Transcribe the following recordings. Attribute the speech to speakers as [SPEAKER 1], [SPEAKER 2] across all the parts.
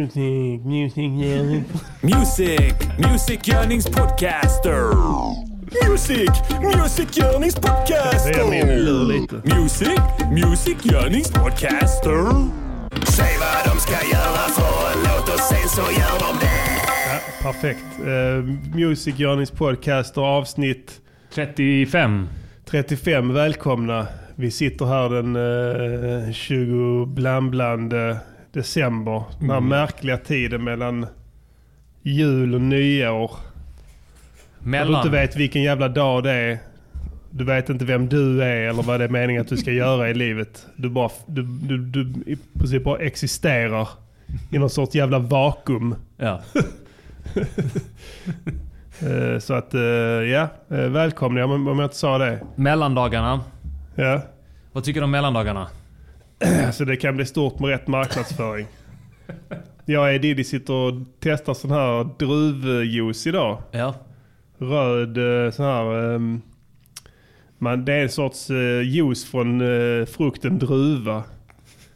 [SPEAKER 1] Music, music, music.
[SPEAKER 2] Music, Music Görnings podcaster. Music, Music Görnings podcaster.
[SPEAKER 1] Jag menar lur lite.
[SPEAKER 2] Music, Music Görnings podcaster. Säg vad de ska göra för en låt och sen så gör de det.
[SPEAKER 1] Ja, perfekt. Uh, music Journeys podcast och avsnitt
[SPEAKER 3] 35.
[SPEAKER 1] 35. Välkomna. Vi sitter här den eh, 20 bland bland eh, december. Den här märkliga tiden mellan jul och nyår. Där Du
[SPEAKER 3] Mellan.
[SPEAKER 1] inte vet vilken jävla dag det är. Du vet inte vem du är eller vad det är meningen att du ska göra i livet. Du bara, du, du, du i princip bara existerar i någon sorts jävla vakuum.
[SPEAKER 3] Ja.
[SPEAKER 1] Eh, Så att, eh, ja. eh, Välkomna om om jag inte sa det.
[SPEAKER 3] Mellandagarna.
[SPEAKER 1] Ja.
[SPEAKER 3] Vad tycker du om mellandagarna?
[SPEAKER 1] Så det kan bli stort med rätt marknadsföring. Jag är Diddy sitter och testar sån här druvjuice idag.
[SPEAKER 3] Ja.
[SPEAKER 1] Röd eh, sån här... ehm, Man, det är en sorts eh, juice från eh, frukten druva.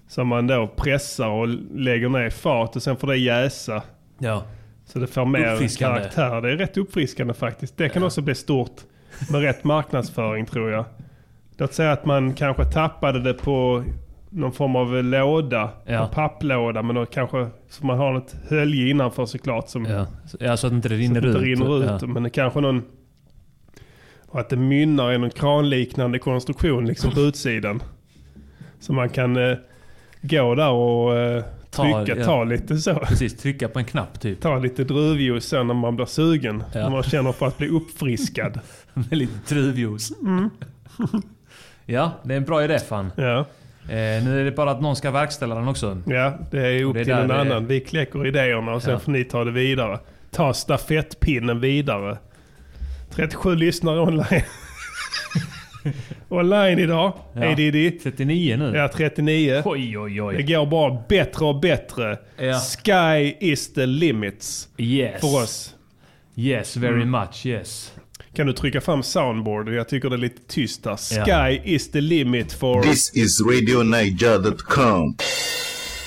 [SPEAKER 1] Som man då pressar och lägger ner i fat och sen får det jäsa.
[SPEAKER 3] Ja.
[SPEAKER 1] Så det får mer
[SPEAKER 3] Uppfriskande.
[SPEAKER 1] karaktär. Det är rätt uppfriskande faktiskt. Det kan också bli stort med rätt marknadsföring tror jag. Låt säga att man kanske tappade det på någon form av låda.
[SPEAKER 3] Ja.
[SPEAKER 1] En papplåda. Men då kanske, så man har något hölje innanför såklart som
[SPEAKER 3] Ja. Så, ja, så att inte det rinner
[SPEAKER 1] så att
[SPEAKER 3] ut.
[SPEAKER 1] det rinner ut.
[SPEAKER 3] Ja.
[SPEAKER 1] Men det kanske någon... Och att det mynnar i någon kranliknande konstruktion liksom på utsidan. Så man kan eh, gå där och eh,
[SPEAKER 3] Ta,
[SPEAKER 1] trycka,
[SPEAKER 3] ja.
[SPEAKER 1] ta lite så.
[SPEAKER 3] Precis, trycka på en knapp typ.
[SPEAKER 1] Ta lite druvjuice sen när man blir sugen.
[SPEAKER 3] Ja.
[SPEAKER 1] När man känner för att bli uppfriskad.
[SPEAKER 3] Med lite druvjuice. ja, det är en bra idé fan.
[SPEAKER 1] Ja,
[SPEAKER 3] Eh, nu är det bara att någon ska verkställa den också.
[SPEAKER 1] ja det är upp
[SPEAKER 3] Det är
[SPEAKER 1] till
[SPEAKER 3] där
[SPEAKER 1] en
[SPEAKER 3] det är.
[SPEAKER 1] annan. Vi kläcker idéerna och sen
[SPEAKER 3] Ja.
[SPEAKER 1] får ni ta det vidare. Ta stafettpinnen vidare. 37 lyssnare online. online idag.
[SPEAKER 3] Ja.
[SPEAKER 1] Hej Diddy.
[SPEAKER 3] 39 nu.
[SPEAKER 1] Ja, 39.
[SPEAKER 3] Oj, oj,
[SPEAKER 1] Det
[SPEAKER 3] oj.
[SPEAKER 1] går bara bättre och bättre.
[SPEAKER 3] Ja.
[SPEAKER 1] Sky is the limits
[SPEAKER 3] Yes.
[SPEAKER 1] för oss. Mm.
[SPEAKER 3] Yes, very much yes.
[SPEAKER 1] Kan du trycka fram soundboard? Jag tycker det är lite tyst där. Sky
[SPEAKER 3] Ja.
[SPEAKER 1] is the limit for...
[SPEAKER 4] This is RadioNiger.com.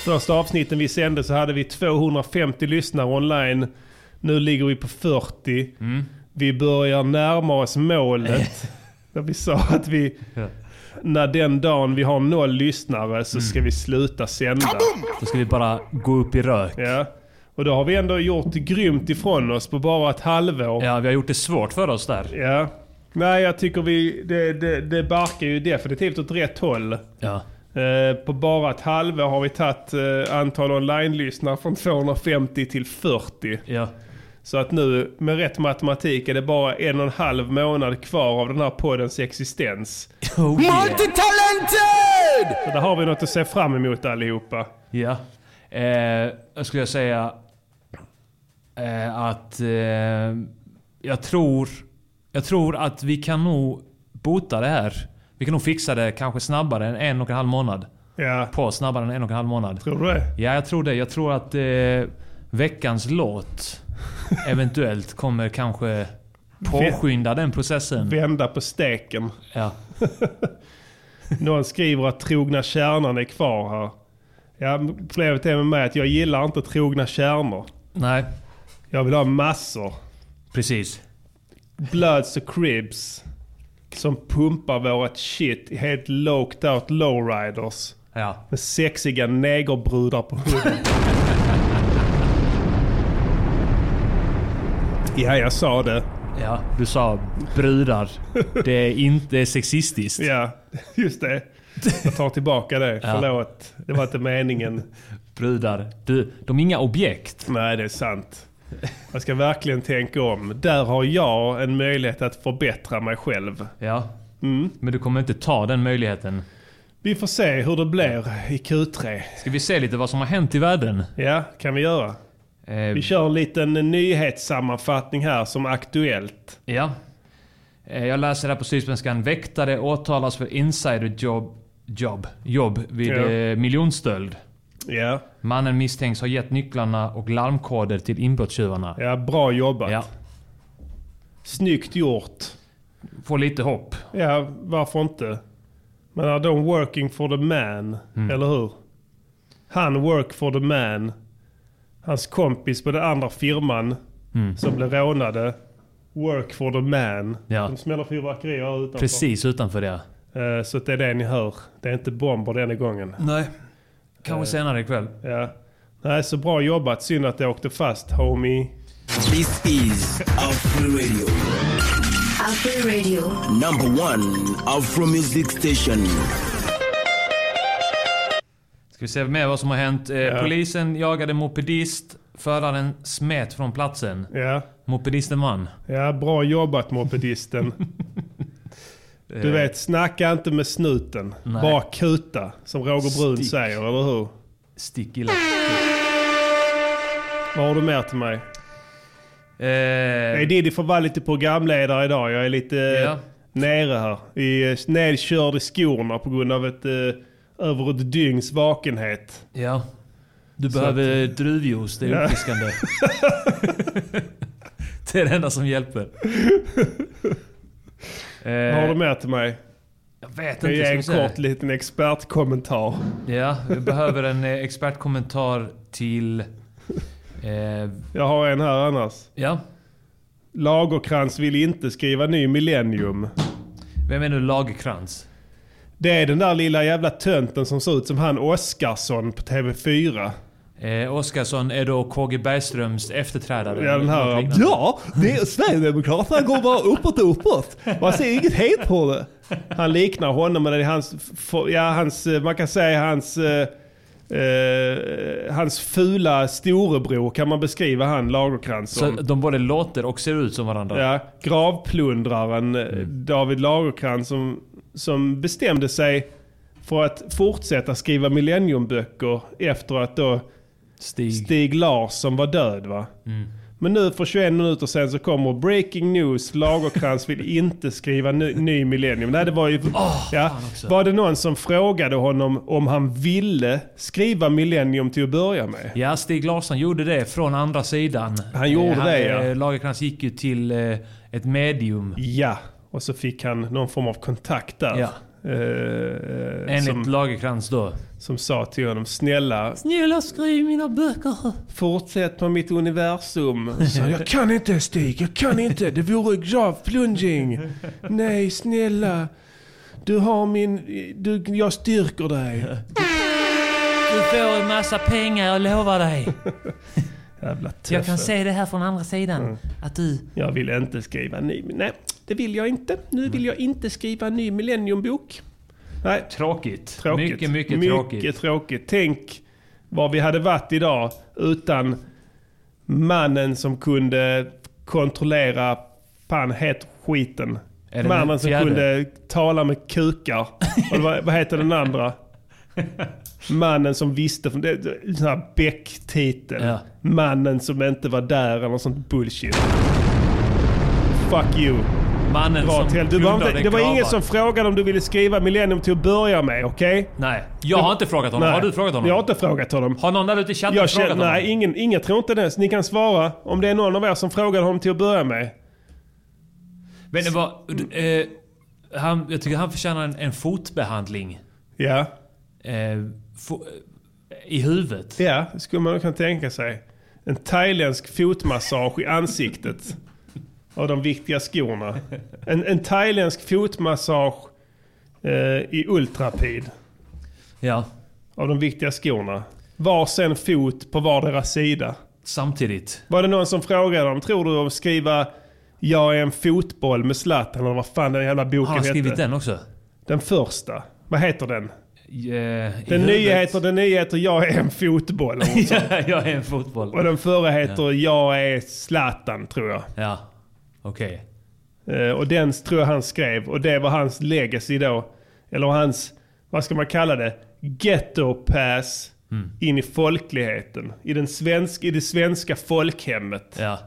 [SPEAKER 1] Första avsnitten vi sände så hade vi 250 lyssnare online. Nu ligger vi på 40. Vi börjar närma oss målet. där vi sa att vi, när den dagen vi har noll lyssnare så ska vi sluta sända.
[SPEAKER 3] Då ska vi bara gå upp i rök.
[SPEAKER 1] Ja. Och då har vi ändå gjort grymt ifrån oss på bara ett halvår.
[SPEAKER 3] Ja, vi har gjort det svårt för oss där.
[SPEAKER 1] Ja. Nej, jag tycker vi... Det, det, det barkar ju definitivt åt rätt håll.
[SPEAKER 3] Ja.
[SPEAKER 1] Eh, på bara ett halvår har vi tagit eh, antal online-lyssnare från 250 till 40.
[SPEAKER 3] Ja.
[SPEAKER 1] Så att nu med rätt matematik är det bara en och en halv månad kvar av den här poddens existens.
[SPEAKER 3] Oh, yeah.
[SPEAKER 1] Så där har vi något att se fram emot allihopa.
[SPEAKER 3] Ja. Eh, jag skulle säga eh, att eh, jag tror jag tror att vi kan nog bota det här. Vi kan nog fixa det kanske snabbare än en och en halv månad.
[SPEAKER 1] Ja,
[SPEAKER 3] På snabbare än en och en halv månad.
[SPEAKER 1] tror du det?
[SPEAKER 3] Ja, jag tror det. Jag tror att eh, veckans låt eventuellt kommer kanske påskynda den processen.
[SPEAKER 1] Vända på steken.
[SPEAKER 3] Ja.
[SPEAKER 1] Någon skriver att trogna kärnan är kvar här. Ja, problemet är med mig att jag gillar inte trogna kärnor.
[SPEAKER 3] Nej,
[SPEAKER 1] Jag vill ha massor.
[SPEAKER 3] precis.
[SPEAKER 1] Bloods och Cribs. Som pumpar vårat shit i helt lågt out lowriders.
[SPEAKER 3] Ja.
[SPEAKER 1] Med sexiga negerbrudar på huden. ja, jag sa det.
[SPEAKER 3] ja. Du sa brudar. Det är inte sexistiskt.
[SPEAKER 1] Ja, just det. Jag tar tillbaka det. Förlåt. Det var inte meningen.
[SPEAKER 3] Brudar. Du, de är inga objekt.
[SPEAKER 1] Nej, det är sant. Jag ska verkligen tänka om. Där har jag en möjlighet att förbättra mig själv.
[SPEAKER 3] Ja.
[SPEAKER 1] Mm.
[SPEAKER 3] Men du kommer inte ta den möjligheten.
[SPEAKER 1] Vi får se hur det blir i Q3.
[SPEAKER 3] Ska vi se lite vad som har hänt i världen?
[SPEAKER 1] Ja, kan vi göra.
[SPEAKER 3] Eh,
[SPEAKER 1] Vi kör en liten nyhetssammanfattning här som aktuellt.
[SPEAKER 3] ja. Eh, jag läser här på Sydsvenskan. Väktare åtalas för insiderjobb jobb, jobb vid
[SPEAKER 1] Ja.
[SPEAKER 3] eh, miljonstöld.
[SPEAKER 1] Ja,
[SPEAKER 3] Mannen misstänks ha gett nycklarna och larmkoder till inbrottstjuvarna.
[SPEAKER 1] ja bra jobbat.
[SPEAKER 3] Ja.
[SPEAKER 1] Snyggt gjort.
[SPEAKER 3] Får lite hopp.
[SPEAKER 1] Ja, varför inte? Men är
[SPEAKER 3] Mm.
[SPEAKER 1] de working for the man, eller hur? Han work for the man. hans kompis på den andra firman
[SPEAKER 3] Mm.
[SPEAKER 1] som blev rånade. Work for the man.
[SPEAKER 3] Ja.
[SPEAKER 1] De smäller fyrverkerier här utanför.
[SPEAKER 3] Precis utanför det.
[SPEAKER 1] Eh, Så att det är det ni hör. Det är inte bomber denna gången.
[SPEAKER 3] Nej. Kanske
[SPEAKER 1] Eh.
[SPEAKER 3] senare ikväll.
[SPEAKER 1] Ja. Nej, så bra jobbat. Synd att det åkte fast, homie.
[SPEAKER 2] This is Afro Radio,
[SPEAKER 5] Afro Radio.
[SPEAKER 2] number one Afro music station.
[SPEAKER 3] Ska vi se mer vad som har hänt. Eh,
[SPEAKER 1] Ja.
[SPEAKER 3] Polisen jagade mopedist. Föraren smet från platsen.
[SPEAKER 1] Ja.
[SPEAKER 3] Mopedisten vann.
[SPEAKER 1] Ja, bra jobbat mopedisten. Du vet, snacka inte med snuten. Bara kuta, som Roger Brun
[SPEAKER 3] Stick.
[SPEAKER 1] säger, eller hur?
[SPEAKER 3] Stick illa.
[SPEAKER 1] Vad har du mer till mig?
[SPEAKER 3] Eh,
[SPEAKER 1] Nej, Diddy får vara lite programledare idag. Jag är lite
[SPEAKER 3] Ja.
[SPEAKER 1] ja. nere här. I, eh, nedkörd i skorna på grund av ett eh, över ett dygns vakenhet.
[SPEAKER 3] ja. Du behöver druvjuice. Det är uppfriskande. det är det enda som hjälper. Eh,
[SPEAKER 1] Vad har du mer till mig?
[SPEAKER 3] jag vet inte.
[SPEAKER 1] Jag ger
[SPEAKER 3] ska
[SPEAKER 1] en
[SPEAKER 3] vi se.
[SPEAKER 1] kort liten expertkommentar.
[SPEAKER 3] Ja, vi behöver en eh, expertkommentar till... Eh,
[SPEAKER 1] Jag har en här annars.
[SPEAKER 3] ja.
[SPEAKER 1] Lagerkrans vill inte skriva ny Millennium.
[SPEAKER 3] Vem är nu Lagerkrans?
[SPEAKER 1] Det är den där lilla jävla tönten som ser ut som han Oskarsson på TV4.
[SPEAKER 3] Eh, Oskarsson är då KG Bergströms efterträdare.
[SPEAKER 1] Ja, den
[SPEAKER 3] Något
[SPEAKER 1] här.
[SPEAKER 3] liknande.
[SPEAKER 1] Ja, det är, Sverigedemokraterna går bara uppåt och uppåt. Man ser inget helt på det. Han liknar honom, men det är hans, f- ja, hans, eh, man kan säga hans, eh, eh, hans fula storebror kan man beskriva han Lagerkrans
[SPEAKER 3] Så
[SPEAKER 1] som.
[SPEAKER 3] de både låter och ser ut som varandra.
[SPEAKER 1] Ja, gravplundraren eh, David Lagercrantz som, som bestämde sig för att fortsätta skriva millenniumböcker efter att då
[SPEAKER 3] Stig.
[SPEAKER 1] Stig Larsson var död. Va?
[SPEAKER 3] Mm.
[SPEAKER 1] Men nu för 21 minuter sedan så kommer breaking news. Lagercrantz vill inte skriva ny, ny millennium. Nej, det var ju... ja, var det någon som frågade honom om han ville skriva millennium till att börja med?
[SPEAKER 3] Ja, Stig Larsson gjorde det från andra sidan.
[SPEAKER 1] Han gjorde det,
[SPEAKER 3] eh,
[SPEAKER 1] ja.
[SPEAKER 3] Lagerkrans gick ju till eh, ett medium.
[SPEAKER 1] Ja, och så fick han någon form av kontakt där.
[SPEAKER 3] Ja.
[SPEAKER 1] Eh, eh,
[SPEAKER 3] Enligt
[SPEAKER 1] som,
[SPEAKER 3] Lagerkrans då.
[SPEAKER 1] som sa till honom, snälla
[SPEAKER 3] Snälla skriv mina böcker.
[SPEAKER 1] fortsätt på mitt universum. Så, jag kan inte Stig, jag kan inte. Det vore gravplunging. Nej, snälla. Du har min... Du, jag styrker dig.
[SPEAKER 3] Du får en massa pengar, jag lovar dig.
[SPEAKER 1] Jävla
[SPEAKER 3] Jag kan
[SPEAKER 1] töffe.
[SPEAKER 3] se det här från andra sidan.
[SPEAKER 1] Mm.
[SPEAKER 3] Att du...
[SPEAKER 1] Jag vill inte skriva ny... Nej, det vill jag inte. Nu vill jag inte skriva en ny millenniumbok. Nej,
[SPEAKER 3] Tråkigt.
[SPEAKER 1] Tråkigt.
[SPEAKER 3] Mycket, mycket, tråkigt.
[SPEAKER 1] Mycket tråkigt. Tänk vad vi hade varit idag utan mannen som kunde kontrollera fan het skiten.
[SPEAKER 3] Är det den
[SPEAKER 1] Mannen som
[SPEAKER 3] fjärde?
[SPEAKER 1] kunde tala med kukar. Och det var, vad heter den andra? Mannen som visste, det är en sån här Beck-titel.
[SPEAKER 3] Ja.
[SPEAKER 1] Mannen som inte var där eller något sånt bullshit. Fuck you.
[SPEAKER 3] Mannen
[SPEAKER 1] Dra åt
[SPEAKER 3] som
[SPEAKER 1] helvete. Du var inte,
[SPEAKER 3] plundrade
[SPEAKER 1] det var
[SPEAKER 3] gravar.
[SPEAKER 1] ingen som frågade om du ville skriva Millennium till att börja med, okej?
[SPEAKER 3] Nej, jag har inte frågat honom.
[SPEAKER 1] Nej.
[SPEAKER 3] Har du frågat honom?
[SPEAKER 1] Jag har inte frågat honom.
[SPEAKER 3] Har någon där ute i chatten
[SPEAKER 1] Jag
[SPEAKER 3] frågat
[SPEAKER 1] känner,
[SPEAKER 3] honom?
[SPEAKER 1] nej, ingen, ingen tror inte det. Så ni kan svara om det är någon av er som frågade honom till att börja med.
[SPEAKER 3] Men det var... Eh, han, jag tycker han förtjänar en, en fotbehandling.
[SPEAKER 1] Ja,
[SPEAKER 3] Eh, fo, I huvudet.
[SPEAKER 1] ja det skulle man kunna tänka sig. En thailändsk fotmassage i ansiktet. Av de viktiga skorna. En, en thailändsk fotmassage eh, i ultrapid.
[SPEAKER 3] Ja.
[SPEAKER 1] Av de viktiga skorna. Varsin fot på vardera sida.
[SPEAKER 3] Samtidigt.
[SPEAKER 1] Var det någon som frågade om, tror du att skriva Jag är en fotboll med Zlatan eller vad fan den jävla boken
[SPEAKER 3] Han har skrivit
[SPEAKER 1] hette?
[SPEAKER 3] den också.
[SPEAKER 1] Den första. Vad heter den?
[SPEAKER 3] Eh,
[SPEAKER 1] Den nya heter, den nya heter Jag är en fotboll. eller något sånt.
[SPEAKER 3] jag är en fotboll.
[SPEAKER 1] Och den förra heter Jag är Zlatan, tror jag.
[SPEAKER 3] Ja. Okej.
[SPEAKER 1] Eh, Och den tror jag han skrev. Och det var hans legacy då. Eller hans, vad ska man kalla det? Ghetto-pass in i folkligheten. I, den svensk, I det svenska folkhemmet.
[SPEAKER 3] Ja.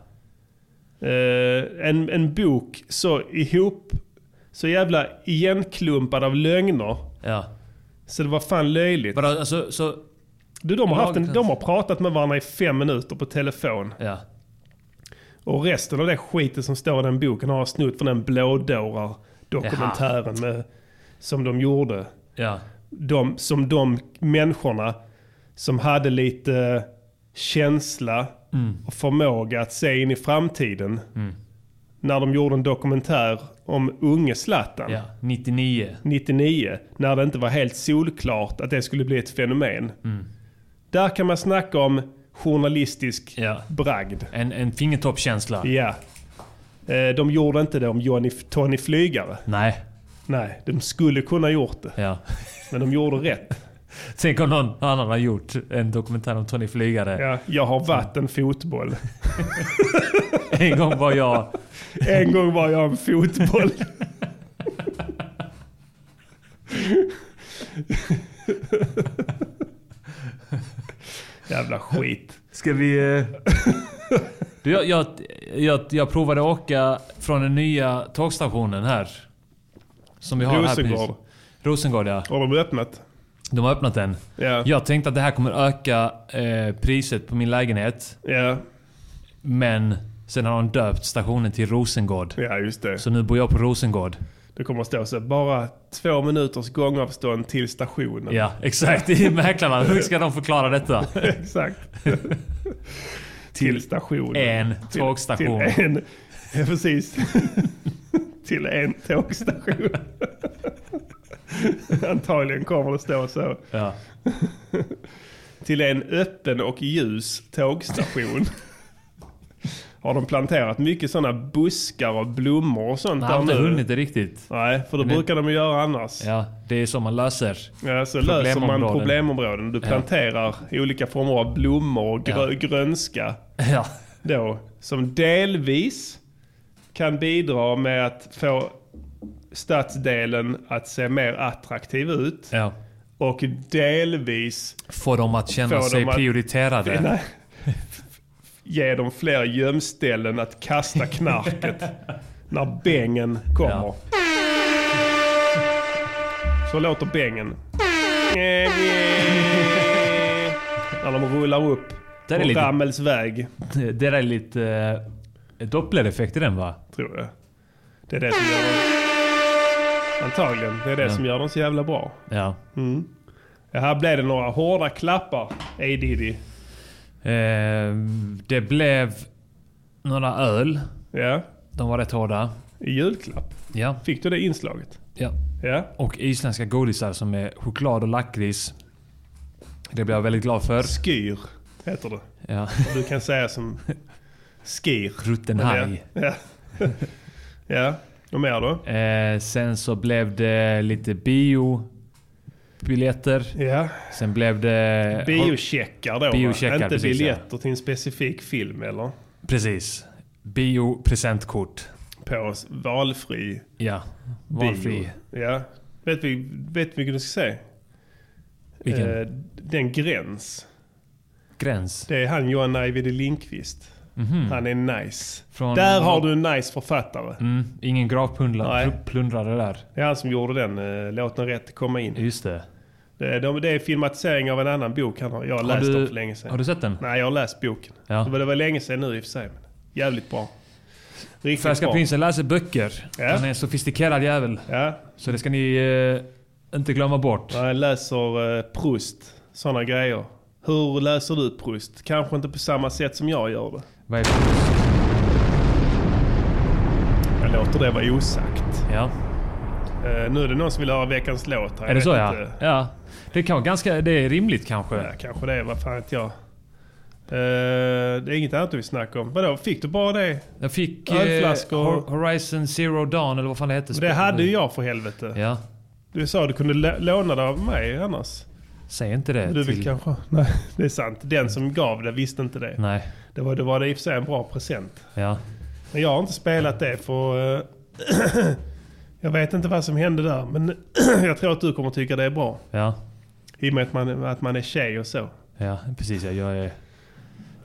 [SPEAKER 1] Eh, en, en bok så ihop, så jävla igenklumpad av lögner.
[SPEAKER 3] Ja.
[SPEAKER 1] Så det var fan löjligt.
[SPEAKER 3] Vadå, alltså, så...
[SPEAKER 1] Du, de, har haft en,
[SPEAKER 3] Lagercrantz.
[SPEAKER 1] de har pratat med varandra i fem minuter på telefon.
[SPEAKER 3] Ja.
[SPEAKER 1] Och resten av det skiten som står i den boken har jag snott från den blådårar-dokumentären med, som de gjorde.
[SPEAKER 3] Ja.
[SPEAKER 1] De, som de människorna som hade lite känsla och förmåga att se in i framtiden. När de gjorde en dokumentär om unge Zlatan.
[SPEAKER 3] Ja, 99.
[SPEAKER 1] 99, när det inte var helt solklart att det skulle bli ett fenomen. Där kan man snacka om journalistisk
[SPEAKER 3] Ja.
[SPEAKER 1] bragd.
[SPEAKER 3] En, en fingertoppkänsla.
[SPEAKER 1] Ja. Eh, De gjorde inte det om Johnny, Tony Flygare.
[SPEAKER 3] Nej.
[SPEAKER 1] Nej, de skulle kunna gjort det.
[SPEAKER 3] Ja.
[SPEAKER 1] Men de gjorde rätt.
[SPEAKER 3] Tänk om någon annan har gjort en dokumentär om Tony Flygare.
[SPEAKER 1] Ja, jag har varit en fotboll.
[SPEAKER 3] En gång var jag...
[SPEAKER 1] En gång var jag en fotboll. Jävla skit.
[SPEAKER 3] Ska vi... Du, jag, jag, jag, jag provade att åka från den nya tågstationen här. Som vi har här
[SPEAKER 1] Rosengård.
[SPEAKER 3] precis. Rosengård. ja.
[SPEAKER 1] Har de öppnat?
[SPEAKER 3] De har öppnat den.
[SPEAKER 1] Ja.
[SPEAKER 3] Jag tänkte att det här kommer öka eh, priset på min lägenhet.
[SPEAKER 1] Ja,
[SPEAKER 3] Men sen har de döpt stationen till Rosengård.
[SPEAKER 1] ja just det.
[SPEAKER 3] Så nu bor jag på Rosengård.
[SPEAKER 1] Det kommer att stå så här, bara två minuters gångavstånd till stationen.
[SPEAKER 3] Ja, exakt. I mäklarna. Hur ska de förklara detta?
[SPEAKER 1] Exakt. till stationen.
[SPEAKER 3] En
[SPEAKER 1] Till-
[SPEAKER 3] tågstation.
[SPEAKER 1] Till en, ja, precis. till en tågstation. Antagligen kommer det stå så.
[SPEAKER 3] Ja.
[SPEAKER 1] Till en öppen och ljus tågstation. Har de planterat mycket sådana buskar och blommor och sånt
[SPEAKER 3] Jag har inte
[SPEAKER 1] där nu?
[SPEAKER 3] hunnit det riktigt.
[SPEAKER 1] Nej, för det brukar de ju göra annars.
[SPEAKER 3] Ja, det är så man löser.
[SPEAKER 1] Ja, så löser man
[SPEAKER 3] Problemområden.
[SPEAKER 1] problemområden. Du planterar olika former av blommor och grö-
[SPEAKER 3] Ja.
[SPEAKER 1] grönska
[SPEAKER 3] Ja.
[SPEAKER 1] då, som delvis kan bidra med att få stadsdelen att se mer attraktiv ut
[SPEAKER 3] ja.
[SPEAKER 1] och delvis
[SPEAKER 3] Få dem att känna
[SPEAKER 1] Få
[SPEAKER 3] sig
[SPEAKER 1] dem att-
[SPEAKER 3] prioriterade.
[SPEAKER 1] nej, ge dem fler gömställen att kasta knarket när bängen kommer.
[SPEAKER 3] Ja.
[SPEAKER 1] Så låter bängen. när de rullar upp
[SPEAKER 3] Där är
[SPEAKER 1] på
[SPEAKER 3] lite-
[SPEAKER 1] Rammels väg,
[SPEAKER 3] Det där är lite eh, Dopplereffekt i den va?
[SPEAKER 1] tror jag. Det är det som gör dem... Antagligen. Det är det som gör dem så jävla bra.
[SPEAKER 3] Ja.
[SPEAKER 1] Ja, här blev det några hårda klappar, A Diddy.
[SPEAKER 3] Eh, det blev några öl.
[SPEAKER 1] Ja,
[SPEAKER 3] De var rätt hårda.
[SPEAKER 1] i julklapp.
[SPEAKER 3] Ja.
[SPEAKER 1] Fick du det inslaget?
[SPEAKER 3] ja.
[SPEAKER 1] Ja.
[SPEAKER 3] Och isländska godisar som är choklad och lakrits. Det blev jag väldigt glad för.
[SPEAKER 1] Skyr heter det.
[SPEAKER 3] Ja.
[SPEAKER 1] Du kan säga som skir.
[SPEAKER 3] Rutten
[SPEAKER 1] Ja.
[SPEAKER 3] haj.
[SPEAKER 1] Ja. ja. Och mer då?
[SPEAKER 3] Eh, sen så blev det lite bio. Biljetter.
[SPEAKER 1] Ja.
[SPEAKER 3] Sen blev det...
[SPEAKER 1] Biocheckar då va?
[SPEAKER 3] Biocheckar,
[SPEAKER 1] Inte
[SPEAKER 3] precis,
[SPEAKER 1] biljetter till en specifik film eller?
[SPEAKER 3] Precis. Biopresentkort.
[SPEAKER 1] På s- valfri
[SPEAKER 3] Ja.
[SPEAKER 1] bio.
[SPEAKER 3] Valfri.
[SPEAKER 1] Ja. Vet vi, vet vi vilken du ska se?
[SPEAKER 3] Vilken
[SPEAKER 1] Eh, Den gräns.
[SPEAKER 3] gräns?
[SPEAKER 1] Det är han Johan Ajvide Lindqvist. Han är nice.
[SPEAKER 3] Mhm. Från-
[SPEAKER 1] Där har du en nice författare.
[SPEAKER 3] Mm, ingen
[SPEAKER 1] Nej.
[SPEAKER 3] gravplundrare där.
[SPEAKER 1] Det är han som gjorde den. eh, Låt den rätt komma in.
[SPEAKER 3] Just det.
[SPEAKER 1] Det, de, det är filmatisering av en annan bok han har. Jag har,
[SPEAKER 3] Har
[SPEAKER 1] läst den
[SPEAKER 3] du,
[SPEAKER 1] för länge sedan.
[SPEAKER 3] har du sett den?
[SPEAKER 1] Nej, jag har läst boken.
[SPEAKER 3] Ja.
[SPEAKER 1] Det, var, det var länge sedan nu i och för sig. men Jävligt bra. Riktigt
[SPEAKER 3] Färska
[SPEAKER 1] bra.
[SPEAKER 3] prinsen läser böcker.
[SPEAKER 1] Ja.
[SPEAKER 3] Han är en sofistikerad jävel.
[SPEAKER 1] Ja,
[SPEAKER 3] Så det ska ni eh, inte glömma bort.
[SPEAKER 1] jag läser eh, Proust. Sådana grejer. Hur läser du Proust? Kanske inte på samma sätt som jag gör det.
[SPEAKER 3] Vad är det?
[SPEAKER 1] Jag låter det vara osagt.
[SPEAKER 3] Ja.
[SPEAKER 1] Eh, nu är det någon som vill höra veckans låt. här. Jag
[SPEAKER 3] Är det
[SPEAKER 1] vet
[SPEAKER 3] så ja?
[SPEAKER 1] inte.
[SPEAKER 3] Ja. Det kan vara ganska... Det är rimligt kanske.
[SPEAKER 1] Ja, kanske det. Vad fan vet jag. Eh, det är inget annat du vill snacka om. Vadå, fick du bara det?
[SPEAKER 3] Jag fick eh,
[SPEAKER 1] Ölflaskor.
[SPEAKER 3] Hor- Horizon Zero Dawn eller vad fan det hette.
[SPEAKER 1] Det hade ju jag för helvete.
[SPEAKER 3] Mm. Ja.
[SPEAKER 1] Du sa du kunde lä- låna det av mig annars.
[SPEAKER 3] Säg inte det
[SPEAKER 1] Du vill
[SPEAKER 3] till...
[SPEAKER 1] kanske? Nej, det är sant. Den som gav det visste inte det.
[SPEAKER 3] Nej.
[SPEAKER 1] Det var, det var det i och för sig en bra present.
[SPEAKER 3] Ja.
[SPEAKER 1] Men jag har inte spelat det för... eh, jag vet inte vad som hände där, men jag tror att du kommer tycka det är bra.
[SPEAKER 3] Ja.
[SPEAKER 1] I och med att man, att man är tjej och så.
[SPEAKER 3] Ja, precis. Ja. Jag är...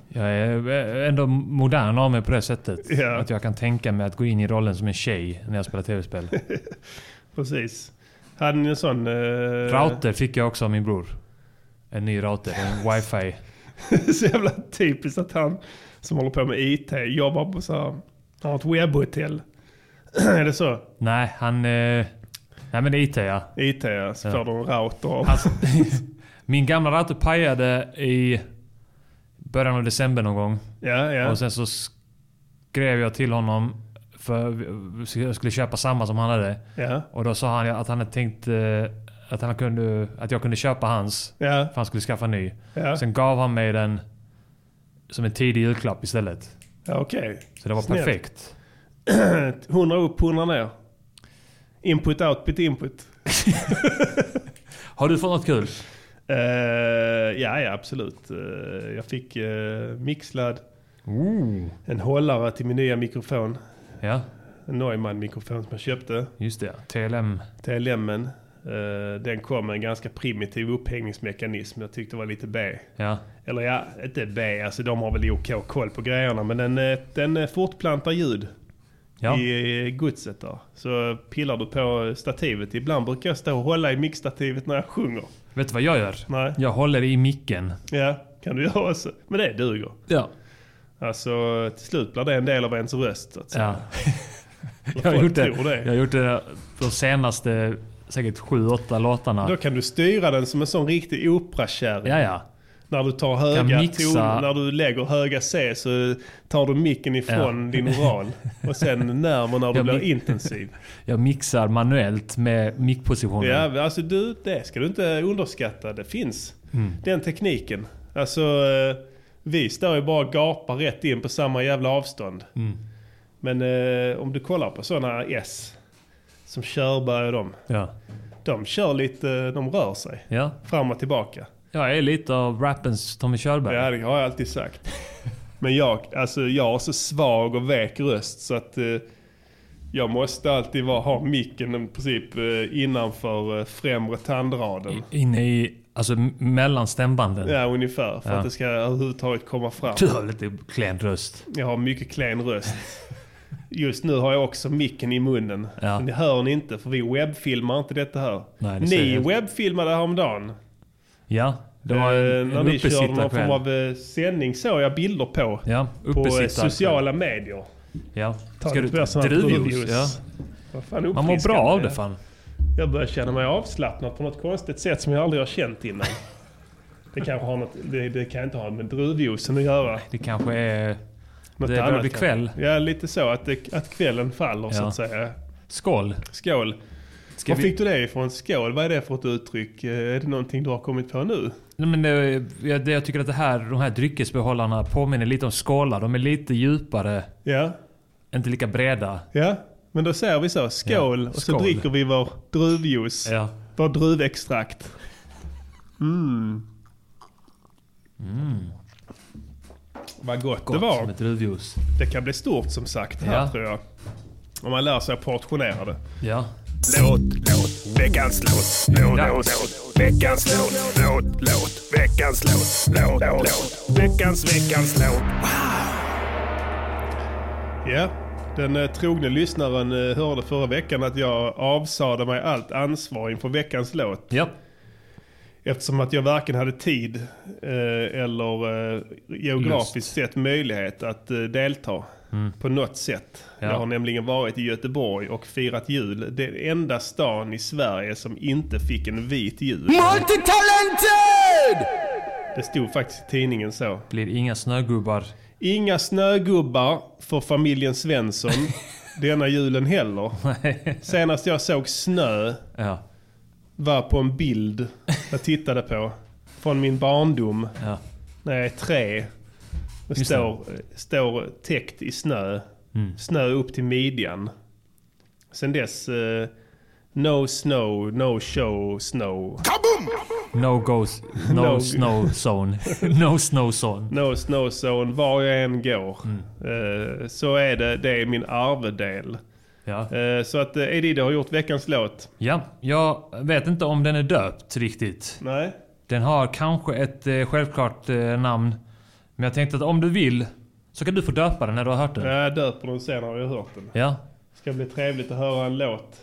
[SPEAKER 3] Jag är ändå modern av mig på det sättet.
[SPEAKER 1] Ja.
[SPEAKER 3] Att jag kan tänka mig att gå in i rollen som en tjej när jag spelar tv-spel.
[SPEAKER 1] Precis. Hade ni en sån... eh,
[SPEAKER 3] Router fick jag också av min bror. En ny router. En wifi.
[SPEAKER 1] så jävla typiskt att han som håller på med IT jobbar på så här... Han har ett webbhotell. är det så?
[SPEAKER 3] Nej, han... Eh, nej men det är IT ja.
[SPEAKER 1] IT, ja. Så
[SPEAKER 3] Ja.
[SPEAKER 1] får du en router. av-
[SPEAKER 3] Alltså, min gamla router pajade i början av december någon gång.
[SPEAKER 1] Ja, ja.
[SPEAKER 3] Och sen så skrev jag till honom för vi- jag skulle köpa samma som han hade.
[SPEAKER 1] ja.
[SPEAKER 3] Och då sa han ju att han hade tänkt eh, att, han kunde, att jag kunde köpa hans.
[SPEAKER 1] Ja,
[SPEAKER 3] För han skulle skaffa en ny.
[SPEAKER 1] ja.
[SPEAKER 3] Sen gav han mig den som en tidig julklapp istället.
[SPEAKER 1] ja okej.
[SPEAKER 3] Så det var
[SPEAKER 1] Snällt.
[SPEAKER 3] perfekt.
[SPEAKER 1] 100 upp, 100 ner. Input, output, input.
[SPEAKER 3] Har du fått något kul?
[SPEAKER 1] Eh, ja, ja, absolut. Eh, jag fick eh, mixlad. En hållare till min nya mikrofon.
[SPEAKER 3] Ja,
[SPEAKER 1] En Neumann-mikrofon som jag köpte.
[SPEAKER 3] just det. TLM.
[SPEAKER 1] TLM-en. eh, den kom med en ganska primitiv upphängningsmekanism. Jag tyckte det var lite B.
[SPEAKER 3] Ja.
[SPEAKER 1] Eller ja, inte B. Alltså de har väl i OK koll på grejerna. Men den, eh, den eh, fortplantar ljud.
[SPEAKER 3] Ja.
[SPEAKER 1] i eh, godset där. Så pillar du på stativet. Ibland brukar jag stå och hålla i mixstativet när jag sjunger.
[SPEAKER 3] Vet du vad jag gör?
[SPEAKER 1] Nej.
[SPEAKER 3] Jag håller i micken.
[SPEAKER 1] Ja, kan du göra så. Men det duger.
[SPEAKER 3] Ja.
[SPEAKER 1] Alltså till slut blir det en del av ens röst. Så att säga.
[SPEAKER 3] ja.
[SPEAKER 1] Eller
[SPEAKER 3] Jag har
[SPEAKER 1] folk
[SPEAKER 3] gjort det.
[SPEAKER 1] tror
[SPEAKER 3] Jag har gjort det de senaste säkert sju, åtta låtarna.
[SPEAKER 1] Då kan du styra den som en sån riktig operakärring.
[SPEAKER 3] Ja, ja.
[SPEAKER 1] När du tar
[SPEAKER 3] Kan
[SPEAKER 1] höga
[SPEAKER 3] mixa.
[SPEAKER 1] ton, när du lägger höga C så tar du micken ifrån
[SPEAKER 3] Ja.
[SPEAKER 1] din oral. Och sen närmare när du
[SPEAKER 3] Jag
[SPEAKER 1] blir
[SPEAKER 3] mi-
[SPEAKER 1] intensiv.
[SPEAKER 3] Jag mixar manuellt med mickpositionen.
[SPEAKER 1] Ja, alltså du, det ska du inte underskatta. Det finns den tekniken. Alltså, eh, vi står ju bara och gapar rätt in på samma jävla avstånd. Men eh, om du kollar på sådana S som Körberg och dem.
[SPEAKER 3] Ja.
[SPEAKER 1] De kör lite, de rör sig
[SPEAKER 3] ja.
[SPEAKER 1] fram och tillbaka.
[SPEAKER 3] Jag är lite av rappens Tommy Körberg.
[SPEAKER 1] Ja, det har jag alltid sagt. Men jag, alltså, jag har så svag och väk röst så att eh, jag måste alltid vara, ha micken i princip eh, innanför eh, främre tandraden.
[SPEAKER 3] Inne i, alltså m- mellan stämbanden.
[SPEAKER 1] Ja, ungefär. För
[SPEAKER 3] Ja. Typ.
[SPEAKER 1] att det ska överhuvudtaget komma fram.
[SPEAKER 3] Du har lite klen röst.
[SPEAKER 1] Jag har mycket klen röst. Just nu har jag också micken i munnen.
[SPEAKER 3] Ja.
[SPEAKER 1] Men det hör ni inte, för vi webbfilmar inte detta här.
[SPEAKER 3] Nej, det ser
[SPEAKER 1] ni
[SPEAKER 3] jag.
[SPEAKER 1] webbfilmade häromdagen.
[SPEAKER 3] Ja, det var
[SPEAKER 1] Eh,
[SPEAKER 3] en,
[SPEAKER 1] när
[SPEAKER 3] en
[SPEAKER 1] ni körde någon form
[SPEAKER 3] uppesittarkväll.
[SPEAKER 1] av eh, sändning såg jag bilder på.
[SPEAKER 3] Ja,
[SPEAKER 1] På eh,
[SPEAKER 3] uppesittarkväll.
[SPEAKER 1] sociala medier.
[SPEAKER 3] Ja.
[SPEAKER 1] Ta
[SPEAKER 3] Ska du
[SPEAKER 1] lite mer såna här
[SPEAKER 3] druvjuice?
[SPEAKER 1] druvjuice.
[SPEAKER 3] Ja.
[SPEAKER 1] Vad
[SPEAKER 3] Man
[SPEAKER 1] fan
[SPEAKER 3] mår bra
[SPEAKER 1] uppfriskande.
[SPEAKER 3] av det fan.
[SPEAKER 1] Jag börjar känna mig avslappnad på något konstigt sätt som jag aldrig har känt innan. Det kanske har något, det, det kan inte ha med druvjuicen att göra.
[SPEAKER 3] Det kanske är...
[SPEAKER 1] Något
[SPEAKER 3] Det börjar
[SPEAKER 1] annat
[SPEAKER 3] bli
[SPEAKER 1] kanske.
[SPEAKER 3] kväll.
[SPEAKER 1] Ja, lite så. Att, det, att kvällen faller så
[SPEAKER 3] Ja.
[SPEAKER 1] att säga.
[SPEAKER 3] Skål!
[SPEAKER 1] Skål.
[SPEAKER 3] Ska
[SPEAKER 1] Var
[SPEAKER 3] vi...
[SPEAKER 1] fick du det ifrån? Skål, vad är det för ett uttryck? Eh, Är det någonting du har kommit på nu?
[SPEAKER 3] Nej, men det, jag, det, jag tycker att det här, de här dryckesbehållarna påminner lite om skålar. De är lite djupare,
[SPEAKER 1] Ja,
[SPEAKER 3] inte lika breda.
[SPEAKER 1] ja. Men då säger vi så. Skål.
[SPEAKER 3] Ja,
[SPEAKER 1] Och så
[SPEAKER 3] skål.
[SPEAKER 1] dricker vi vår druvjuice.
[SPEAKER 3] Ja.
[SPEAKER 1] Vår druvextrakt. Mm. Vad gott,
[SPEAKER 3] Mm. Gott
[SPEAKER 1] det var.
[SPEAKER 3] som ett druvjuice.
[SPEAKER 1] Det kan bli stort som sagt här
[SPEAKER 3] Ja.
[SPEAKER 1] tror jag. Om man lär sig att portionera det.
[SPEAKER 3] Ja.
[SPEAKER 2] Låt, låt, veckans låt, låt, låt, låt, veckans låt, låt, låt, veckans låt, låt, låt, veckans, veckans låt.
[SPEAKER 1] Ja, den eh, trogne lyssnaren eh, hörde förra veckan att jag avsade mig allt ansvar inför veckans låt.
[SPEAKER 3] Ja.
[SPEAKER 1] Eftersom att jag varken hade tid eh, eller eh, geografiskt sett möjlighet att eh, delta på något sätt.
[SPEAKER 3] Ja.
[SPEAKER 1] Jag har nämligen varit i Göteborg och firat jul. Den enda stan i Sverige som inte fick en vit jul.
[SPEAKER 2] Multitalented!
[SPEAKER 1] Det stod faktiskt i tidningen så.
[SPEAKER 3] Blir inga snögubbar.
[SPEAKER 1] Inga snögubbar för familjen Svensson denna julen heller. Senast jag såg snö
[SPEAKER 3] Ja.
[SPEAKER 1] var på en bild jag tittade på från min barndom
[SPEAKER 3] Ja.
[SPEAKER 1] när jag är tre. Och
[SPEAKER 3] Just
[SPEAKER 1] står, står täckt i snö. Snö upp till midjan. Sen dess eh, no snow, no show, snow.
[SPEAKER 3] No go... No,
[SPEAKER 1] No-
[SPEAKER 3] snow zone. no snow zone.
[SPEAKER 1] No snow zone, var jag än går. Eh, så är det, det är min arvedel.
[SPEAKER 3] Ja.
[SPEAKER 1] Eh, Så att eh, Edidde har gjort veckans låt.
[SPEAKER 3] ja. Jag vet inte om den är döpt riktigt.
[SPEAKER 1] Nej.
[SPEAKER 3] Den har kanske ett eh, självklart eh, namn. Men jag tänkte att om du vill så kan du få döpa den när du har hört den.
[SPEAKER 1] Jag döper den sen har jag hört den.
[SPEAKER 3] Ja.
[SPEAKER 1] Ska bli trevligt att höra en låt.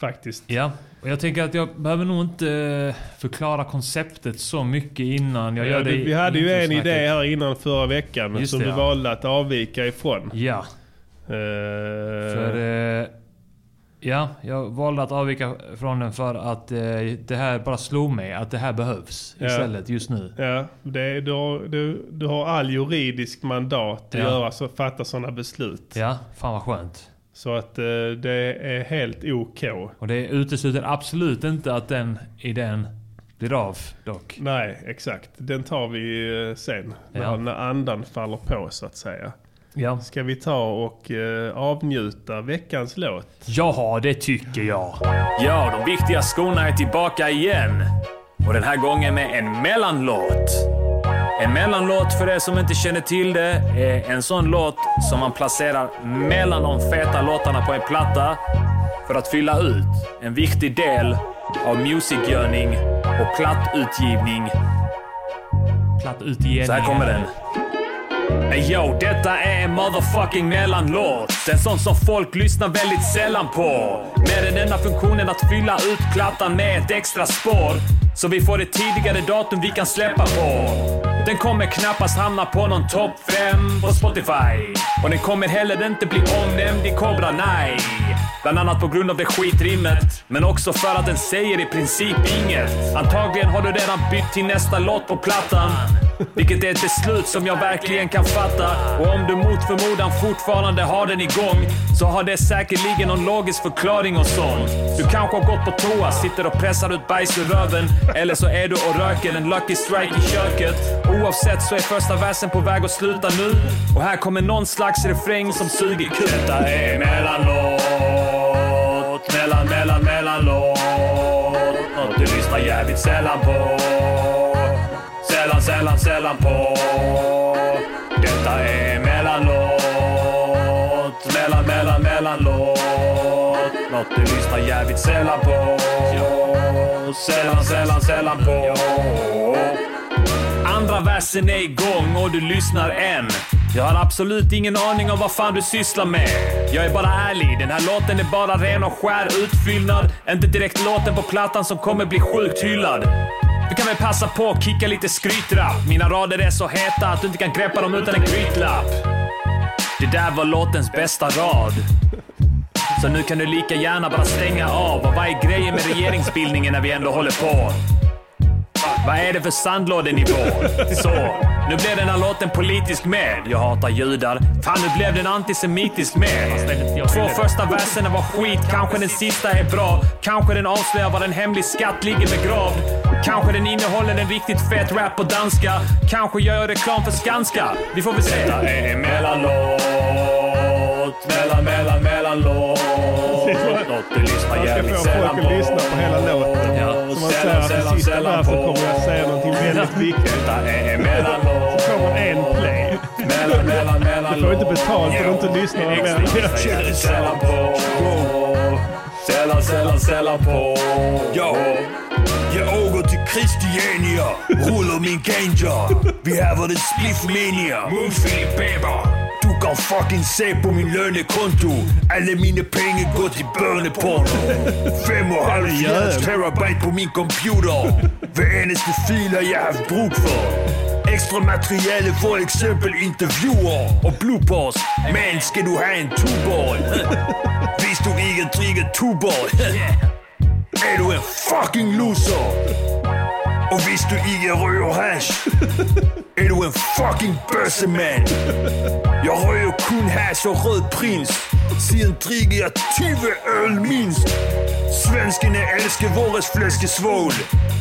[SPEAKER 1] Faktiskt.
[SPEAKER 3] Ja, och jag tänker att jag behöver nog inte eh, förklara konceptet så mycket innan. Jag gör det
[SPEAKER 1] vi
[SPEAKER 3] i-
[SPEAKER 1] hade ju en
[SPEAKER 3] introsnacket.
[SPEAKER 1] idé här innan förra veckan
[SPEAKER 3] Just
[SPEAKER 1] som
[SPEAKER 3] det,
[SPEAKER 1] du
[SPEAKER 3] ja.
[SPEAKER 1] valde att avvika ifrån.
[SPEAKER 3] Ja,
[SPEAKER 1] Eh,
[SPEAKER 3] för eh, Ja, jag valde att avvika från den för att eh, det här bara slog mig att det här behövs
[SPEAKER 1] Ja.
[SPEAKER 3] istället just nu.
[SPEAKER 1] Ja, det, du, har, du, du har all juridisk mandat att
[SPEAKER 3] Ja.
[SPEAKER 1] göra så, fatta sådana beslut.
[SPEAKER 3] Ja, fan vad skönt.
[SPEAKER 1] Så att eh, det är helt OK.
[SPEAKER 3] Och det utesluter absolut inte att den idén blir av dock.
[SPEAKER 1] Nej, exakt. Den tar vi eh, sen.
[SPEAKER 3] Ja.
[SPEAKER 1] När, när andan faller på så att säga.
[SPEAKER 3] Ja.
[SPEAKER 1] Ska vi ta och eh, avnjuta veckans låt?
[SPEAKER 3] ja, det tycker jag.
[SPEAKER 6] Ja, de viktiga skorna är tillbaka igen. Och den här gången med en mellanlåt. En mellanlåt, för er som inte känner till det, är en sån låt som man placerar mellan de feta låtarna på en platta för att fylla ut en viktig del av musikgörning och plattutgivning
[SPEAKER 3] Platt ut igen.
[SPEAKER 6] så här kommer den. Ey, Yo, detta är en motherfucking mellanlåt. En sån som folk lyssnar väldigt sällan på. Med den enda funktionen att fylla ut plattan med ett extra spår. Så vi får ett tidigare datum vi kan släppa på. Den kommer knappast hamna på någon topp 5 på Spotify. Och den kommer heller inte bli omnämnd i Cobra Nej. Bland annat på grund av det skitrimmet, men också för att den säger i princip inget. Antagligen har du redan bytt till nästa låt på plattan. Vilket är ett beslut som jag verkligen kan fatta. Och om du mot förmodan fortfarande har den igång, så har det säkerligen någon logisk förklaring och sånt. Du kanske har gått på toa, sitter och pressar ut bajs ur röven. Eller så är du och röker en Lucky Strike i köket. Oavsett så är första versen på väg att sluta nu. Och här kommer någon slags refräng som suger kuk. Detta är mellanlåt, mellan, mellan, mellanlåt. Något du lyssnar jävligt sällan på. Sällan, sällan, sällan på. Detta är mellanlåt, mellan, mellan, mellanlåt. Något du lyssnar jävligt sällan på. Sällan, sällan, sällan på. Andra versen är igång och du lyssnar än. Jag har absolut ingen aning om vad fan du sysslar med. Jag är bara ärlig, den här låten är bara ren och skär utfyllnad. Inte direkt låten på plattan som kommer bli sjukt hyllad. Du kan väl passa på att kicka lite skrytrapp. Mina rader är så heta att du inte kan greppa dem utan en grytlapp. Det där var låtens bästa rad. Så nu kan du lika gärna bara stänga av. Och vad är grejen med regeringsbildningen när vi ändå håller på? Vad är det för sandlådenivå? Så, nu blev den här låten politisk med. Jag hatar judar. Fan, nu blev den antisemitisk med. Två första verserna var skit, kanske den sista är bra. Kanske den avslöjar var en hemlig skatt ligger begravd. Kanske den innehåller en riktigt fet rap på danska. Kanske gör jag reklam för Skanska. Vi får väl se. Detta är mellanlåt, mellan, mellan, mellanlåt. Något du lyssnar
[SPEAKER 1] Man ska
[SPEAKER 6] jävligt
[SPEAKER 1] få folk
[SPEAKER 6] sällan på.
[SPEAKER 1] att lyssna på hela låten.
[SPEAKER 6] Ja,
[SPEAKER 1] Så man säger att i sista versen kommer jag säga någonting väldigt viktigt.
[SPEAKER 6] Detta är mellanlåt.
[SPEAKER 1] Så får man en play.
[SPEAKER 6] Mellan, mellan, mellan.
[SPEAKER 1] Du får inte betalt om du inte lyssnar. Men
[SPEAKER 6] Sällan på. Sällan, sällan, sällan på.
[SPEAKER 2] Ja, jag åker till Christiania, rullar min ganja. Vi häver en spliffmania. Mums Filip Weber. Du kan fucking se på min lönekonto. Alla mina pengar går till böneporno. Fem och halv fjärdedels terabyte på min computer. Varenaste filer jag haft brug för. Extra materiale, för exempel intervjuer och bloopers. Men ska du ha en tuborg? Visst du inte dricker tuborg? är du en fucking loser. Och visst du inte röjer hash är du en fucking bösseman. Jag röjer kun hash och röd prins. Sedan dricker jag 20 öl minst. Svenskarna älskar våras fläskesvål.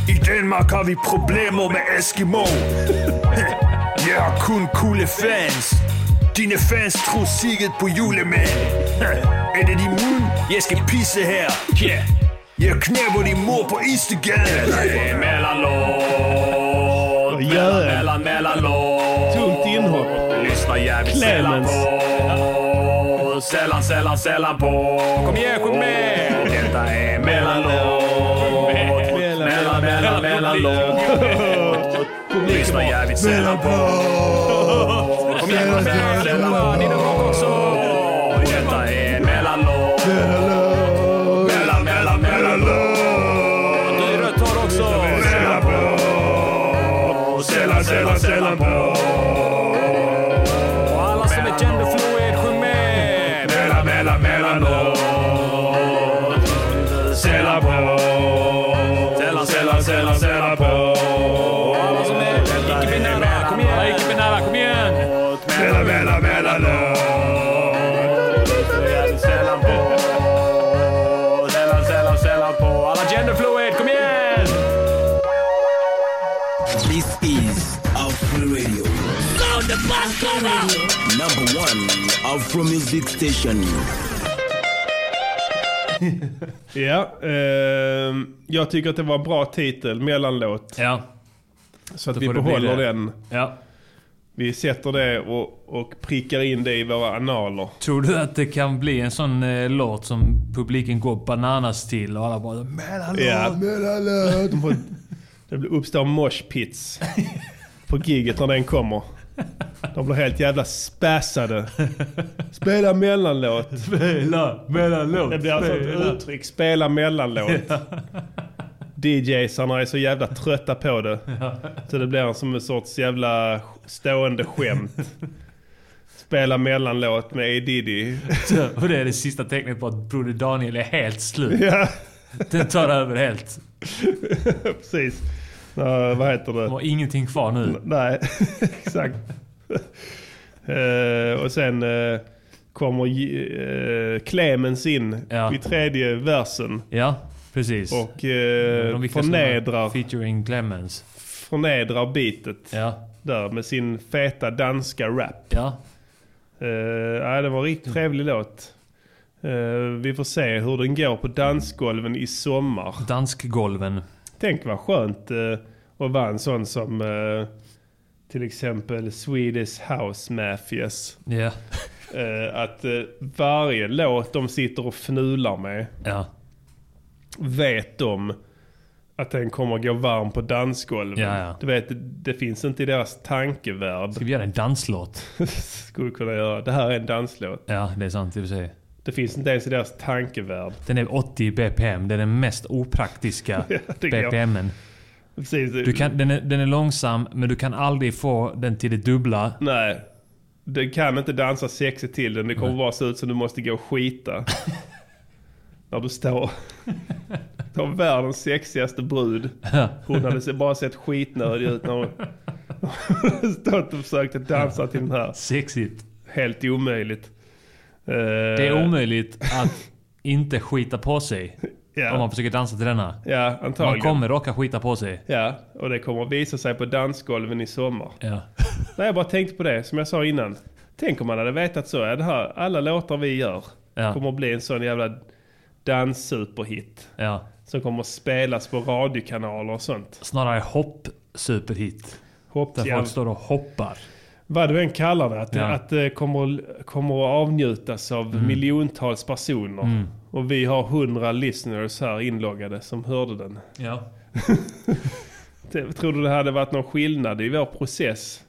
[SPEAKER 2] I Danmark har vi problem med Eskimo. Jag har kun coola fans. Dina fans tror säkert på julemanden. Är det din mun? Jag ska pissa här. Jag knäpper din mor på Instagram.
[SPEAKER 6] Mellanlåt. Mellan, mellan, mellanlåt.
[SPEAKER 1] Tungt inhopp.
[SPEAKER 6] Lyssna jävligt sällan
[SPEAKER 1] Clemens.
[SPEAKER 6] på. Sällan, sällan, sällan på. Kom igen, sjung med! Detta är mellanlåt. Mellan, mellan, mellanlåt. Lyssna jävligt sällan på. Kom igen, sjung med! Sällan på. Ni någon också. Detta är mellanlåt. Mellan, mellan, mellanlåt. Du är rött hår också. Sällan på. Sällan, sällan, sällan på. Och alla som är genderfluid, sjung med! Mellan, mellan, mellanlåt.
[SPEAKER 2] Number one, Afro Music Station.
[SPEAKER 1] Ja, ehm, jag tycker att det var en bra titel, mellanlåt.
[SPEAKER 3] Ja.
[SPEAKER 1] Så att
[SPEAKER 3] då
[SPEAKER 1] vi
[SPEAKER 3] får det bli
[SPEAKER 1] behåller
[SPEAKER 3] det.
[SPEAKER 1] den.
[SPEAKER 3] ja.
[SPEAKER 1] Vi sätter det och, och prickar in det i våra analer.
[SPEAKER 3] Tror du att det kan bli en sån eh, låt som publiken går bananas till och alla bara mellanlåt?
[SPEAKER 1] Ja. De får- Det blir- uppstår moshpits på giget när den kommer. De blir helt jävla spassade. Spela mellanlåt.
[SPEAKER 3] Spela mellanlåt.
[SPEAKER 1] Det blir alltså ett
[SPEAKER 3] spela.
[SPEAKER 1] uttryck. Spela mellanlåt. DJsarna är så jävla trötta på det. Så det blir som en sorts jävla stående skämt. Spela mellanlåt med A. Diddy.
[SPEAKER 3] Och det är det sista tecknet på att Broder Daniel är helt slut.
[SPEAKER 1] Ja,
[SPEAKER 3] Den tar över helt.
[SPEAKER 1] precis. Ja, vad heter det?
[SPEAKER 3] De har ingenting kvar nu.
[SPEAKER 1] Nej, exakt. Eh, och sen eh, kommer uh, Clemens in
[SPEAKER 3] Ja.
[SPEAKER 1] i tredje versen
[SPEAKER 3] Ja, precis. Mm,
[SPEAKER 1] och
[SPEAKER 3] De
[SPEAKER 1] uh,
[SPEAKER 3] viktigaste numren.
[SPEAKER 1] förnedrar,
[SPEAKER 3] Featuring Clemens.
[SPEAKER 1] förnedrar bitet
[SPEAKER 3] Ja.
[SPEAKER 1] där med sin feta danska rap.
[SPEAKER 3] Ja.
[SPEAKER 1] Eh, nej, det var en riktigt trevlig låt. Eh, vi får se hur den går på dansgolven i sommar.
[SPEAKER 3] Danskgolven.
[SPEAKER 1] Tänk vad skönt eh, att vara en sån som eh, till exempel Swedish House Mafias.
[SPEAKER 3] Ja.
[SPEAKER 1] Eh, att eh, varje låt de sitter och fnular med
[SPEAKER 3] Ja.
[SPEAKER 1] vet de att den kommer gå varm på dansgolven.
[SPEAKER 3] Ja, ja.
[SPEAKER 1] Du vet, det, det finns inte i deras tankevärld.
[SPEAKER 3] Ska vi göra en danslåt?
[SPEAKER 1] Skulle kunna göra. Det här är en danslåt.
[SPEAKER 3] Ja, det är sant i och för sig.
[SPEAKER 1] Det finns inte ens i deras tankevärld.
[SPEAKER 3] Den är 80 BPM. Det är den mest opraktiska
[SPEAKER 1] det går.
[SPEAKER 3] BPMen.
[SPEAKER 1] Precis.
[SPEAKER 3] Du kan, den, är, den är långsam, men du kan aldrig få den till det dubbla.
[SPEAKER 1] Nej. Du kan inte dansa sexigt till den. Det kommer bara se ut som du måste gå och skita. När du står... Du har världens sexigaste brud. Hon hade se- bara sett skitnödig ut när hon hon stått och försökte dansa till den här.
[SPEAKER 3] Sexigt.
[SPEAKER 1] Helt omöjligt.
[SPEAKER 3] Det
[SPEAKER 1] Eh.
[SPEAKER 3] är omöjligt att inte skita på sig om man försöker dansa till denna.
[SPEAKER 1] Eh, Ja,
[SPEAKER 3] Man
[SPEAKER 1] antagligen.
[SPEAKER 3] kommer råka skita på sig.
[SPEAKER 1] Ja, och det kommer visa sig på dansgolven i sommar.
[SPEAKER 3] Ja.
[SPEAKER 1] Nej, jag bara tänkte på det, som jag sa innan. Tänk om man hade vetat så. Ja, det här, alla låtar vi gör
[SPEAKER 3] Ja.
[SPEAKER 1] kommer att bli en sån jävla danssuperhit.
[SPEAKER 3] Ja.
[SPEAKER 1] Som kommer att spelas på radiokanaler och sånt.
[SPEAKER 3] Snarare hopp-superhit. Där
[SPEAKER 1] Hoppjäv...
[SPEAKER 3] folk står och hoppar.
[SPEAKER 1] Vad du än kallar det. Att,
[SPEAKER 3] Ja. Mm.
[SPEAKER 1] att det kommer, kommer att avnjutas av miljontals personer. Och vi har hundra listeners här inloggade som hörde den.
[SPEAKER 3] Ja.
[SPEAKER 1] T- Tror du det hade varit någon skillnad i vår process?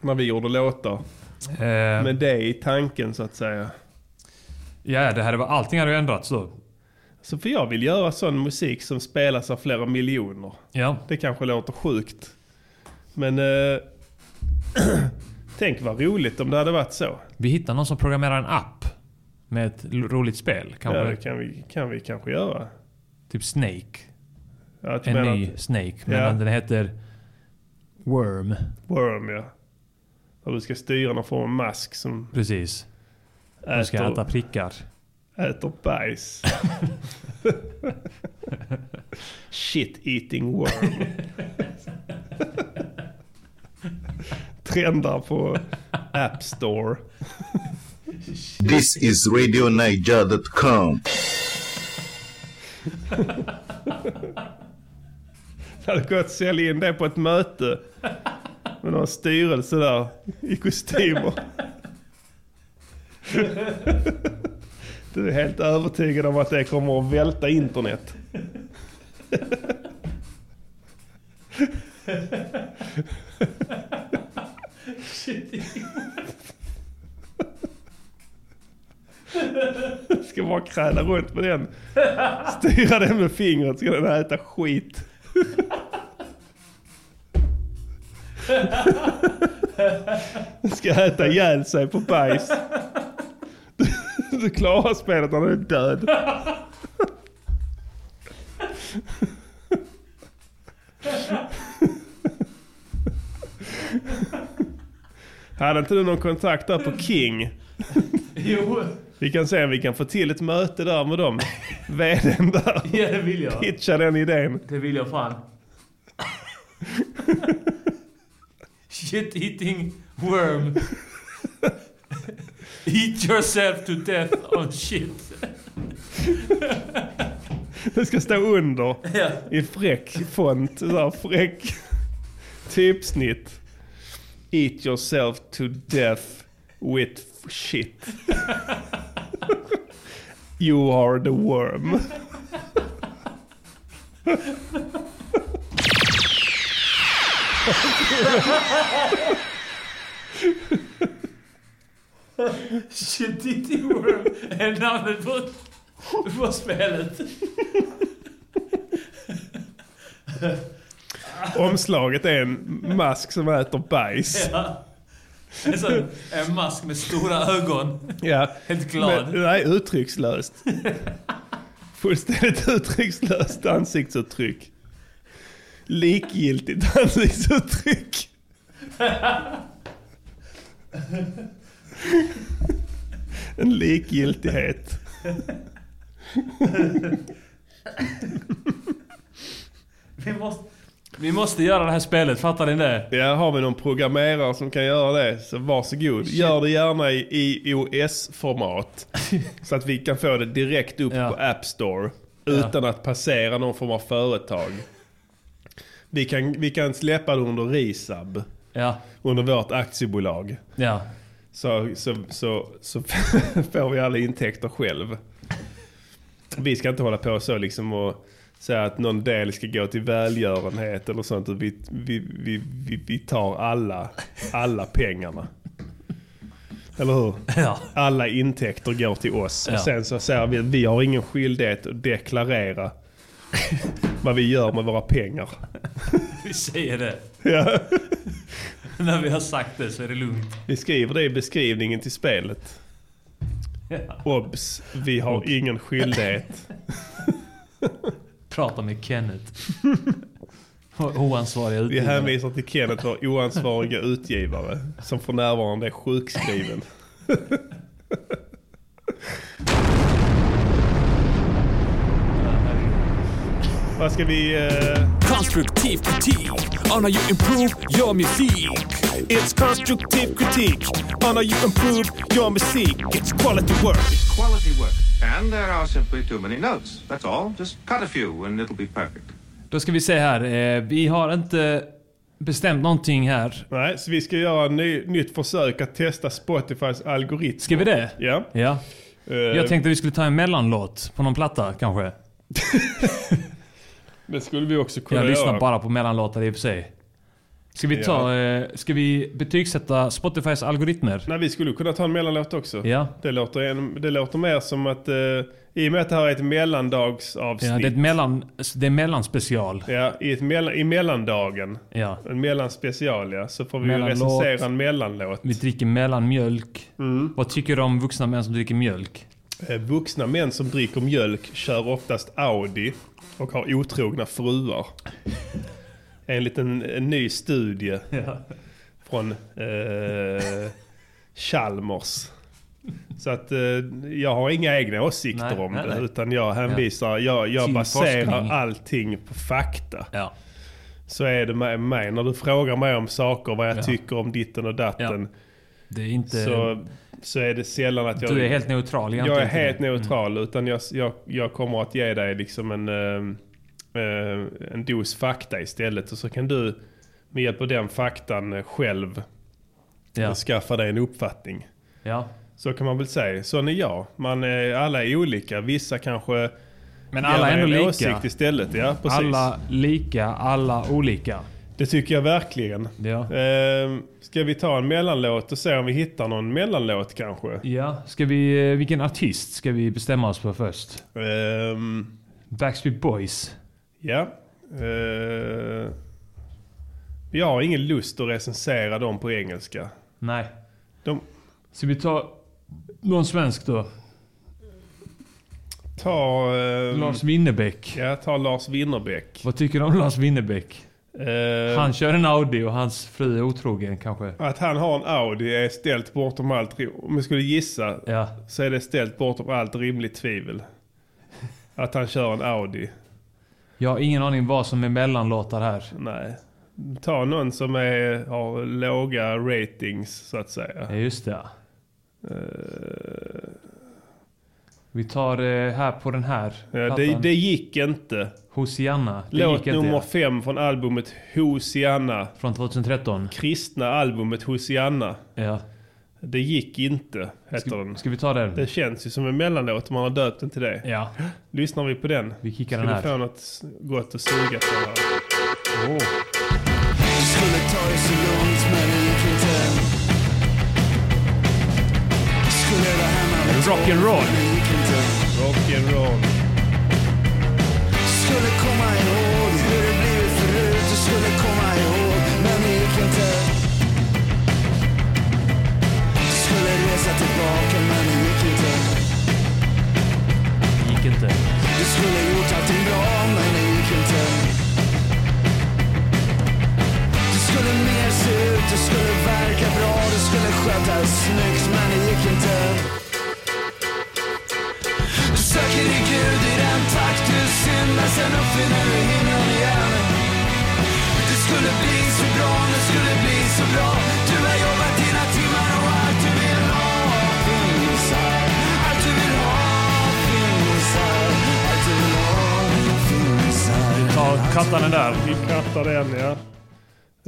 [SPEAKER 1] När vi gjorde låtar.
[SPEAKER 3] Eh,
[SPEAKER 1] Med det i tanken så att säga.
[SPEAKER 3] ja, det hade, varit- allting hade ju ändrats då.
[SPEAKER 1] Så för jag vill göra sån musik som spelas av flera miljoner.
[SPEAKER 3] Ja.
[SPEAKER 1] Det kanske låter sjukt. Men eh, tänk vad roligt om det hade varit så.
[SPEAKER 3] Vi hittar någon som programmerar en app. Med ett l- roligt spel. Kanske.
[SPEAKER 1] Ja, det kan vi, kan vi kanske göra.
[SPEAKER 3] Typ Snake.
[SPEAKER 1] Att
[SPEAKER 3] En
[SPEAKER 1] menar
[SPEAKER 3] ny
[SPEAKER 1] att-
[SPEAKER 3] Snake. Men
[SPEAKER 1] Ja.
[SPEAKER 3] den heter... Worm.
[SPEAKER 1] Worm ja. Där du ska styra någon form av mask som
[SPEAKER 3] Precis. Du ska
[SPEAKER 1] äter,
[SPEAKER 3] äta prickar.
[SPEAKER 1] äter bajs. Shit eating worm. Trendar på App Store.
[SPEAKER 4] This is RadioNiger.com.
[SPEAKER 1] Det hade gått att sälja in det på ett möte. Med någon styrelse där i kostymer. Du är helt övertygad om att det kommer att välta internet. Du ska bara kräla runt med den. Styra den med fingret ska den äta skit. ska äta ihjäl sig på bajs. Du, du klarar spelet när du är död. Hade inte du någon kontakt där på King?
[SPEAKER 3] Jo,
[SPEAKER 1] Vi kan se om vi kan få till ett möte där med dem. VDn där.
[SPEAKER 3] ja, det vill jag.
[SPEAKER 1] Pitcha den idén.
[SPEAKER 3] Det vill jag fan. Shit eating worm. Eat yourself to death on shit.
[SPEAKER 1] Det ska stå under.
[SPEAKER 3] Ja.
[SPEAKER 1] I fräck font. Så här, fräck typsnitt. Eat yourself to death with shit. You are the worm.
[SPEAKER 3] Shit eating worm är namnet på, på spelet.
[SPEAKER 1] Omslaget är en mask som äter bajs.
[SPEAKER 3] Ja. En sån en mask med stora ögon.
[SPEAKER 1] Ja.
[SPEAKER 3] Helt glad.
[SPEAKER 7] eh,
[SPEAKER 1] Men, nej, uttryckslöst. Fullständigt uttryckslöst ansiktsuttryck. Likgiltigt ansiktsuttryck. En likgiltighet.
[SPEAKER 3] Vi måste, vi måste göra det här spelet, fattar ni det?
[SPEAKER 1] Ja, har vi någon programmerare som kan göra det så varsågod. Gör det gärna i iOS-format. så att vi kan få det direkt upp
[SPEAKER 3] Ja.
[SPEAKER 1] på App Store. Utan att passera någon form av företag. Vi kan, vi kan släppa det under RISAB.
[SPEAKER 3] Ja.
[SPEAKER 1] Under vårt aktiebolag.
[SPEAKER 3] Ja.
[SPEAKER 1] Så, så, så, så får vi alla intäkter själv. Vi ska inte hålla på så liksom och säga att någon del ska gå till välgörenhet eller sånt. Vi, vi, vi, vi, vi tar alla, alla pengarna. Eller hur?
[SPEAKER 3] Ja.
[SPEAKER 1] Alla intäkter går till oss.
[SPEAKER 3] Ja.
[SPEAKER 1] Och sen så säger vi att vi har ingen skyldighet att deklarera vad vi gör med våra pengar.
[SPEAKER 3] Vi säger det.
[SPEAKER 1] Ja.
[SPEAKER 3] När vi har sagt det så är det lugnt.
[SPEAKER 1] Vi skriver det i beskrivningen till spelet.
[SPEAKER 3] Ja.
[SPEAKER 1] Obs! Vi har ingen skyldighet.
[SPEAKER 3] Prata med Kenneth. Oansvariga
[SPEAKER 1] Vi
[SPEAKER 3] utgivare.
[SPEAKER 1] hänvisar till Kenneth, vår oansvariga utgivare, som för närvarande är sjukskriven. Vad ska vi... eh,
[SPEAKER 8] Constructive critique on how you improve your music. It's constructive critique on how you improve your music. It's quality work.
[SPEAKER 7] quality work. And there are simply too many notes. That's all. Just cut a few and it'll be perfect.
[SPEAKER 3] Då ska vi se här. Eh, vi har inte bestämt någonting här.
[SPEAKER 1] nej, så vi ska göra en ny, nytt försök att testa Spotifys algoritm.
[SPEAKER 3] Ska vi det?
[SPEAKER 1] Ja.
[SPEAKER 3] Ja.
[SPEAKER 1] eh,
[SPEAKER 3] Jag tänkte vi skulle ta en mellanlåt på någon platta kanske.
[SPEAKER 1] Eh, det skulle vi också kunna
[SPEAKER 3] Jag lyssnar
[SPEAKER 1] göra.
[SPEAKER 3] bara på mellanlåtar i och för sig. Ska vi, ta, eh, ska vi betygsätta Spotifys algoritmer?
[SPEAKER 1] Nej, vi skulle kunna ta en mellanlåt också.
[SPEAKER 3] Ja.
[SPEAKER 1] Det, låter, en- det låter mer som att... eh, I och med att det här är ett mellandagsavsnitt.
[SPEAKER 3] Ja, det, är ett mellan, det är mellanspecial.
[SPEAKER 1] Ja, i, ett mellan, i mellandagen.
[SPEAKER 3] Ja.
[SPEAKER 1] En mellanspecial ja. Så får vi ju
[SPEAKER 3] Mellanlåt.
[SPEAKER 1] recensera en mellanlåt.
[SPEAKER 3] Vi dricker mellanmjölk. Vad tycker du om vuxna män som dricker mjölk?
[SPEAKER 1] Eh, Vuxna män som dricker mjölk kör oftast Audi och har otrogna fruar. Enligt en, en ny studie från eh, Chalmers. Så att eh, jag har inga egna åsikter
[SPEAKER 3] Nej,
[SPEAKER 1] om
[SPEAKER 3] nej,
[SPEAKER 1] det.
[SPEAKER 3] nej.
[SPEAKER 1] Utan jag hänvisar, jag, jag
[SPEAKER 3] Till
[SPEAKER 1] baserar
[SPEAKER 3] forskning.
[SPEAKER 1] allting på fakta.
[SPEAKER 3] Ja.
[SPEAKER 1] Så är det med mig. När du frågar mig om saker, vad jag
[SPEAKER 3] Ja.
[SPEAKER 1] tycker om ditten och datten.
[SPEAKER 3] Det är inte...
[SPEAKER 1] så, så är det sällan att jag...
[SPEAKER 3] du är helt neutral
[SPEAKER 1] jag
[SPEAKER 3] egentligen.
[SPEAKER 1] är helt
[SPEAKER 3] till det. Mm.
[SPEAKER 1] neutral. Utan jag, jag, jag kommer att ge dig liksom en, eh, eh, en dos fakta istället. Och så kan du med hjälp av den faktan eh, själv
[SPEAKER 3] Ja.
[SPEAKER 1] skaffa dig en uppfattning.
[SPEAKER 3] Ja.
[SPEAKER 1] Så kan man väl säga. Sån är jag. Man, är- alla är olika. Vissa kanske
[SPEAKER 3] Men
[SPEAKER 1] ger
[SPEAKER 3] alla
[SPEAKER 1] dig
[SPEAKER 3] är
[SPEAKER 1] en
[SPEAKER 3] ändå lika.
[SPEAKER 1] åsikt istället. Ja, precis.
[SPEAKER 3] Alla lika, alla olika.
[SPEAKER 1] Det tycker jag verkligen.
[SPEAKER 3] Ja.
[SPEAKER 1] Eh, ska vi ta en mellanlåt och se om vi hittar någon mellanlåt kanske?
[SPEAKER 3] Ja, ska vi, eh, vilken artist ska vi bestämma oss för först?
[SPEAKER 1] Ehm,
[SPEAKER 3] Backstreet Boys.
[SPEAKER 1] Ja. Eh, jag har ingen lust att recensera dem på engelska.
[SPEAKER 3] Nej.
[SPEAKER 1] De
[SPEAKER 3] Ska vi ta någon svensk då?
[SPEAKER 1] tar... ehm,
[SPEAKER 3] Lars Winnerbäck.
[SPEAKER 1] Ja, ta Lars Winnerbäck.
[SPEAKER 3] Vad tycker du om Lars Winnerbäck?
[SPEAKER 1] Eh,
[SPEAKER 3] Han kör en Audi och hans fru är otrogen kanske.
[SPEAKER 1] Att han har en Audi är ställt bortom allt... ri- Om jag skulle gissa
[SPEAKER 3] Ja.
[SPEAKER 1] så är det ställt bortom allt rimligt tvivel. Att han kör en Audi.
[SPEAKER 3] Jag har ingen aning vad som är mellanlåtar här.
[SPEAKER 1] Nej. ta någon som är, har låga ratings så att säga.
[SPEAKER 3] Ja, just det. Vi tar eh, här på den här
[SPEAKER 1] Ja, det,
[SPEAKER 3] plattan.
[SPEAKER 1] det gick inte.
[SPEAKER 3] Hosianna. Det gick
[SPEAKER 1] Låt
[SPEAKER 3] inte,
[SPEAKER 1] nummer
[SPEAKER 3] ja.
[SPEAKER 1] fem från albumet Hosianna.
[SPEAKER 3] Från 2013.
[SPEAKER 1] Kristna albumet Hosianna.
[SPEAKER 3] Ja.
[SPEAKER 1] Det gick inte, heter den.
[SPEAKER 3] Ska vi ta den?
[SPEAKER 1] Det känns ju som en mellanlåt om man har döpt den till det.
[SPEAKER 3] Ja.
[SPEAKER 1] Lyssnar vi på den?
[SPEAKER 3] Vi kickar
[SPEAKER 1] Ska
[SPEAKER 3] den här.
[SPEAKER 1] du få något gott att suga på här?
[SPEAKER 9] Skulle ta i salongs men det gick inte. Skulle vara hemma vid två,
[SPEAKER 1] Rock'n'roll.
[SPEAKER 9] men det gick inte.
[SPEAKER 1] Rock'n'roll.
[SPEAKER 9] Skulle komma ihåg hur det blivit förut. Jag skulle komma ihåg men det gick inte. Skulle resa tillbaka men det gick inte.
[SPEAKER 3] Det gick inte.
[SPEAKER 9] Du skulle gjort allting bra men det gick inte. Du skulle mer se ut, du skulle verka bra, du skulle sköta dig snyggt men det gick inte. Du söker i Gud i den takt du syndar, sen uppfinner du himlen igen. Det skulle bli så bra, det skulle bli så bra. Du har jobbat dina timmar och allt du vill ha finns här. Allt du vill ha finns här. Allt du vill ha finns här.
[SPEAKER 3] Ta kattan den där.
[SPEAKER 1] Vi kattar den ja.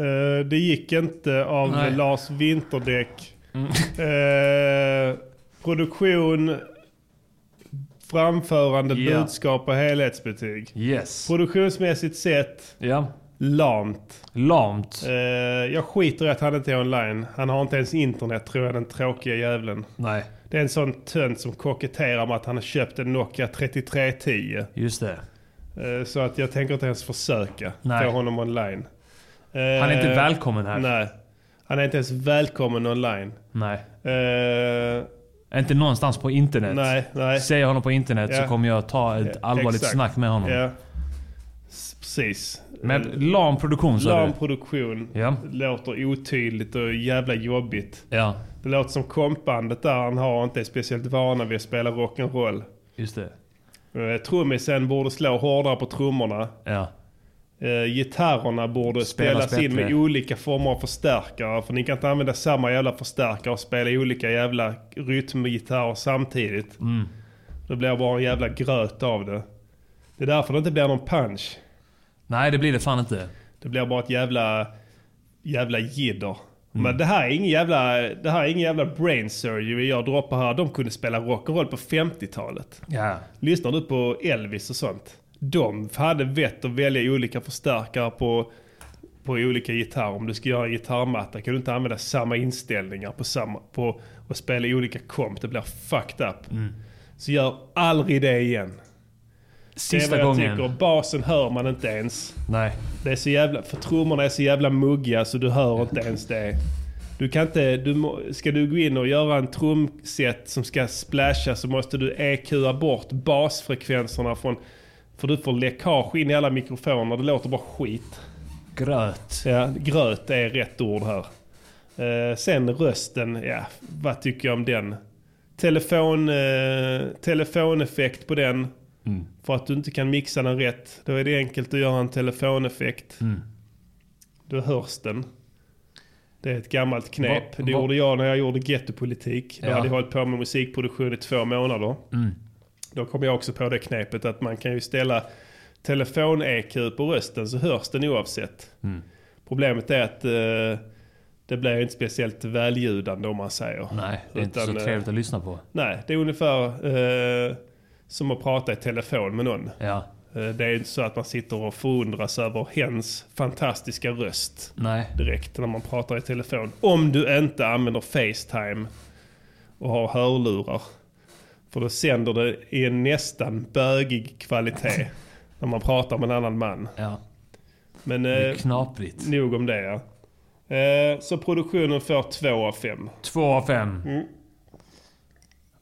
[SPEAKER 1] Eh, det gick inte av
[SPEAKER 3] Nej. Mm.
[SPEAKER 1] Lars Winterdäck. Eh, produktion, framförande,
[SPEAKER 3] Ja.
[SPEAKER 1] budskap och helhetsbetyg.
[SPEAKER 3] Yes.
[SPEAKER 1] Produktionsmässigt sett,
[SPEAKER 3] Ja.
[SPEAKER 1] lamt.
[SPEAKER 3] Lamt.
[SPEAKER 1] Eh, jag skiter i att han inte är online. Han har inte ens internet tror jag, den tråkiga jävlen.
[SPEAKER 3] Nej.
[SPEAKER 1] Det är en sån tönt som koketterar med att han har köpt en Nokia 3310.
[SPEAKER 3] Just det.
[SPEAKER 1] Eh, Så att jag tänker inte ens försöka
[SPEAKER 3] Nej.
[SPEAKER 1] få honom online. Han
[SPEAKER 3] Han är inte välkommen här.
[SPEAKER 1] Eh, Nej. Han är inte ens välkommen online.
[SPEAKER 3] Nej.
[SPEAKER 1] Eh,
[SPEAKER 3] Inte någonstans på internet.
[SPEAKER 1] nej, nej.
[SPEAKER 3] Säger jag honom på internet
[SPEAKER 1] Ja.
[SPEAKER 3] så kommer jag ta ett allvarligt
[SPEAKER 1] Exakt.
[SPEAKER 3] snack med honom.
[SPEAKER 1] Ja. S- Precis.
[SPEAKER 3] Men lam produktion sa
[SPEAKER 1] Lam
[SPEAKER 3] du?
[SPEAKER 1] produktion.
[SPEAKER 3] Ja.
[SPEAKER 1] Låter otydligt och jävla jobbigt.
[SPEAKER 3] Ja.
[SPEAKER 1] Det låter som kompbandet där han har inte är speciellt vana vid att spela rock'n'roll.
[SPEAKER 3] Just det.
[SPEAKER 1] Eh, Trummisen borde slå hårdare på trummorna.
[SPEAKER 3] Ja.
[SPEAKER 1] Eh, gitarrerna borde
[SPEAKER 3] Spelas
[SPEAKER 1] spelas in med
[SPEAKER 3] bättre.
[SPEAKER 1] olika former av förstärkare. För ni kan inte använda samma jävla förstärkare och spela olika jävla rytmgitarrer samtidigt. Det blir bara en jävla gröt av det. Det är därför det inte blir någon punch.
[SPEAKER 3] Nej, det blir det fan inte.
[SPEAKER 1] Det blir bara ett jävla, jävla jidder.
[SPEAKER 3] Mm.
[SPEAKER 1] Men det här, är ingen jävla, det här är ingen jävla brain surgery jag droppar här. De kunde spela rock'n'roll på 50-talet.
[SPEAKER 3] Ja.
[SPEAKER 1] Lyssnar du på Elvis och sånt? De hade vett att välja olika förstärkare på, på olika gitarrer. Om du ska göra en gitarrmatta kan du inte använda samma inställningar på samma, på, och spela i olika komp. Det blir fucked up.
[SPEAKER 3] Mm.
[SPEAKER 1] Så gör aldrig det igen. det
[SPEAKER 3] Sista
[SPEAKER 1] är vad jag
[SPEAKER 3] gången.
[SPEAKER 1] tycker. Basen hör man inte ens.
[SPEAKER 3] Nej.
[SPEAKER 1] Det är så jävla, för trummorna är så jävla muggiga så du hör inte ens det. Du kan inte, du, må- ska du gå in och göra en trumset som ska splasha så måste du EQa bort basfrekvenserna från... För du får läckage in i alla mikrofoner, det låter bara skit.
[SPEAKER 3] Gröt.
[SPEAKER 1] Ja, gröt är rätt ord här. Eh, sen rösten, ja, vad tycker jag om den? Telefon, eh, telefoneffekt på den.
[SPEAKER 3] Mm.
[SPEAKER 1] För att du inte kan mixa den rätt, då är det enkelt att göra en telefoneffekt.
[SPEAKER 3] Mm.
[SPEAKER 1] Då hörs den. Det är ett gammalt knep.
[SPEAKER 3] Va-
[SPEAKER 1] det
[SPEAKER 3] va-
[SPEAKER 1] gjorde jag när jag gjorde gettopolitik. Då
[SPEAKER 3] Ja. Mm.
[SPEAKER 1] hade jag hållit på med musikproduktion i två månader. Då kom jag också på det knepet att man kan ju ställa telefon-EQ på rösten så hörs den oavsett. Problemet är att eh, det blir ju inte speciellt väljudande om man säger.
[SPEAKER 3] Nej, det är inte
[SPEAKER 1] Utan,
[SPEAKER 3] så
[SPEAKER 1] eh,
[SPEAKER 3] trevligt att lyssna på.
[SPEAKER 1] Nej, det är ungefär eh, som att prata i telefon med någon.
[SPEAKER 3] Ja.
[SPEAKER 1] Eh, det är inte så att man sitter och förundras över hens fantastiska röst
[SPEAKER 3] Nej.
[SPEAKER 1] direkt när man pratar i telefon. Om du inte använder Facetime och har hörlurar. För då sänder det i en nästan bögig kvalitet när man pratar med en annan man.
[SPEAKER 3] Ja.
[SPEAKER 1] Men
[SPEAKER 3] Det är
[SPEAKER 1] eh,
[SPEAKER 3] knaprigt.
[SPEAKER 1] nog om det ja. Eh, så produktionen får två av fem.
[SPEAKER 3] Två av fem.
[SPEAKER 1] Mm.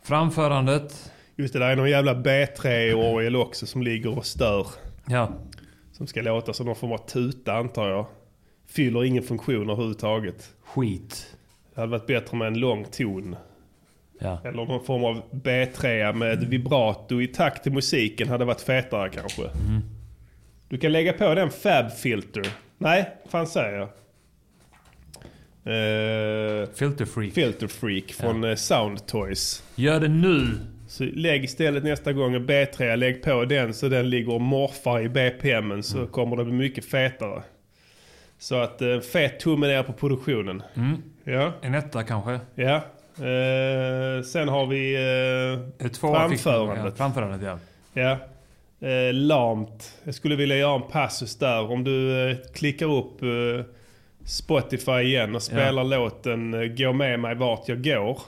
[SPEAKER 3] Framförandet.
[SPEAKER 1] Just det, där är någon jävla B3-orgel också som ligger och stör.
[SPEAKER 3] Ja.
[SPEAKER 1] Som ska låta som någon form av tuta antar jag. Fyller ingen funktion överhuvudtaget.
[SPEAKER 3] Skit.
[SPEAKER 1] Det hade varit bättre med en lång ton.
[SPEAKER 3] Ja.
[SPEAKER 1] Eller någon form av B3 med ett vibrato i takt till musiken hade varit fetare kanske. Du kan lägga på den Fab Filter. Nej, fan säger jag. Eh,
[SPEAKER 3] Filter freak.
[SPEAKER 1] Filter Freak från eh, Sound Toys.
[SPEAKER 3] Gör det nu!
[SPEAKER 1] Så lägg istället nästa gång en B3, lägg på den så den ligger och morfar i BPMen så kommer det bli mycket fetare. Så att eh, fet tumme ner på produktionen. Ja,
[SPEAKER 3] En etta kanske?
[SPEAKER 1] ja. Eh, sen har vi... eh,
[SPEAKER 3] Eh, Två
[SPEAKER 1] Framförandet.
[SPEAKER 3] Fick, ja, framförandet ja.
[SPEAKER 1] Ja. Eh, lamt. Jag skulle vilja göra en passus där. Om du eh, klickar upp eh, Spotify igen och spelar låten eh, Gå med mig vart jag går.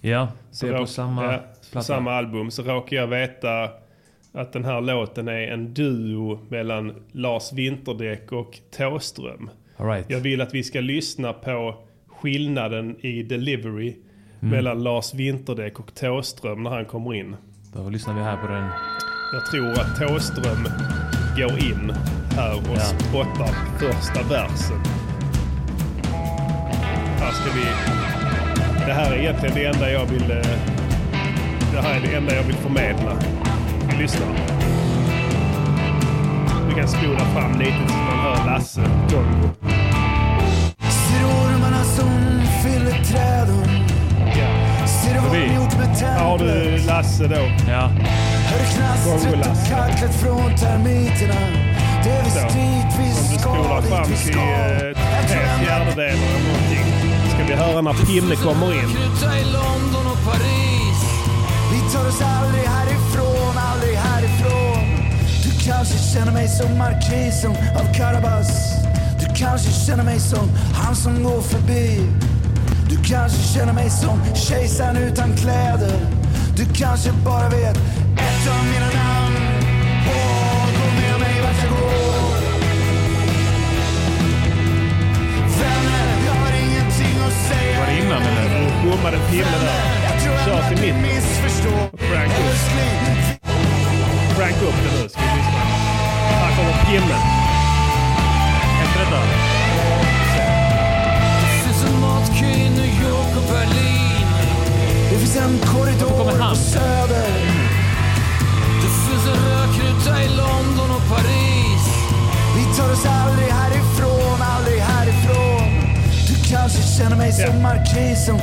[SPEAKER 3] Ja,
[SPEAKER 1] Så
[SPEAKER 3] det är
[SPEAKER 1] rå-
[SPEAKER 3] på samma
[SPEAKER 1] ja, på
[SPEAKER 3] platta.
[SPEAKER 1] samma album. Så råkar jag veta att den här låten är en duo mellan Lars Winterdäck och Tåström.
[SPEAKER 3] All right.
[SPEAKER 1] Jag vill att vi ska lyssna på skillnaden i delivery
[SPEAKER 3] Mm.
[SPEAKER 1] mellan Lars Winterdäck och Tåström när han kommer in.
[SPEAKER 3] Då lyssnar vi här på den.
[SPEAKER 1] Jag tror att Tåström går in här och spottar första versen. Här ska vi... Det här är egentligen det enda jag vill... eh, Det här är det enda jag vill förmedla. Lyssna. Vi kan spola fram lite så man hör Lasse. Gongo.
[SPEAKER 9] Ser ormarna som fyller träden
[SPEAKER 1] Ja.
[SPEAKER 9] Ser du vad
[SPEAKER 1] Vi-
[SPEAKER 9] de gjort med
[SPEAKER 1] Här har du
[SPEAKER 9] templet
[SPEAKER 1] Lasse då.
[SPEAKER 3] Ja,
[SPEAKER 9] Hör du knastret
[SPEAKER 1] Gongolas.
[SPEAKER 9] och kacklet från termiterna Det är
[SPEAKER 1] Så.
[SPEAKER 9] visst dit vi
[SPEAKER 1] Om du
[SPEAKER 9] ska,
[SPEAKER 1] spolar fram
[SPEAKER 9] dit vi
[SPEAKER 1] till
[SPEAKER 9] ska
[SPEAKER 1] eh, tre fjärdedelar eller någonting. Ska vi höra när Pinne kommer in?
[SPEAKER 9] Kryta i London och Paris Vi tar oss aldrig härifrån, aldrig härifrån Du kanske känner mig som markisen av Carabas Du kanske känner mig som han som går förbi Du kanske känner mig som kejsaren utan kläder Du kanske bara vet ett av mina namn Åh, gå med mig vart jag går Vänner, jag har ingenting att säga
[SPEAKER 3] var det innan eller?
[SPEAKER 1] Nu bommade Pinne där.
[SPEAKER 9] jag tror
[SPEAKER 1] Kör
[SPEAKER 9] att
[SPEAKER 1] till
[SPEAKER 9] ni
[SPEAKER 1] mitten.
[SPEAKER 9] missförstår.
[SPEAKER 1] Frank upp.
[SPEAKER 9] Älskling,
[SPEAKER 1] Crank upp det nu ska vi lyssna. Här kommer pinnen. Efter detta.
[SPEAKER 9] finns en matkö i New York och Berlin. Det finns en
[SPEAKER 3] kommer
[SPEAKER 9] korridor
[SPEAKER 3] han?
[SPEAKER 9] på Söder. Det finns en rökruta i London och Paris. Vi tar oss aldrig härifrån, aldrig härifrån. Du kanske känner mig som markisen.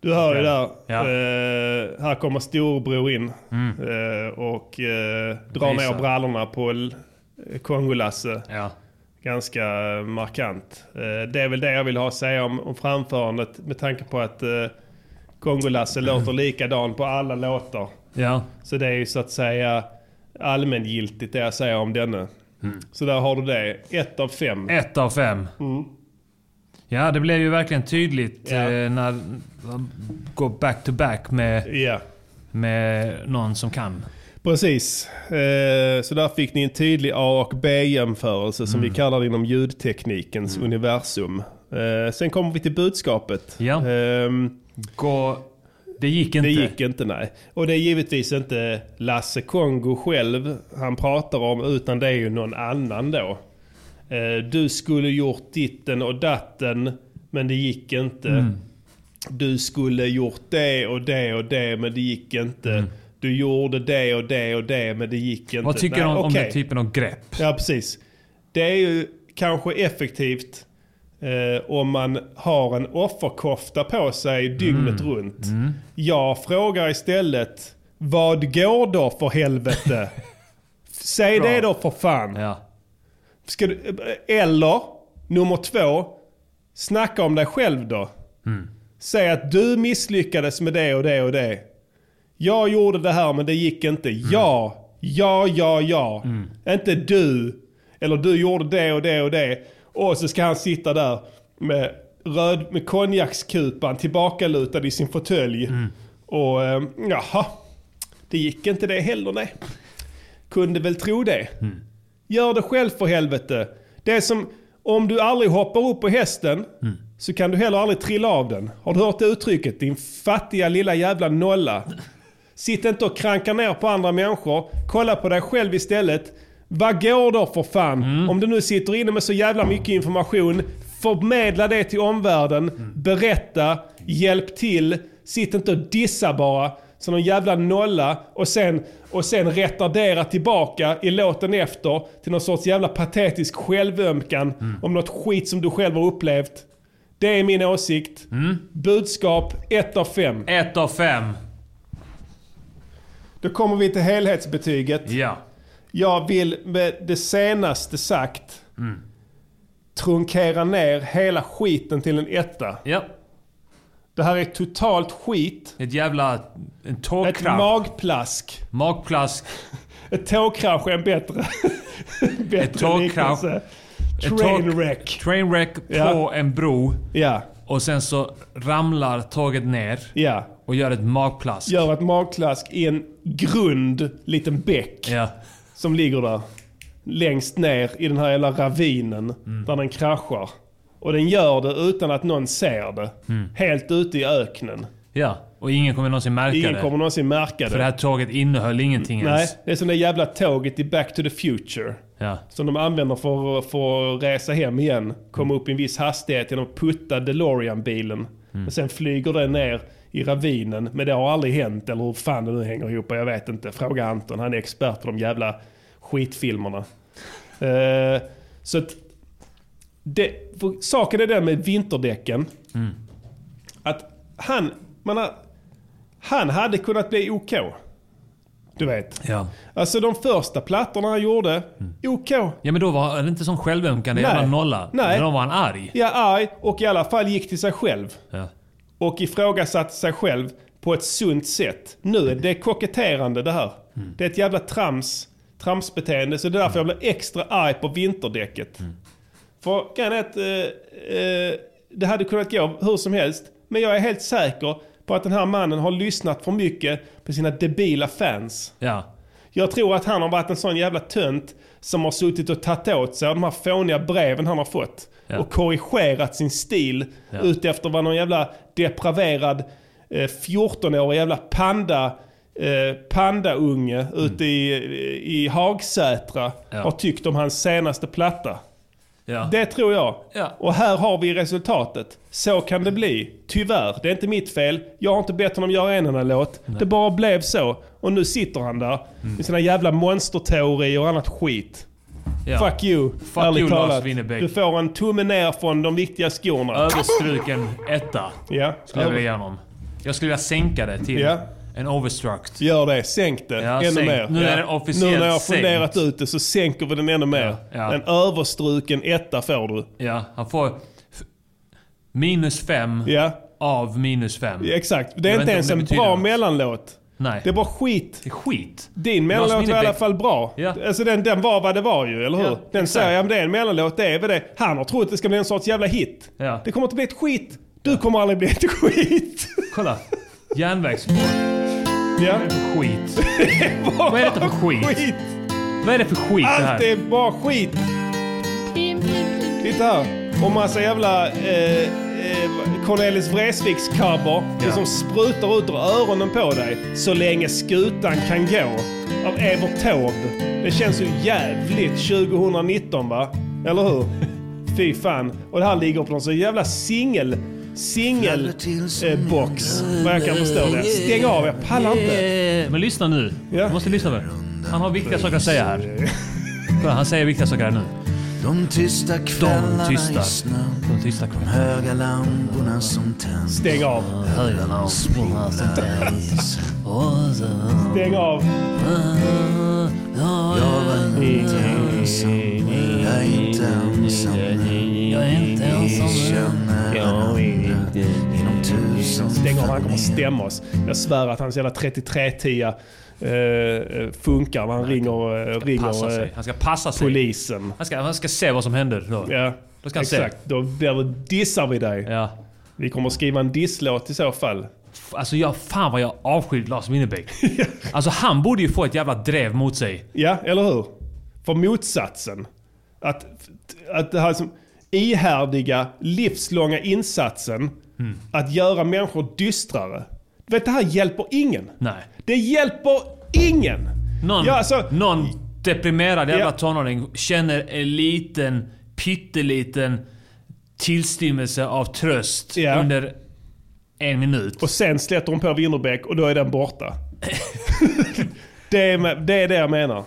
[SPEAKER 1] Du hör ju där.
[SPEAKER 3] Ja. Mm.
[SPEAKER 1] Eh, här kommer storbror in. Eh, och eh, drar
[SPEAKER 3] Visar.
[SPEAKER 1] ner brallorna på L- eh, Kongolasse.
[SPEAKER 3] Ja.
[SPEAKER 1] Ganska eh, markant. Eh, det är väl det jag vill ha att säga om, om framförandet med tanke på att eh, Kongolasse låter likadan på alla låtar.
[SPEAKER 3] Ja.
[SPEAKER 1] Så det är ju så att säga allmängiltigt det jag säger om denne. Så där har du det. Ett av fem.
[SPEAKER 3] Ett av fem. Ja, det blev ju verkligen tydligt
[SPEAKER 1] Mm. Ja.
[SPEAKER 3] eh, när man går back to back med,
[SPEAKER 1] Ja.
[SPEAKER 3] med någon som kan.
[SPEAKER 1] Precis. Eh, Så där fick ni en tydlig A och B-jämförelse som vi kallar det inom ljudteknikens universum. Eh, Sen kommer vi till budskapet.
[SPEAKER 3] Ja.
[SPEAKER 1] Ehm,
[SPEAKER 3] Gå... Det gick inte.
[SPEAKER 1] Det gick inte, nej. Och det är givetvis inte Lasse Kongo själv han pratar om, utan det är ju någon annan då. Eh, Du skulle gjort ditten och datten, men det gick inte.
[SPEAKER 3] Mm.
[SPEAKER 1] Du skulle gjort det och det och det, men det gick inte. Du gjorde det och det och det, men det gick inte.
[SPEAKER 3] Mm. Vad tycker du
[SPEAKER 1] Nej,
[SPEAKER 3] om, typ om
[SPEAKER 1] okej.
[SPEAKER 3] den typen av grepp?
[SPEAKER 1] Ja, precis. Det är ju kanske effektivt eh, om man har en offerkofta på sig dygnet runt. Jag frågar istället, vad går då för helvete? Säg det då för fan.
[SPEAKER 3] Ja.
[SPEAKER 1] Ska du, eller, nummer två, snacka om dig själv då. Säg att du misslyckades med det och det och det. Jag gjorde det här men det gick inte. Ja, ja, ja, ja. Inte du. Eller du gjorde det och det och det. Och så ska han sitta där med, röd, med konjakskupan tillbakalutad i sin fåtölj. Och eh, jaha, det gick inte det heller nej. Kunde väl tro det. Gör det själv för helvete. Det är som om du aldrig hoppar upp på hästen så kan du heller aldrig trilla av den. Har du hört det uttrycket? Din fattiga lilla jävla nolla. Sitt inte och kranka ner på andra människor. Kolla på dig själv istället. Vad går då för fan? Om du nu sitter inne med så jävla mycket information. Förmedla det till omvärlden. Berätta. Hjälp till. Sitt inte och dissa bara. så någon jävla nolla och sen, och sen retardera tillbaka i låten efter till någon sorts jävla patetisk självömkan om något skit som du själv har upplevt. Det är min åsikt. Budskap 1 av 5.
[SPEAKER 6] Eh.
[SPEAKER 3] Ett av fem.
[SPEAKER 1] Då kommer vi till helhetsbetyget.
[SPEAKER 3] Ja.
[SPEAKER 1] Jag vill med det senaste sagt
[SPEAKER 3] Mm.
[SPEAKER 1] trunkera ner hela skiten till en etta.
[SPEAKER 3] Ja.
[SPEAKER 1] Det här är totalt skit.
[SPEAKER 3] Ett jävla... En
[SPEAKER 1] Ett
[SPEAKER 3] tågkrasch.
[SPEAKER 1] magplask.
[SPEAKER 3] Magplask.
[SPEAKER 1] Ett tågkrasch är en bättre, bättre
[SPEAKER 3] Ett tågkrasch.
[SPEAKER 1] liknelse.
[SPEAKER 3] Ett
[SPEAKER 1] Trainwreck.
[SPEAKER 3] tåg- Trainwreck på
[SPEAKER 1] Ja.
[SPEAKER 3] en bro.
[SPEAKER 1] Ja,
[SPEAKER 3] Och sen så ramlar tåget ner
[SPEAKER 1] ja.
[SPEAKER 3] och gör ett magplask.
[SPEAKER 1] Gör ett magplask i en grund liten bäck
[SPEAKER 3] Ja.
[SPEAKER 1] som ligger där. Längst ner i den här jävla ravinen
[SPEAKER 3] Mm.
[SPEAKER 1] där den kraschar. Och den gör det utan att någon ser det.
[SPEAKER 3] Mm.
[SPEAKER 1] Helt ute i öknen.
[SPEAKER 3] ja. Och ingen kommer någonsin märka
[SPEAKER 1] Ingen
[SPEAKER 3] det.
[SPEAKER 1] kommer någonsin märka det.
[SPEAKER 3] För det här tåget innehöll ingenting
[SPEAKER 1] Nej,
[SPEAKER 3] ens.
[SPEAKER 1] det är som det jävla tåget i Back to the Future.
[SPEAKER 3] Ja.
[SPEAKER 1] Som de använder för, för att resa hem igen. Komma upp i en viss hastighet genom att putta DeLorean-bilen. Och sen flyger den ner i ravinen. Men det har aldrig hänt, eller hur fan det nu hänger ihop, jag vet inte. Fråga Anton, han är expert på de jävla skitfilmerna. Eh, så att... Det, för saken är den med vinterdäcken. Att han, man har, han hade kunnat bli OK. Du vet.
[SPEAKER 3] Ja.
[SPEAKER 1] Alltså de första plattorna han gjorde, OK.
[SPEAKER 3] Ja men då var det inte sån självömkande
[SPEAKER 1] Nej.
[SPEAKER 3] jävla nolla.
[SPEAKER 1] Nej.
[SPEAKER 3] Men då var han arg.
[SPEAKER 1] Ja, arg och i alla fall gick till sig själv.
[SPEAKER 3] Ja.
[SPEAKER 1] Och ifrågasatte sig själv på ett sunt sätt. Nu är det koketterande det här. Det är ett jävla trams, tramsbeteende. Så det är därför jag blir extra arg på vinterdäcket. För grejen är att eh, eh, det hade kunnat gå hur som helst. Men jag är helt säker på att den här mannen har lyssnat för mycket på sina debila fans.
[SPEAKER 3] ja.
[SPEAKER 1] Jag tror att han har varit en sån jävla tönt som har suttit och tagit åt sig av de här fåniga breven han har fått.
[SPEAKER 3] Ja.
[SPEAKER 1] Och korrigerat sin stil
[SPEAKER 3] Ja.
[SPEAKER 1] utefter vad någon jävla depraverad eh, 14-årig jävla panda eh, pandaunge ute i, i Hagsätra
[SPEAKER 3] Ja.
[SPEAKER 1] har tyckt om hans senaste platta.
[SPEAKER 3] Ja.
[SPEAKER 1] Det tror jag.
[SPEAKER 3] Ja.
[SPEAKER 1] Och här har vi resultatet. Så kan det bli. Tyvärr. Det är inte mitt fel. Jag har inte bett honom göra en enda låt. Det bara blev så. Och nu sitter han där
[SPEAKER 3] Mm.
[SPEAKER 1] med sina jävla monsterteorier och annat skit.
[SPEAKER 3] ja.
[SPEAKER 1] Fuck you.
[SPEAKER 3] Fuck you, Lars Winnerbäck.
[SPEAKER 1] Du får en tumme ner från de viktiga skorna.
[SPEAKER 3] Överstruken etta.
[SPEAKER 1] ja.
[SPEAKER 3] Skulle jag vilja ge honom. Jag skulle vilja sänka det till
[SPEAKER 1] Ja.
[SPEAKER 3] en overstruct.
[SPEAKER 1] Gör det. Sänk det.
[SPEAKER 3] Ja,
[SPEAKER 1] ännu
[SPEAKER 3] sänk.
[SPEAKER 1] mer.
[SPEAKER 3] Nu är
[SPEAKER 1] ja.
[SPEAKER 3] den officiellt
[SPEAKER 1] Nu när jag har
[SPEAKER 3] sänkt.
[SPEAKER 1] funderat ut det så sänker vi den ännu mer.
[SPEAKER 3] Ja.
[SPEAKER 1] En överstruken etta får du.
[SPEAKER 3] Ja, han får f- minus fem
[SPEAKER 1] Ja.
[SPEAKER 3] av minus fem.
[SPEAKER 1] Exakt. Det
[SPEAKER 3] Jag
[SPEAKER 1] är
[SPEAKER 3] vet inte
[SPEAKER 1] inte ens
[SPEAKER 3] om det
[SPEAKER 1] en
[SPEAKER 3] betyder
[SPEAKER 1] bra
[SPEAKER 3] något.
[SPEAKER 1] mellanlåt.
[SPEAKER 3] Nej.
[SPEAKER 1] Det är bara skit.
[SPEAKER 3] Det är skit.
[SPEAKER 1] Din mellanlåt var i
[SPEAKER 3] Minnebäck-
[SPEAKER 1] alla fall bra.
[SPEAKER 3] Ja.
[SPEAKER 1] Alltså den, den var vad det var ju, eller hur?
[SPEAKER 3] Ja,
[SPEAKER 1] den
[SPEAKER 3] exakt.
[SPEAKER 1] säger jag, men det är en mellanlåt, det är väl det. Han har trott att det ska bli en sorts jävla hit.
[SPEAKER 3] Ja.
[SPEAKER 1] Det kommer inte bli ett skit. Du kommer aldrig bli ett skit.
[SPEAKER 3] Kolla. Järnvägsspår.
[SPEAKER 1] ja.
[SPEAKER 3] Skit. Vad är detta för skit?
[SPEAKER 1] skit.
[SPEAKER 3] Vad är det för skit det
[SPEAKER 1] Allt
[SPEAKER 3] här?
[SPEAKER 1] är bara skit. Titta här. Och massa jävla eh, eh, Cornelis Vreeswijks cover. Det
[SPEAKER 3] Ja.
[SPEAKER 1] som sprutar ut ur öronen på dig. Så länge skutan kan gå. Av Evert Taube. Det känns ju jävligt 2019 va? Eller hur? Fy fan. Och det här ligger på någon så jävla singel... Singelbox. Eh, box, vad jag kan förstå det. Stäng av, jag pallar inte.
[SPEAKER 3] Eh, Men lyssna nu.
[SPEAKER 1] Ja.
[SPEAKER 3] Du måste lyssna nu. Han har viktiga saker att säga här. Kolla, han säger viktiga saker här nu.
[SPEAKER 9] De tysta
[SPEAKER 3] De
[SPEAKER 9] kvällarna i
[SPEAKER 3] tystar.
[SPEAKER 9] snön
[SPEAKER 3] De tystar.
[SPEAKER 9] De höga lamporna som tänds
[SPEAKER 1] Stäng av. Stäng av.
[SPEAKER 9] Jag är inte ensam nu Vi känner varandra Genom tusen
[SPEAKER 1] Stäng av, han kommer stämma oss. Jag svär att hans jävla 3310 eh, eh, funkar när han ringer, eh,
[SPEAKER 3] Passa
[SPEAKER 1] ringer eh,
[SPEAKER 3] sig. Han ska passa sig.
[SPEAKER 1] polisen.
[SPEAKER 3] Han ska, han ska se vad som händer då.
[SPEAKER 1] Ja,
[SPEAKER 3] Då ska han se.
[SPEAKER 1] exakt. Då, då dissar vi dig.
[SPEAKER 3] Ja.
[SPEAKER 1] Vi kommer skriva en disslåt i så fall.
[SPEAKER 3] F- Alltså jag, fan vad jag avskyr Lars Winnerbäck. Alltså han borde ju få ett jävla drev mot sig.
[SPEAKER 1] Ja, eller hur? För motsatsen. Att, att det här som ihärdiga, livslånga insatsen
[SPEAKER 3] Mm.
[SPEAKER 1] att göra människor dystrare. Du vet, det här hjälper ingen.
[SPEAKER 3] Nej.
[SPEAKER 1] Det hjälper ingen!
[SPEAKER 3] Någon,
[SPEAKER 1] Ja, alltså-
[SPEAKER 3] någon deprimerad jävla
[SPEAKER 1] Ja.
[SPEAKER 3] tonåring känner en liten, pytteliten tillstymmelse av tröst
[SPEAKER 1] Ja.
[SPEAKER 3] under en minut.
[SPEAKER 1] Och sen släpper hon på Winnerbäck och då är den borta. det, är, med- det är det jag menar.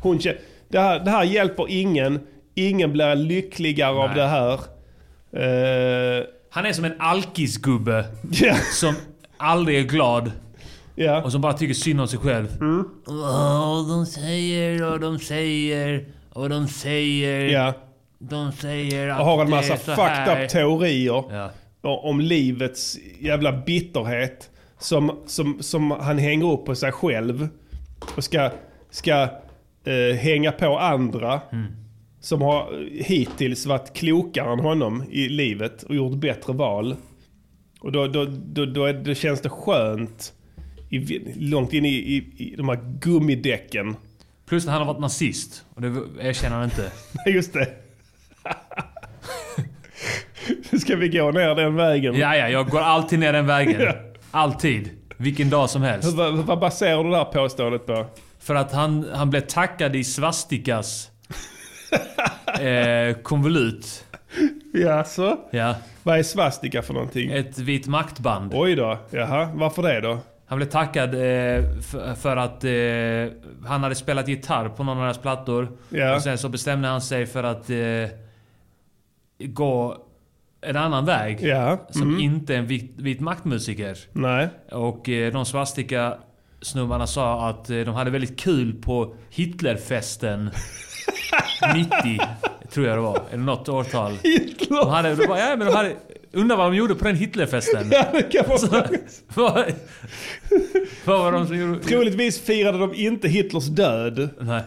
[SPEAKER 1] Hon, kä- det, här, det här hjälper ingen. Ingen blir lyckligare av
[SPEAKER 3] Nej.
[SPEAKER 1] det här. Eh,
[SPEAKER 3] Han är som en alkisgubbe
[SPEAKER 1] Ja,
[SPEAKER 3] som aldrig är glad
[SPEAKER 1] ja.
[SPEAKER 3] och som bara tycker synd om sig själv.
[SPEAKER 1] Mm.
[SPEAKER 3] Åh, de säger och de säger och de säger.
[SPEAKER 1] ja.
[SPEAKER 3] De säger att
[SPEAKER 1] Och har en
[SPEAKER 3] det
[SPEAKER 1] massa
[SPEAKER 3] är så här.
[SPEAKER 1] fucked up teorier.
[SPEAKER 3] Ja.
[SPEAKER 1] o- om livets jävla bitterhet som, som, som han hänger upp på sig själv och ska, ska eh, hänga på andra
[SPEAKER 3] Mm.
[SPEAKER 1] som har eh, hittills varit klokare än honom i livet och gjort bättre val. Och då, då, då, då, är, då känns det skönt i, vi- långt in i, i, i de här gummidäcken.
[SPEAKER 3] Plus att han har varit nazist. Och det erkänner han inte.
[SPEAKER 1] Nej, Just det. Nu ska vi gå ner den vägen.
[SPEAKER 3] Ja, ja, jag går alltid ner den vägen. Alltid. Vilken dag som helst.
[SPEAKER 1] Vad, vad baserar du det här påståendet på?
[SPEAKER 3] För att han, han blev tackad i svastikas eh, konvolut.
[SPEAKER 1] Ja, så.
[SPEAKER 3] Ja.
[SPEAKER 1] Vad är svastika för någonting?
[SPEAKER 3] Ett vit maktband.
[SPEAKER 1] Oj då, jaha, varför det då?
[SPEAKER 3] Han blev tackad eh, för, för att eh, han hade spelat gitarr på någon av deras plattor.
[SPEAKER 1] Ja.
[SPEAKER 3] Och sen så bestämde han sig för att eh, gå en annan väg.
[SPEAKER 1] Ja, Mm.
[SPEAKER 3] Som inte är en vit, vit maktmusiker.
[SPEAKER 1] nej.
[SPEAKER 3] Och eh, de svastika snubbarna sa att eh, de hade väldigt kul på Hitlerfesten 90, tror jag det var. Eller något årtal. De
[SPEAKER 1] Hitler!
[SPEAKER 3] hade, de bara, ja, men de hade, undrar vad de gjorde på den Hitlerfesten.
[SPEAKER 1] Ja, det kan vara...
[SPEAKER 3] vad, vad var de som gjorde?
[SPEAKER 1] Troligtvis firade de inte Hitlers död.
[SPEAKER 3] Nej.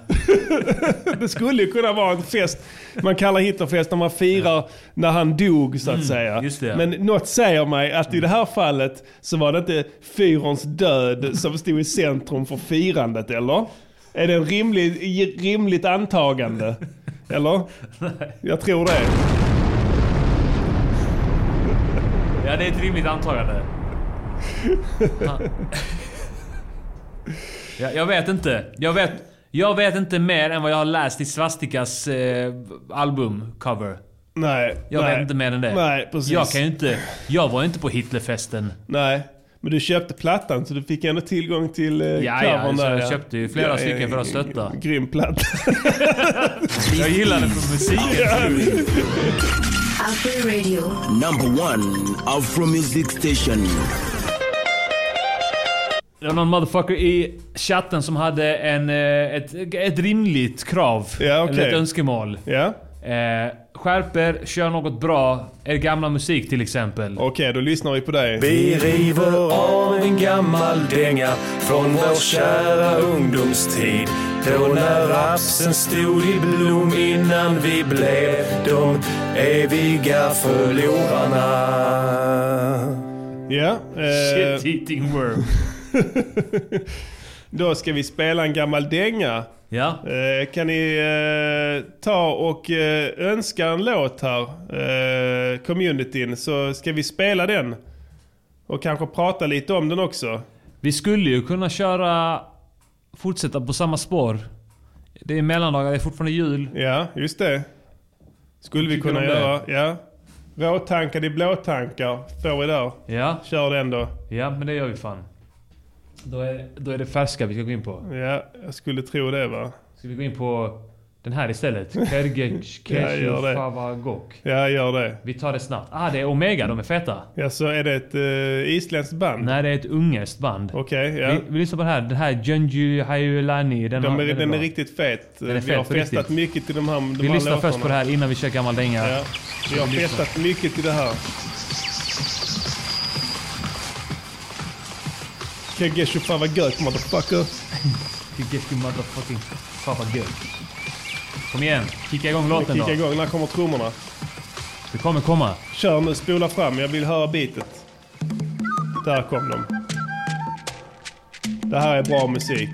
[SPEAKER 1] Det skulle ju kunna vara en fest man kallar Hitlerfest när man firar när han dog så att säga.
[SPEAKER 3] Mm, just det. Mm.
[SPEAKER 1] Men något säger mig att i det här fallet så var det inte fyrons död som stod i centrum för firandet, eller? Är det en rimlig, rimligt antagande? Eller? Jag tror det.
[SPEAKER 3] Ja, det är ett rimligt antagande. Han- ja, jag vet inte. Jag vet, jag vet inte mer än vad jag har läst i Svastikas eh, albumcover.
[SPEAKER 1] Nej.
[SPEAKER 3] Jag
[SPEAKER 1] nej.
[SPEAKER 3] vet inte mer än det.
[SPEAKER 1] Nej, precis.
[SPEAKER 3] Jag kan ju inte... Jag var ju inte på Hitlerfesten.
[SPEAKER 1] Nej, men du köpte plattan så du fick ändå tillgång till eh,
[SPEAKER 3] ja,
[SPEAKER 1] covern
[SPEAKER 3] så
[SPEAKER 1] där.
[SPEAKER 3] jag köpte ju flera stycken för att stötta.
[SPEAKER 1] en Grym platta.
[SPEAKER 3] Jag gillar det för musiken.
[SPEAKER 5] After Radio.
[SPEAKER 2] Number one Afro Music Station.
[SPEAKER 3] Det var någon motherfucker i chatten som hade en, eh, ett, ett rimligt krav.
[SPEAKER 1] Ja, okej.
[SPEAKER 3] Eller ett önskemål.
[SPEAKER 1] ja,
[SPEAKER 3] Eh, skärper, kör något bra. Er gamla musik till exempel.
[SPEAKER 1] okej då lyssnar vi på dig.
[SPEAKER 8] Vi river av en gammal dänga från vår kära ungdomstid. Då när rapsen stod i blom innan vi blev de eviga förlorarna.
[SPEAKER 1] Ja, eh,
[SPEAKER 3] Shit eating worm.
[SPEAKER 1] då ska vi spela en gammal dänga.
[SPEAKER 3] Ja.
[SPEAKER 1] Eh, kan ni eh, ta och eh, önska en låt här, eh, communityn, så ska vi spela den. Och kanske prata lite om den också.
[SPEAKER 3] Vi skulle ju kunna köra... Fortsätta på samma spår. Det är mellandagar, det är fortfarande jul.
[SPEAKER 1] Ja, just det. Skulle vi
[SPEAKER 3] Tycker
[SPEAKER 1] kunna
[SPEAKER 3] du om det?
[SPEAKER 1] göra. Ja. Råtankar i blåtankar får vi där.
[SPEAKER 3] Ja.
[SPEAKER 1] Kör den då.
[SPEAKER 3] Ja, men det gör vi fan. Då är, då är det färska vi ska gå in på.
[SPEAKER 1] Ja, jag skulle tro det va.
[SPEAKER 3] Ska vi gå in på den här istället? Kergex
[SPEAKER 1] Ja,
[SPEAKER 3] Keshu
[SPEAKER 1] gör det.
[SPEAKER 3] Favagok.
[SPEAKER 1] Ja, gör det.
[SPEAKER 3] Vi tar det snabbt. Ah, det är Omega. De är feta.
[SPEAKER 1] Ja, så är det ett uh, isländskt band?
[SPEAKER 3] Nej, det är ett ungerskt band.
[SPEAKER 1] Okej, ja.
[SPEAKER 3] Vi, vi lyssnar på den här. Den här Junju Hayulani. Den,
[SPEAKER 1] De
[SPEAKER 3] har-
[SPEAKER 1] är, den, är
[SPEAKER 3] bra.
[SPEAKER 1] riktigt fet.
[SPEAKER 3] är
[SPEAKER 1] vi har
[SPEAKER 3] fet på
[SPEAKER 1] festat
[SPEAKER 3] riktigt.
[SPEAKER 1] mycket till de här de
[SPEAKER 3] Vi
[SPEAKER 1] här
[SPEAKER 3] lyssnar först
[SPEAKER 1] låtarna.
[SPEAKER 3] på det här innan vi kör gammal dänga.
[SPEAKER 1] Ja. Vi har festat mycket till det här. Kageshu fan vad gött motherfucker.
[SPEAKER 3] Kergeshu motherfucking Favagok. Kom igen. Kicka igång låten då.
[SPEAKER 1] Kicka igång, när kommer trummorna?
[SPEAKER 3] Det kommer komma.
[SPEAKER 1] Kör nu, spola fram. Jag vill höra beatet. Där kom de. Det här är bra musik.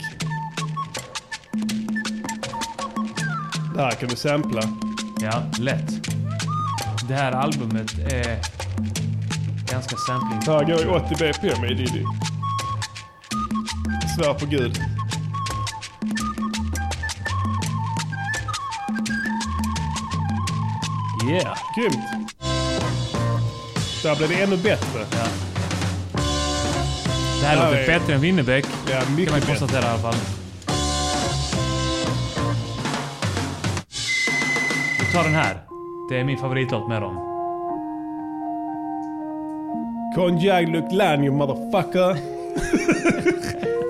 [SPEAKER 1] Det här kan du sampla.
[SPEAKER 3] Ja, lätt. Det här albumet är ganska sampling.
[SPEAKER 1] Det här går i 80 bpm i Diddy. Svär på gud.
[SPEAKER 3] Yeah.
[SPEAKER 1] Grymt! Där blev det ännu bättre.
[SPEAKER 3] Ja. Det här låter
[SPEAKER 1] Ja, ja.
[SPEAKER 3] bättre än Winnerbäck.
[SPEAKER 1] Ja,
[SPEAKER 3] kan man
[SPEAKER 1] mycket
[SPEAKER 3] ju konstatera i alla fall. Vi tar den här. Det är min favoritlåt med dem.
[SPEAKER 1] Konjak look lan you motherfucker.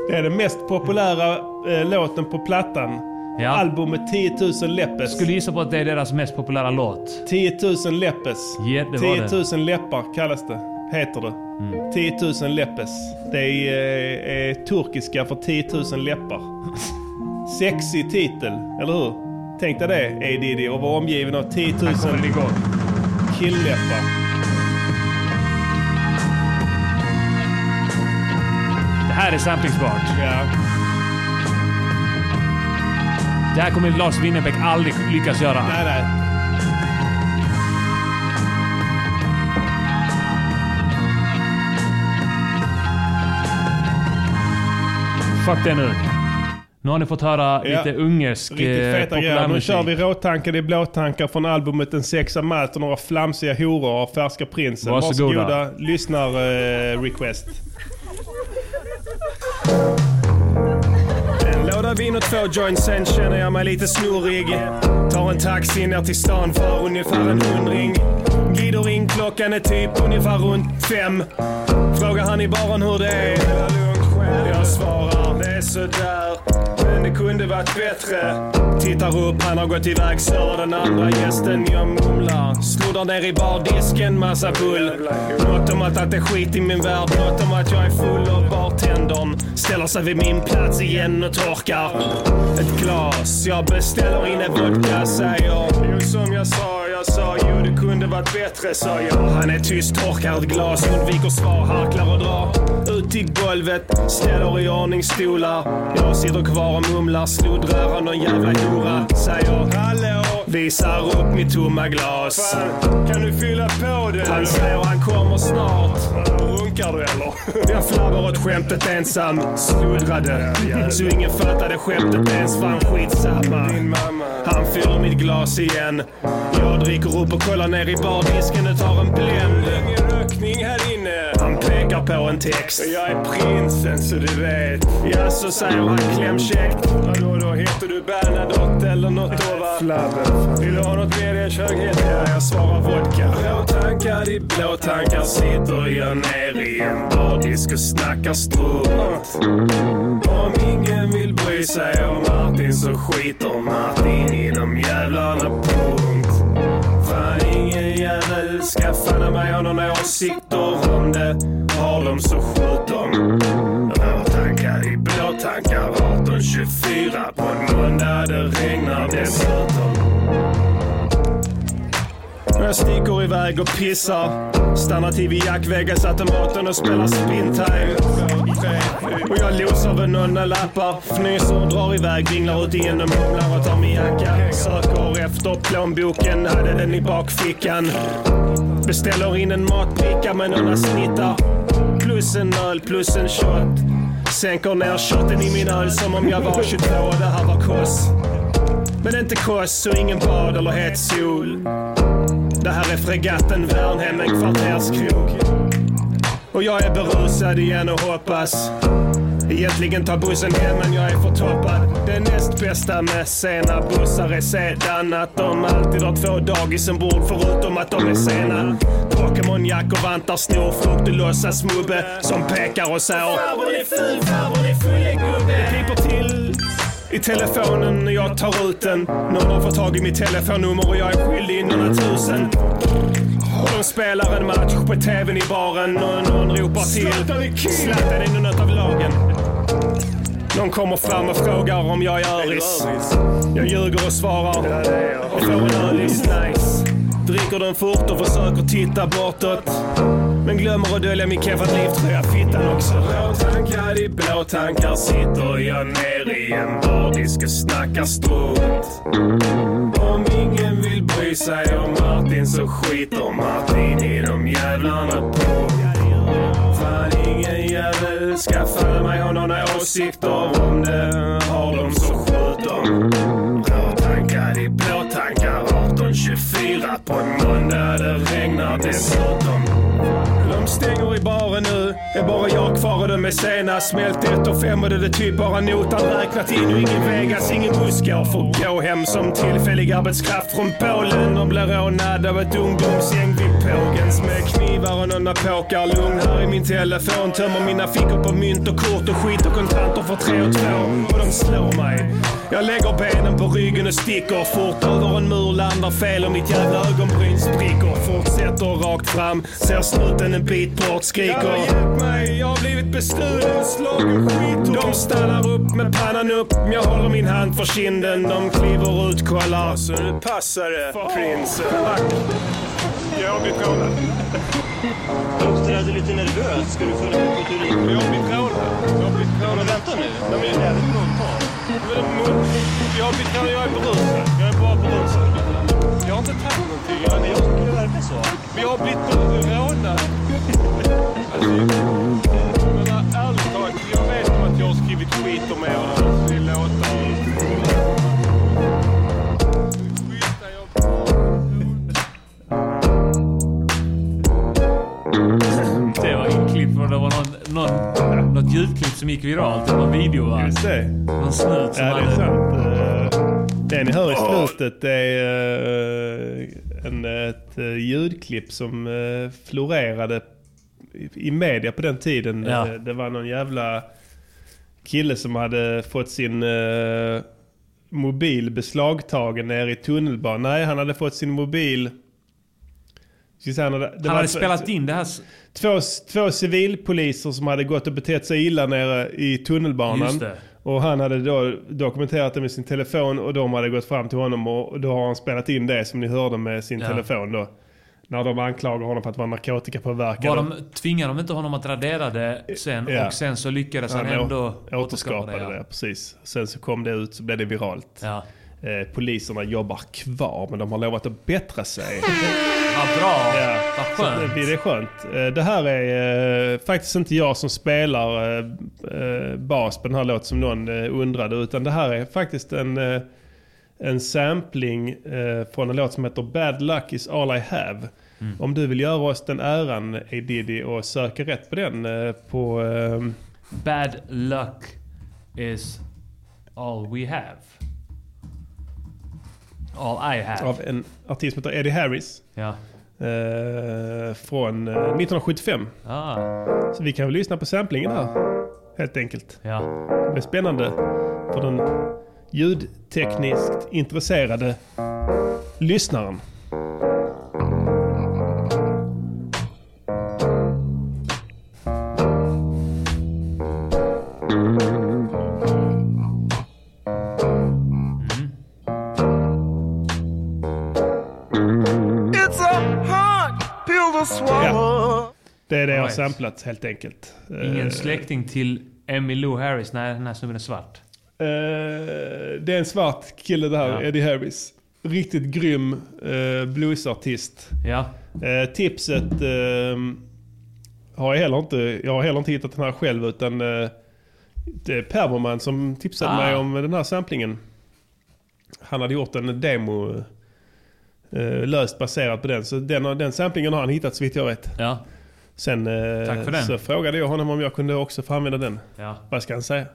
[SPEAKER 1] det är den mest populära eh, låten på plattan.
[SPEAKER 3] Ja.
[SPEAKER 1] Albumet 10 000 läppes.
[SPEAKER 3] Skulle gissa på att det är deras mest populära låt.
[SPEAKER 1] 10 000 läppes.
[SPEAKER 3] Ja, det Mm.
[SPEAKER 1] 10
[SPEAKER 3] var
[SPEAKER 1] 000
[SPEAKER 3] det.
[SPEAKER 1] läppar kallas det. Heter det. 10 000 läppes. Det är, eh, är turkiska för 10 000 läppar. Sexig titel, eller hur? Tänk dig det, A. Diddy, och vara omgiven av 10 000 killäppar.
[SPEAKER 3] Det här är samplingsbart.
[SPEAKER 1] Ja.
[SPEAKER 3] Det här kommer Lars Winnerbäck aldrig lyckas göra.
[SPEAKER 1] Nej, nej.
[SPEAKER 3] Fuck det nu. Nu har ni fått höra
[SPEAKER 1] Ja.
[SPEAKER 3] lite ungersk
[SPEAKER 1] Riktigt
[SPEAKER 3] eh,
[SPEAKER 1] feta grejer. Nu
[SPEAKER 3] populärmusik.
[SPEAKER 1] kör vi råtankar i blåtankar från albumet En sexa malt och några flamsiga horor av Färska Prinsen.
[SPEAKER 3] Varsågoda.
[SPEAKER 1] Varsågoda eh, lyssnar-request.
[SPEAKER 8] En låda vin och två joints, sen känner jag mig lite snorig. Tar en taxi ner till stan för ungefär en hundring. Glider in, klockan är typ ungefär runt fem. Frågar han i baren hur det är. Jag svarar, det är sådär. Men det kunde varit bättre. Tittar upp, han har gått iväg, slår den andra gästen, jag mumlar. Sluddar ner i bardisken, massa pull. Något om att allt är skit i min värld, något om att jag är full och bartendern ställer sig vid min plats igen och torkar ett glas. Jag beställer in en vodka, säger. Jo, som jag sa, jag sa, jo det kunde varit bättre, sa jag. Han är tyst, torkar ett glas, undviker svar, harklar och drar. Ut till golvet, ställer i ordning stolar. Jag sitter kvar och mumlar, sluddrar av någon jävla hora. Säger hallå, visar upp mitt tomma glas. kan du fylla på det? Han säger han kommer snart. Runkar du eller? Jag flabbar åt skämtet ensam, sluddrade. Så ingen fattade skämtet ens, fan skitsamma. Han fyller mitt glas igen. Jag dricker upp och kollar ner i bardisken och tar en bländ. rökning här inne. Han pekar på en text. Jag är prinsen så du vet. Ja, så säger han klämkäckt. Vadå då, heter du Bernadotte eller något då va? Flabben. Vill du ha något mer i en köghet? Ja, jag svarar vodka. Blåtankar i blåtankar sitter jag ner i en bardisk och snackar strunt. Om ingen vill bry sig om Martin så skiter Martin i de jävlarna, punkt. Fan, ingen jävel ska fan mig ha några åsikter om det. Har de så skjut dem. Blåtankar i blåtankar 18.24 på en måndag det regnar dessutom. Jag sticker iväg och pissar. Stannar till vid Jack Vegas-automaten och spelar spintime. Och jag losar väl några lappar. Fnyser, drar iväg, vinglar ut igen och mumlar och tar min jacka. Söker efter plånboken, hade den i bakfickan. Beställer in en matbricka med några snittar. Plus en öl, plus en shot. Sänker ner shotten i min öl som om jag var 22 och det här var koss. Men inte koss och ingen bad eller het sol. Det här är fregatten Värnhem, en kvarterskrog. Och jag är berusad igen och hoppas Egentligen tar bussen hem men jag är förtoppad. Det näst bästa med sena bussar är sedan att de alltid har två dagis ombord förutom att de är sena. Pokémonjackor, vantar, snor, frukt och låtsasmubbe som pekar och säger Farbror är ful, farbror är full gubbe. Piper till i telefonen när jag tar ut den. Någon har fått tag i mitt telefonnummer och jag är skyldig några tusen. De spelar en match på tvn i baren och någon ropar till Zlatan är nu något av lagen. Någon kommer fram och frågar om jag är öris. Jag ljuger och svarar och får en ölis. Nice. Dricker den fort och försöker titta bortåt. Men glömmer att dölja min keffat livtröja, fittan också. Blåtankar i blåtankar sitter jag ner i en bardisk och snackar strunt. Om ingen vill bry sig om Martin så skiter Martin i de jävlarna på. Fan ingen jävel ska fan mig ha några åsikter om det. Har de så skjut dem. Blåtankar i blåtankar 18.24 på en måndag det regnar dessutom. De stänger i baren nu. Är bara jag kvar och de är sena. Smält ett och fem och det är typ bara notan räknat in och ingen Vegas, ingen buskar. Får gå hem som tillfällig arbetskraft från Polen och blir rånad av ett ungdomsgäng vid Pågens med knivar och några påkar. Lugn här i min telefon. Tömmer mina fickor på mynt och kort och skit och kontanter för tre och två. Och de slår mig. Jag lägger benen på ryggen och sticker. Fort över en mur landar fel och mitt jävla ögonbryn spricker. Fortsätter rakt fram. Ser snuten en bit bort, skriker. Hjälp mig, jag har blivit bestulen, slagen skit. De stannar upp med pannan upp. Jag håller min hand för kinden. De kliver ut, kollar. Så nu Alltså, passar det, prinsen. Jag har blivit rånad.
[SPEAKER 10] Du uppträder lite nervös. Ska du följa med på turné?
[SPEAKER 8] Jag har blivit rånad. Jag har blivit rånad.
[SPEAKER 10] Men vänta nu. De är även muntal.
[SPEAKER 8] Jag har blivit rånad. Jag är berusad. Jag är bara berusad. Jag har inte tagit någonting. Jag har
[SPEAKER 10] Men jag tycker det verkar så.
[SPEAKER 8] Men jag har blivit rånad. Alltså, jag menar, ärligt talat, jag vet om att jag har skrivit skit om er i låtar.
[SPEAKER 3] Det var en klipp från det var någon, någon, något ljudklipp som gick viralt. Det var en video va?
[SPEAKER 1] Just det.
[SPEAKER 3] Någon snut som
[SPEAKER 1] Ja, det är
[SPEAKER 3] hade...
[SPEAKER 1] sant. Eh, Det ni hör i slutet är eh, en, ett eh, ljudklipp som eh, florerade i- i media på den tiden.
[SPEAKER 3] Ja.
[SPEAKER 1] Eh, Det var någon jävla kille som hade fått sin eh, mobil beslagtagen nere i tunnelbanan. Nej, han hade fått sin mobil... Ska jag säga, han hade, det
[SPEAKER 3] Han
[SPEAKER 1] var
[SPEAKER 3] hade
[SPEAKER 1] ett-
[SPEAKER 3] spelat in det här... s-
[SPEAKER 1] två, två civilpoliser som hade gått och betett sig illa nere i
[SPEAKER 3] Just
[SPEAKER 1] tunnelbanan.
[SPEAKER 3] det.
[SPEAKER 1] Och han hade då dokumenterat det med sin telefon och de hade gått fram till honom och då har han spelat in det som ni hörde med sin
[SPEAKER 3] Ja.
[SPEAKER 1] telefon då. När de anklagar honom för att vara narkotikapåverkad.
[SPEAKER 3] Var de, tvingade de inte honom att radera det sen?
[SPEAKER 1] Ja.
[SPEAKER 3] Och sen så lyckades han,
[SPEAKER 1] han
[SPEAKER 3] ändå
[SPEAKER 1] å- återskapade det,
[SPEAKER 3] ja.
[SPEAKER 1] precis. Sen så kom det ut så blev det viralt.
[SPEAKER 3] Ja.
[SPEAKER 1] Eh, poliserna jobbar kvar men de har lovat att bättra sig.
[SPEAKER 3] Vad bra!
[SPEAKER 1] Ja,
[SPEAKER 3] Vad
[SPEAKER 1] så
[SPEAKER 3] skönt.
[SPEAKER 1] Det, det är skönt. Eh, Det här är eh, faktiskt inte jag som spelar eh, eh, bas på den här låten som någon eh, undrade. Utan det här är faktiskt en, eh, en sampling eh, från en låt som heter Bad Luck Is All I Have.
[SPEAKER 3] Mm.
[SPEAKER 1] Om du vill göra oss den äran, A. Diddy, och söka rätt på den eh, på... eh,
[SPEAKER 3] Bad luck is all we have. All I have.
[SPEAKER 1] av en artist som heter Eddie Harris.
[SPEAKER 3] Ja.
[SPEAKER 1] eh, Från eh, 1975.
[SPEAKER 3] Ah,
[SPEAKER 1] Så vi kan väl lyssna på samplingen här. Helt enkelt.
[SPEAKER 3] ja.
[SPEAKER 1] Det är spännande för den ljudtekniskt intresserade lyssnaren.
[SPEAKER 9] It's a hard pill to swallow.
[SPEAKER 1] Det är det jag har
[SPEAKER 3] Right.
[SPEAKER 1] samplat helt enkelt.
[SPEAKER 3] Ingen
[SPEAKER 1] Eh,
[SPEAKER 3] släkting till Emmy Lou Harris. Nej, den här snubben är svart.
[SPEAKER 1] eh, det är en svart kille det här,
[SPEAKER 3] Ja.
[SPEAKER 1] Eddie Harris. Riktigt grym eh, bluesartist.
[SPEAKER 3] Ja.
[SPEAKER 1] Eh, tipset eh, har jag, heller inte, jag har heller inte hittat den här själv utan eh, det är Perverman som tipsade
[SPEAKER 3] Ah.
[SPEAKER 1] mig om den här samplingen. Han hade gjort en demo eh, löst baserat på den. Så den, har- den samplingen har han hittat så vitt jag vet.
[SPEAKER 3] Ja.
[SPEAKER 1] Sen eh,
[SPEAKER 3] Tack för den.
[SPEAKER 1] så frågade jag honom om jag kunde också få använda den.
[SPEAKER 3] Ja.
[SPEAKER 1] Vad ska han säga?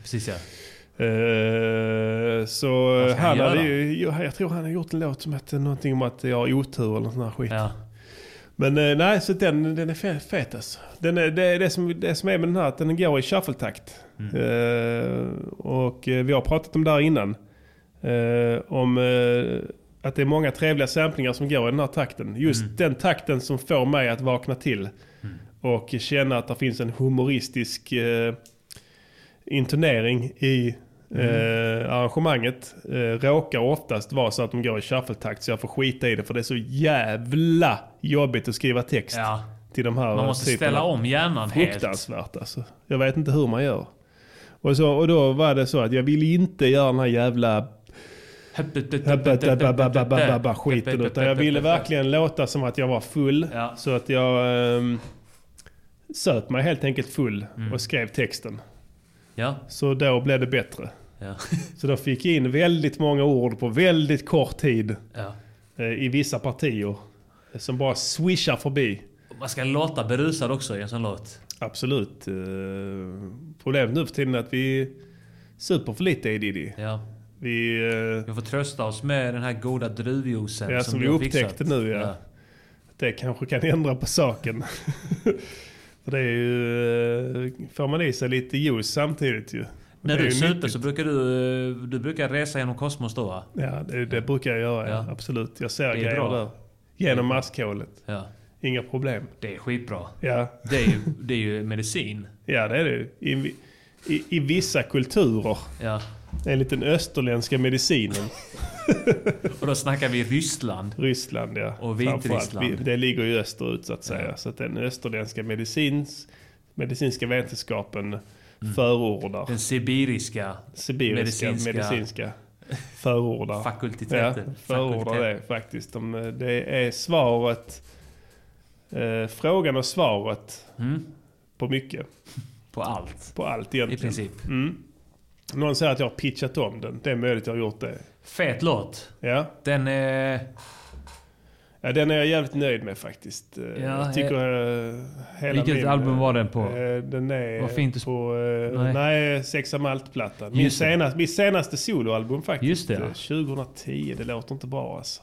[SPEAKER 3] Precis ja.
[SPEAKER 1] Eh, så
[SPEAKER 3] Vad ska han
[SPEAKER 1] han hade
[SPEAKER 3] göra?
[SPEAKER 1] ju, jag, jag tror han har gjort en låt som hette någonting om att jag har otur eller sån här skit.
[SPEAKER 3] Ja.
[SPEAKER 1] Men eh, nej, så den, den är fe- fet alltså. Den är, det, är det, som, det som är med den här att den går i shuffle-takt. Eh, och eh, vi har pratat om det här innan. Eh, om eh, att det är många trevliga samplingar som går i den här takten. Just
[SPEAKER 3] Mm.
[SPEAKER 1] den takten som får mig att vakna till. Och känna att det finns en humoristisk eh, intonering i
[SPEAKER 3] Mm.
[SPEAKER 1] eh, arrangemanget. Eh, råkar oftast vara så att de går i shuffle-takt så jag får skita i det för det är så jävla jobbigt att skriva text
[SPEAKER 3] ja.
[SPEAKER 1] till de här
[SPEAKER 3] Man måste
[SPEAKER 1] typerna.
[SPEAKER 3] ställa om hjärnan helt.
[SPEAKER 1] Fruktansvärt alltså. Jag vet inte hur man gör. Och, så, och då var det så att jag vill inte göra den här jävla skiten. Utan jag ville verkligen låta som att jag var full.
[SPEAKER 3] Ja.
[SPEAKER 1] Så att jag um, söp mig helt enkelt full
[SPEAKER 3] Mm.
[SPEAKER 1] och skrev texten.
[SPEAKER 3] Ja.
[SPEAKER 1] Så då blev det bättre.
[SPEAKER 3] Ja.
[SPEAKER 1] Så då fick jag in väldigt många ord på väldigt kort tid
[SPEAKER 3] ja.
[SPEAKER 1] eh, i vissa partier. Som bara swishar förbi.
[SPEAKER 3] Man ska låta berusad också i en sån låt.
[SPEAKER 1] Absolut. Eh, Problemet nu för tiden är att vi super för lite A-Diddy.
[SPEAKER 3] Ja.
[SPEAKER 1] Vi, eh,
[SPEAKER 3] vi får trösta oss med den här goda druvjuicen
[SPEAKER 1] Ja, som, vi
[SPEAKER 3] har
[SPEAKER 1] upptäckte
[SPEAKER 3] fixat.
[SPEAKER 1] nu ja. Det kanske kan ändra på saken. För det är ju... eh, Får man i sig lite juice samtidigt ju.
[SPEAKER 3] När
[SPEAKER 1] Det är
[SPEAKER 3] du
[SPEAKER 1] ju
[SPEAKER 3] super så brukar du, eh, du brukar resa genom kosmos då va?
[SPEAKER 1] Ja, det, det brukar jag göra. Ja. Absolut. Jag ser
[SPEAKER 3] Det är
[SPEAKER 1] grejer
[SPEAKER 3] bra.
[SPEAKER 1] där. Genom maskhålet.
[SPEAKER 3] Ja.
[SPEAKER 1] Inga problem.
[SPEAKER 3] Det är skitbra.
[SPEAKER 1] Ja.
[SPEAKER 3] Det är ju, det är ju medicin.
[SPEAKER 1] Ja, det är det ju. I, i, i vissa kulturer.
[SPEAKER 3] Ja.
[SPEAKER 1] Enligt den österländska medicinen.
[SPEAKER 3] Och då snackar vi Ryssland.
[SPEAKER 1] Ryssland ja.
[SPEAKER 3] Och
[SPEAKER 1] Framförallt, vi-
[SPEAKER 3] Vitryssland.
[SPEAKER 1] Det ligger ju österut så att säga. Så att den österländska medicins, medicinska vetenskapen
[SPEAKER 3] Mm.
[SPEAKER 1] förordar.
[SPEAKER 3] Den sibiriska,
[SPEAKER 1] Sibiriska medicinska,
[SPEAKER 3] medicinska-
[SPEAKER 1] förordar.
[SPEAKER 3] Fakultiteter.
[SPEAKER 1] Ja, förordar
[SPEAKER 3] Fakulteter.
[SPEAKER 1] det faktiskt. De, eh, det är svaret. Eh, frågan och svaret. På mycket.
[SPEAKER 3] På allt.
[SPEAKER 1] På allt egentligen.
[SPEAKER 3] Mm. I princip.
[SPEAKER 1] Mm. Någon säger att jag har pitchat om den. Det är möjligt jag har gjort det.
[SPEAKER 3] Fet låt.
[SPEAKER 1] Ja.
[SPEAKER 3] Den eh, är...
[SPEAKER 1] Ja, den är jag jävligt nöjd med faktiskt. Eh,
[SPEAKER 3] Ja,
[SPEAKER 1] jag tycker eh, hela
[SPEAKER 3] vilket
[SPEAKER 1] min,
[SPEAKER 3] album
[SPEAKER 1] eh,
[SPEAKER 3] var den på?
[SPEAKER 1] eh, Den är
[SPEAKER 3] Vad fint
[SPEAKER 1] på... eh,
[SPEAKER 3] Nej.
[SPEAKER 1] Nej, Sexa Malt-plattan. Min
[SPEAKER 3] Just det.
[SPEAKER 1] senaste, mitt senaste soloalbum faktiskt.
[SPEAKER 3] Just det, ja.
[SPEAKER 1] Eh, 2010, det låter inte bra alltså.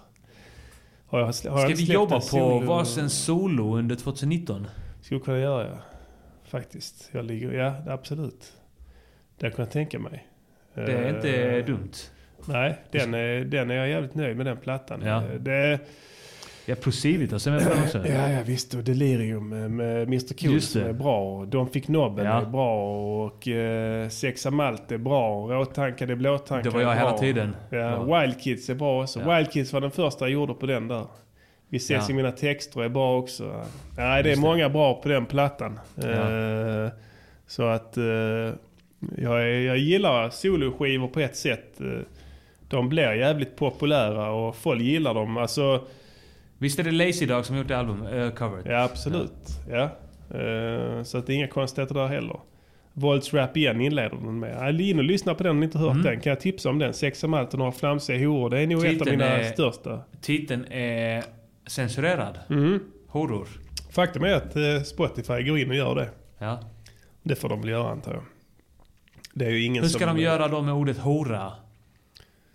[SPEAKER 1] Har jag, har jag
[SPEAKER 3] Ska vi
[SPEAKER 1] släppt
[SPEAKER 3] jobba
[SPEAKER 1] en
[SPEAKER 3] på
[SPEAKER 1] solo-
[SPEAKER 3] varsin solo under 2019?
[SPEAKER 1] Skulle kunna göra ja. Faktiskt. Jag ligger, ja absolut. Det kan jag tänka mig.
[SPEAKER 3] Det är
[SPEAKER 1] Eh,
[SPEAKER 3] inte dumt.
[SPEAKER 1] Nej, den är, den är jag jävligt nöjd med den plattan.
[SPEAKER 3] Ja.
[SPEAKER 1] Eh, Det,
[SPEAKER 3] Ja, Prosivitas är med på den också.
[SPEAKER 1] Ja, ja visst. Och Delirium eh, med Mr Cool
[SPEAKER 3] Just
[SPEAKER 1] som
[SPEAKER 3] det.
[SPEAKER 1] är bra. De fick nobben
[SPEAKER 3] Ja.
[SPEAKER 1] är bra. Och eh, Sexa Malt är bra. Råtankade blåtankade
[SPEAKER 3] Det var jag
[SPEAKER 1] är
[SPEAKER 3] hela
[SPEAKER 1] bra.
[SPEAKER 3] tiden.
[SPEAKER 1] Ja, Wild Kids är bra också. Wild Kids var den första jag gjorde på den där. Vi ses
[SPEAKER 3] Ja.
[SPEAKER 1] i mina texter är bra också. Nej, det är
[SPEAKER 3] Just det.
[SPEAKER 1] många bra på den plattan.
[SPEAKER 3] Ja.
[SPEAKER 1] Eh, så att eh, jag, är- jag gillar soloskivor på ett sätt. Eh, De blir jävligt populära och folk gillar dem. Alltså,
[SPEAKER 3] Visst är det Lazy Dog som gjort det album, eh, coveret?
[SPEAKER 1] Ja, absolut. Ja. Eh, så att det är inga konstigheter där heller. Volts Rap igen inleder den med. Ja, In och lyssna på den om ni inte hört
[SPEAKER 3] Mm.
[SPEAKER 1] den. Kan jag tipsa om den? Sex om allt och några flamsiga horor. Det är nog ett av
[SPEAKER 3] Titeln
[SPEAKER 1] mina
[SPEAKER 3] är-
[SPEAKER 1] största.
[SPEAKER 3] Titeln är censurerad.
[SPEAKER 1] Mm.
[SPEAKER 3] Horor.
[SPEAKER 1] Faktum är att eh, Spotify går in och gör det.
[SPEAKER 3] Ja.
[SPEAKER 1] Det får de väl göra antar jag. Det är ju ingen
[SPEAKER 3] Hur ska
[SPEAKER 1] som,
[SPEAKER 3] de göra då med ordet hora?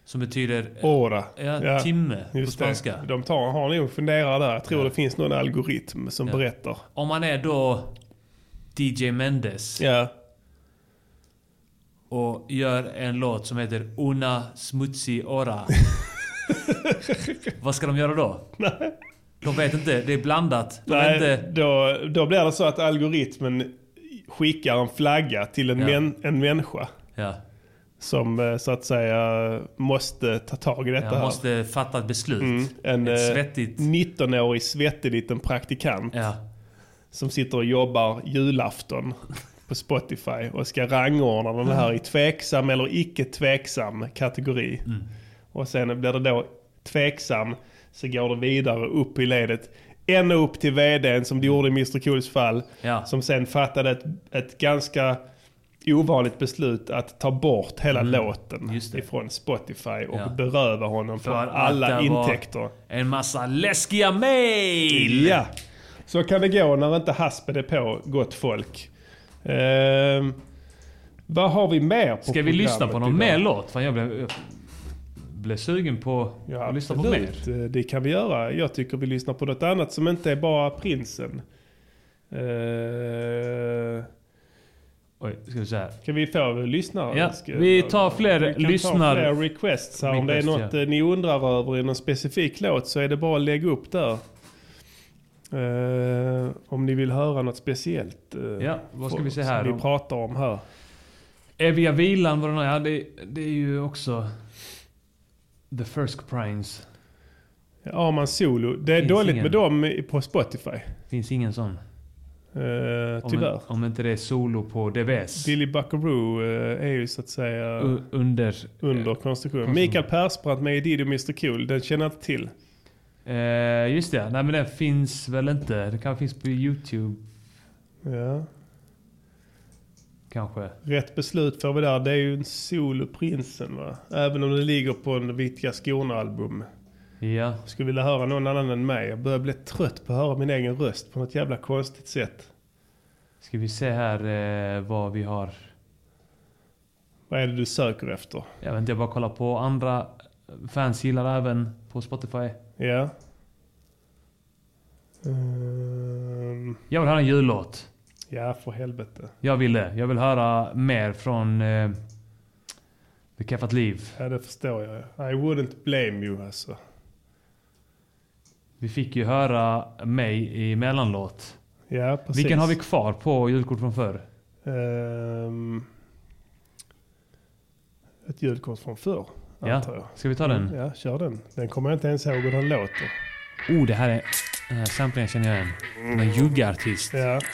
[SPEAKER 3] Som betyder... eh,
[SPEAKER 1] Åra.
[SPEAKER 3] Ja, timme på
[SPEAKER 1] Just det.
[SPEAKER 3] spanska.
[SPEAKER 1] De tar, har nog funderat där. Jag tror det finns någon algoritm som
[SPEAKER 3] Ja.
[SPEAKER 1] berättar.
[SPEAKER 3] Om man är då DJ Mendes
[SPEAKER 1] Ja.
[SPEAKER 3] och gör en låt som heter Una Smutsig Ora. Vad ska de göra då? De vet inte. Det är blandat. De vet
[SPEAKER 1] Nej,
[SPEAKER 3] inte.
[SPEAKER 1] då, då blir det så att algoritmen skickar en flagga till en,
[SPEAKER 3] Ja.
[SPEAKER 1] män, en människa.
[SPEAKER 3] Ja.
[SPEAKER 1] Som eh, så att säga måste ta tag i detta
[SPEAKER 3] Jag
[SPEAKER 1] här.
[SPEAKER 3] måste fatta ett beslut.
[SPEAKER 1] Mm, en
[SPEAKER 3] ett
[SPEAKER 1] eh,
[SPEAKER 3] svettigt...
[SPEAKER 1] 19-årig svettig liten praktikant.
[SPEAKER 3] Ja.
[SPEAKER 1] Som sitter och jobbar julafton på Spotify och ska rangordna den här i tveksam eller icke tveksam kategori.
[SPEAKER 3] Mm.
[SPEAKER 1] Och sen blir det då tveksam, så går det vidare upp i ledet. Ända upp till vdn som det gjorde i Mr Cools fall.
[SPEAKER 3] Ja.
[SPEAKER 1] Som sen fattade ett, ett ganska ovanligt beslut att ta bort hela låten ifrån Spotify och
[SPEAKER 3] Mm. Ja.
[SPEAKER 1] beröva honom på
[SPEAKER 3] För att
[SPEAKER 1] alla
[SPEAKER 3] det var-
[SPEAKER 1] intäkter.
[SPEAKER 3] En massa läskiga mail!
[SPEAKER 1] Ja, så kan det gå när inte haspen är på, gott folk. Ehm, vad har vi mer på
[SPEAKER 3] Ska vi lyssna på någon mer
[SPEAKER 1] mer
[SPEAKER 3] låt? Fan, jag blev, jag blev sugen på
[SPEAKER 1] Ja,
[SPEAKER 3] att lyssna på mer.
[SPEAKER 1] absolut. Eh, Det kan vi göra. Jag tycker vi lyssnar på något annat som inte är bara prinsen. Ehm,
[SPEAKER 3] Oj, ska vi se här.
[SPEAKER 1] kan vi få lyssnare?
[SPEAKER 3] Ja,
[SPEAKER 1] Ska-
[SPEAKER 3] vi tar fler
[SPEAKER 1] vi kan
[SPEAKER 3] lyssnar-
[SPEAKER 1] Ta fler requests här. Om det är
[SPEAKER 3] Requests,
[SPEAKER 1] något
[SPEAKER 3] ja.
[SPEAKER 1] eh, ni undrar över i någon specifik låt så är det bara att lägga upp där. Ehm, om ni vill höra något speciellt. eh,
[SPEAKER 3] Ja, vad ska vi se
[SPEAKER 1] som
[SPEAKER 3] här
[SPEAKER 1] Vi
[SPEAKER 3] om?
[SPEAKER 1] pratar om här.
[SPEAKER 3] Evia Vilan var det någon, ja, det, det är ju också... The First Primes.
[SPEAKER 1] Arman Solo. Det är
[SPEAKER 3] Finns
[SPEAKER 1] dåligt
[SPEAKER 3] ingen.
[SPEAKER 1] med dem i- på Spotify. Eh,
[SPEAKER 3] Finns ingen sån. Om,
[SPEAKER 1] tyvärr.
[SPEAKER 3] en, om inte det är solo på DVS.
[SPEAKER 1] Billy Buckaroo eh, är ju så att säga
[SPEAKER 3] U- under...
[SPEAKER 1] under konstruktion. Mikael Persbrandt med Dido Mr Cool. Den känner jag inte till.
[SPEAKER 3] Eh, just det, nej men den finns väl inte. Det kanske finns på YouTube
[SPEAKER 1] Ja.
[SPEAKER 3] kanske.
[SPEAKER 1] Rätt beslut får vi där. Det är ju en soloprinsen va? Även om det ligger på en Vittiga Skorna-album.
[SPEAKER 3] Ja.
[SPEAKER 1] Jag skulle vilja höra någon annan än mig. Jag börjar bli trött på att höra min egen röst på något jävla konstigt sätt.
[SPEAKER 3] Ska vi se här eh, vad vi har.
[SPEAKER 1] Vad är det du söker efter?
[SPEAKER 3] Jag vet inte, jag bara kollar på andra fans gillar även på Spotify.
[SPEAKER 1] Ja. Ehm,
[SPEAKER 3] Jag vill höra en jullåt.
[SPEAKER 1] ja, för helvete.
[SPEAKER 3] Jag vill det. Jag vill höra mer från eh, Bekaffat liv.
[SPEAKER 1] Ja, det förstår jag. I wouldn't blame you alltså.
[SPEAKER 3] Vi fick ju höra mig i mellanlåt.
[SPEAKER 1] Ja, precis.
[SPEAKER 3] Vilken har vi kvar på julkort från förr?
[SPEAKER 1] Ehm, ett julkort från förr,
[SPEAKER 3] Ja.
[SPEAKER 1] antar jag.
[SPEAKER 3] Ska vi ta den?
[SPEAKER 1] Mm, Ja, kör den. Den kommer jag inte ens ihåg hur den låter.
[SPEAKER 3] Oh, det här är... Den här samplingen känner jag igen. En juggartist.
[SPEAKER 1] Mm. Ja.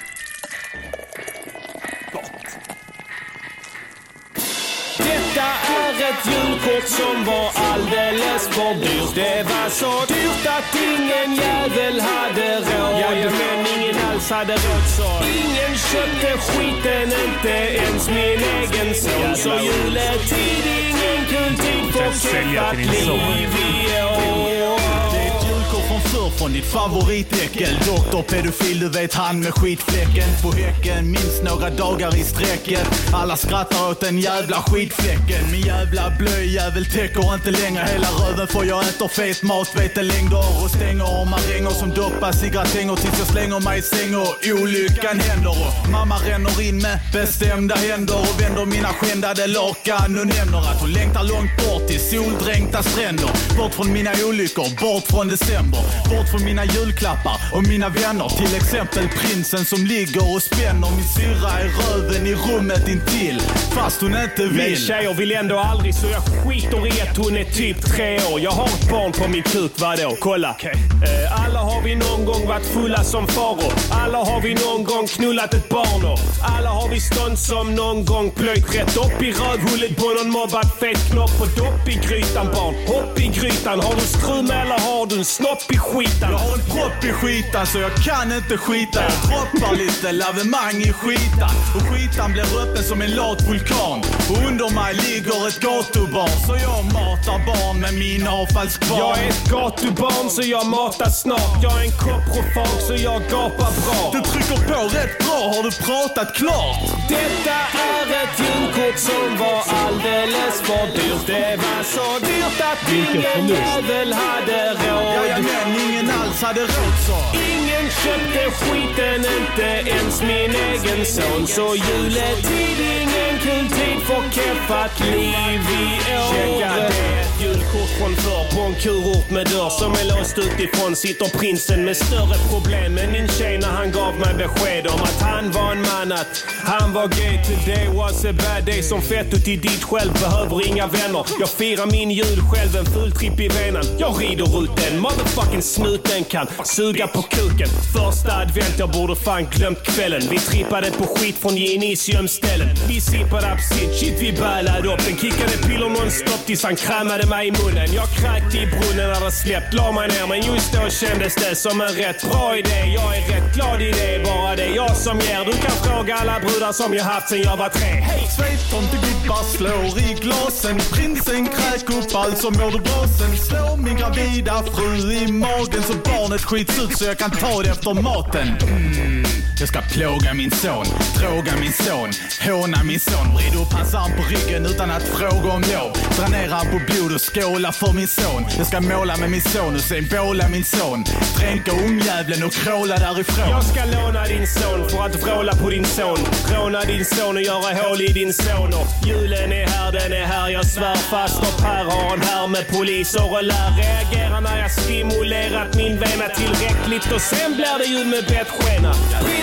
[SPEAKER 11] Detta är ett julkort som var alldeles för dyrt. Det var så dyrt att ingen jävel hade råd. Jajamän, ingen alls hade råd så. Ingen köpte skiten, inte ens min egen son. Så juletid, ingen kul tid för
[SPEAKER 9] sälja
[SPEAKER 11] keffat
[SPEAKER 9] till din son.
[SPEAKER 11] liv i år.
[SPEAKER 12] Det är ett julkort från förr från ditt favoritäckel. Doktor pedofil, du vet han med skitfläcken på häcken. Minns några dagar i sträcket. Alla skrattar åt den jävla skitfläcken. Min jävla blöjjävel täcker inte längre hela röven för jag äter fet mat, vetelängder och stänger och maränger som doppar cigarettänger tills jag slänger mig i säng och olyckan händer. Och mamma ränner in med bestämda händer och vänder mina skändade lakan och nämner att hon längtar långt bort till soldränkta stränder. Bort från mina olyckor, bort från december. Bort från mina julklappar och mina vänner. Till exempel prinsen som ligger och spänner min syrra i röven i rummet intill. Fast hon inte vill.
[SPEAKER 11] Men tjejer vill ändå aldrig så jag skiter i att hon är typ tre år. Jag har ett barn på min kuk, vadå? Kolla. Eh, alla har vi någon gång varit fulla som faror. Alla har vi någon gång knullat ett barn och Alla har vi stånd som någon gång plöjt rätt upp i rövhullet på någon mobbad fet knopp. Och dopp i grytan barn, hopp i grytan. Har du skrum eller har du en snopp i skitan?
[SPEAKER 12] Jag har en propp i skitan så jag kan inte skita. Jag droppar lite lavemang i skitan. Och skitan blir öppen som en lat vulkan. Och under mig ligger ett gatubarn. Så jag matar barn med min avfallskvarn.
[SPEAKER 11] Jag är ett gatubarn så jag matas snart. Jag är en koprofag så jag gapar bra.
[SPEAKER 12] Du trycker på rätt bra, har du pratat klart?
[SPEAKER 11] Detta är ett julkort som var alldeles för dyrt. Det var så dyrt att
[SPEAKER 12] Vilken
[SPEAKER 11] ingen
[SPEAKER 12] förlust.
[SPEAKER 11] jävel hade råd.
[SPEAKER 12] Jajamän, ingen alls hade råd så.
[SPEAKER 11] Ingen köpte skiten, inte ens min egen son. Så juletid, ingen kul tid för keffat liv i år. Checka det. Ett julkort från förr på en kurort med dörr som är låst utifrån. Sitter prinsen med större problem än min tjej när han gav mig besked om att han var en man, att han var gay. Today was a bad day. Som fetto till ditt själv behöver inga vänner. Jag firar min jul själv, en full tripp i venan. Jag rider ut den, motherfucking snuten kan suga på kuken. Första advent, jag borde fan glömt kvällen. Vi trippade på skit från Genisiumställen. Vi sippade absit, shit vi bälade upp den. Kickade piller nonstop tills han kramade mig i munnen. Jag kräkte i brunnen när det släppt, la mig ner. Men just då kändes det som en rätt bra idé. Jag är rätt glad i det, bara det är jag som ger. Du kan fråga alla brudar som jag haft sen jag var tre. Hej!
[SPEAKER 12] Tomtegubbar slår i glasen. Prinsen kräk upp allt som mår du bra sen. Slår min gravida fru i magen så barnet skjuts ut så jag kan ta det efter maten. Mm. Jag ska plåga min son, droga min son, håna min son. Vrid upp hans arm på ryggen utan att fråga om lov. Dra ner han på bord och skåla för min son. Jag ska måla med min son och sen båla min son. Dränka ungjävlen och kråla därifrån.
[SPEAKER 11] Jag ska låna din son för att vråla på din son. Råna din son och göra hål i din son. Och julen är här, den är här, jag svär. Faster Per har en här med poliser och lär. Reagera när jag stimulerat min vena tillräckligt. Och sen blir det jul med bettskena.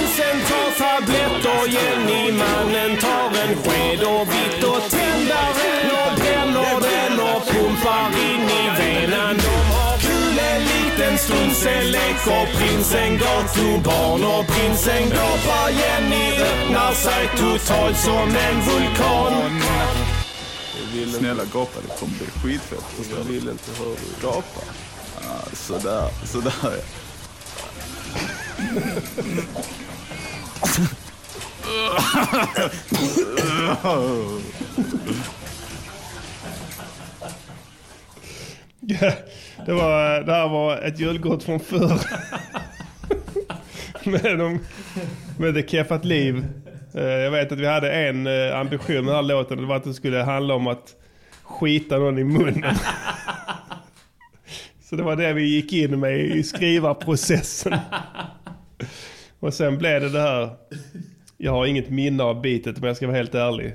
[SPEAKER 11] Prinsen tar tabletter, Jenny-mannen tar en sked. Och vitt och tändaren och bränner den och pumpar in i venan. De har kul en liten stund, sen leker prinsen gatubarn och prinsen gapar. Jenny öppnar sig totalt som en vulkan.
[SPEAKER 13] Snälla gapa, det kommer bli skitfett. Jag vill inte höra dig gapa. Ah, sådär, sådär ja.
[SPEAKER 1] Ja, det, var, det här var ett julkort från förr. med, de, med det keffat liv. Eh, Jag vet att vi hade en eh, ambition med den här låten. Det var att det skulle handla om att skita någon i munnen. Så det var det vi gick in med i skrivarprocessen. Och sen blev det det här. Jag har inget minne av bitet men jag ska vara helt ärlig.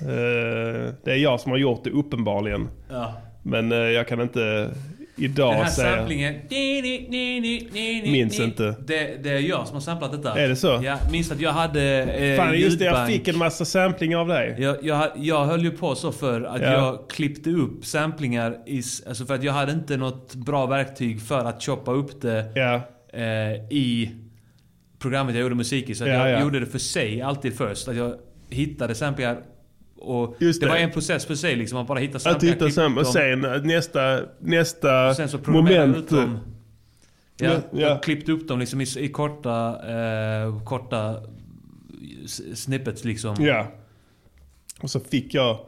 [SPEAKER 1] Eh, Det är jag som har gjort det uppenbarligen.
[SPEAKER 3] Ja.
[SPEAKER 1] Men eh, jag kan inte idag
[SPEAKER 3] Den här
[SPEAKER 1] säga...
[SPEAKER 3] samplingen... Ni, ni, ni, ni, ni, ni,
[SPEAKER 1] Minns
[SPEAKER 3] ni.
[SPEAKER 1] inte.
[SPEAKER 3] Det, det är jag som har samplat detta.
[SPEAKER 1] Är det så?
[SPEAKER 3] Ja, minns att jag hade eh,
[SPEAKER 1] Fan just det, jag
[SPEAKER 3] ljudbank.
[SPEAKER 1] fick en massa samplingar av dig.
[SPEAKER 3] Jag, jag, jag höll ju på så för att
[SPEAKER 1] Ja.
[SPEAKER 3] jag klippte upp samplingar. I, s- alltså för att jag hade inte något bra verktyg för att choppa upp det eh, i programmet jag gjorde musik i. Så att
[SPEAKER 1] Ja,
[SPEAKER 3] jag
[SPEAKER 1] ja.
[SPEAKER 3] gjorde det för sig alltid först. Att jag hittade samplingar. Och
[SPEAKER 1] Just
[SPEAKER 3] det, var
[SPEAKER 1] det.
[SPEAKER 3] en process för sig liksom. Att bara hitta
[SPEAKER 1] Att
[SPEAKER 3] samplingar.
[SPEAKER 1] hitta samma. Och
[SPEAKER 3] klippa
[SPEAKER 1] sen eh, nästa, nästa
[SPEAKER 3] Sen så programmerade
[SPEAKER 1] moment.
[SPEAKER 3] du dem. Ja,
[SPEAKER 1] Ja, ja.
[SPEAKER 3] och klippt upp dem liksom i, i korta, eh, korta s- snippets liksom.
[SPEAKER 1] eh, Ja. Och så fick jag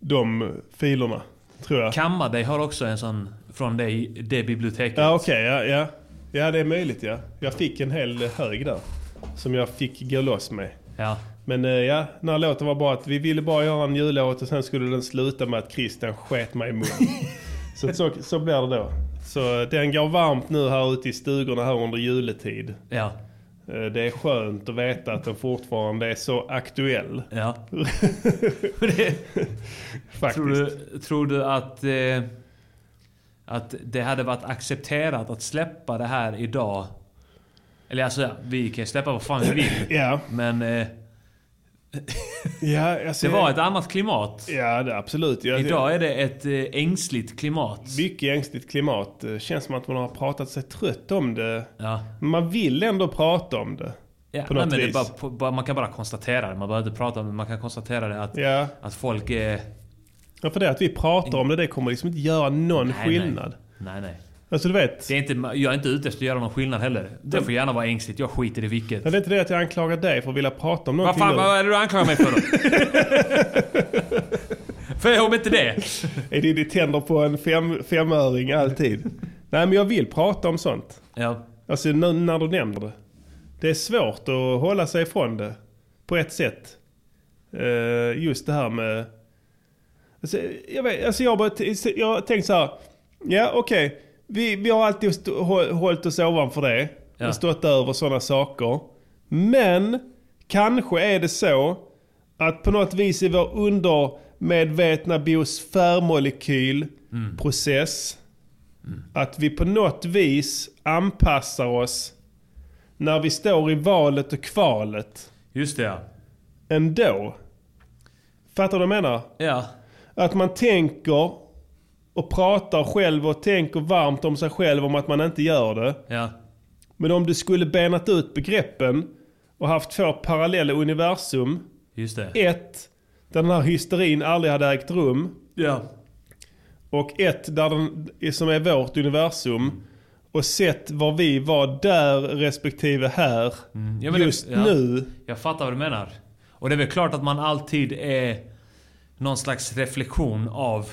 [SPEAKER 1] de filerna, tror jag.
[SPEAKER 3] Kamma dig har också en sån från dig, det biblioteket.
[SPEAKER 1] Ja, okej. ja, ja. ja, det är möjligt ja. Jag fick en hel hög där. Som jag fick gå loss med.
[SPEAKER 3] Ja.
[SPEAKER 1] Men eh, ja, den här låten var bara att vi ville bara göra en jullåt och sen skulle den sluta med att Christian sket mig i munnen. så, så, så blir det då. Så eh, den går varmt nu här ute i stugorna här under juletid.
[SPEAKER 3] Ja.
[SPEAKER 1] Eh, Det är skönt att veta att den fortfarande är så aktuell.
[SPEAKER 3] Ja.
[SPEAKER 1] Faktiskt.
[SPEAKER 3] Tror du, tror du att, eh, att det hade varit accepterat att släppa det här idag? Eller alltså, ja, vi kan släppa vad fan vi vill.
[SPEAKER 1] Ja.
[SPEAKER 3] Men eh,
[SPEAKER 1] Ja, alltså,
[SPEAKER 3] det var ett annat klimat.
[SPEAKER 1] Ja, det, absolut. Jag,
[SPEAKER 3] Idag är det ett eh, ängsligt klimat.
[SPEAKER 1] Mycket ängsligt klimat. Det känns som att man har pratat sig trött om det.
[SPEAKER 3] Ja.
[SPEAKER 1] Man vill ändå prata om det.
[SPEAKER 3] Ja,
[SPEAKER 1] på
[SPEAKER 3] nej,
[SPEAKER 1] något
[SPEAKER 3] men det är
[SPEAKER 1] vis.
[SPEAKER 3] bara, på- bara, man kan bara konstatera det. Man behöver inte prata om det. Man kan konstatera det att,
[SPEAKER 1] Ja.
[SPEAKER 3] att folk är...
[SPEAKER 1] Ja, för det att vi pratar om det, det kommer liksom inte göra någon
[SPEAKER 3] Nej,
[SPEAKER 1] skillnad.
[SPEAKER 3] Nej, nej. nej.
[SPEAKER 1] Alltså du vet.
[SPEAKER 3] Det är inte, jag är inte ute efter att göra någon skillnad heller. Det får gärna vara ängsligt. Jag skiter i vilket.
[SPEAKER 1] Men det är inte det att jag anklagar dig för att vilja prata
[SPEAKER 3] Vad
[SPEAKER 1] om någonting
[SPEAKER 3] fan
[SPEAKER 1] nu.
[SPEAKER 3] vad är det du anklagar mig för då? för om inte det.
[SPEAKER 1] Är det ditt tänder på en fem, femöring alltid? Nej, men jag vill prata om sånt.
[SPEAKER 3] Ja.
[SPEAKER 1] Alltså nu när du nämner det. Det är svårt att hålla sig ifrån det. På ett sätt. Eh, just det här med... Alltså jag, vet, alltså jag, bara t- jag har tänkt så här. Ja, okej. Vi, vi har alltid st- hå- hållit oss ovanför det.
[SPEAKER 3] Ja.
[SPEAKER 1] Och stått över sådana saker. Men kanske är det så att på något vis i vår undermedvetna biosfärmolekylprocess att vi på något vis anpassar oss när vi står i valet och kvalet.
[SPEAKER 3] Just det ja.
[SPEAKER 1] Ändå. Fattar du vad jag menar?
[SPEAKER 3] Ja.
[SPEAKER 1] Att man tänker och pratar själv och tänker varmt om sig själv om att man inte gör det.
[SPEAKER 3] Ja.
[SPEAKER 1] Men om du skulle benat ut begreppen och haft två parallella universum.
[SPEAKER 3] Just det.
[SPEAKER 1] Ett, där den här hysterin aldrig hade ägt rum.
[SPEAKER 3] Ja.
[SPEAKER 1] Och ett där den, som är vårt universum. Och sett var vi var där respektive här.
[SPEAKER 3] Mm. Ja, men det-
[SPEAKER 1] just
[SPEAKER 3] ja.
[SPEAKER 1] nu.
[SPEAKER 3] Jag fattar vad du menar. Och det är väl klart att man alltid är någon slags reflektion av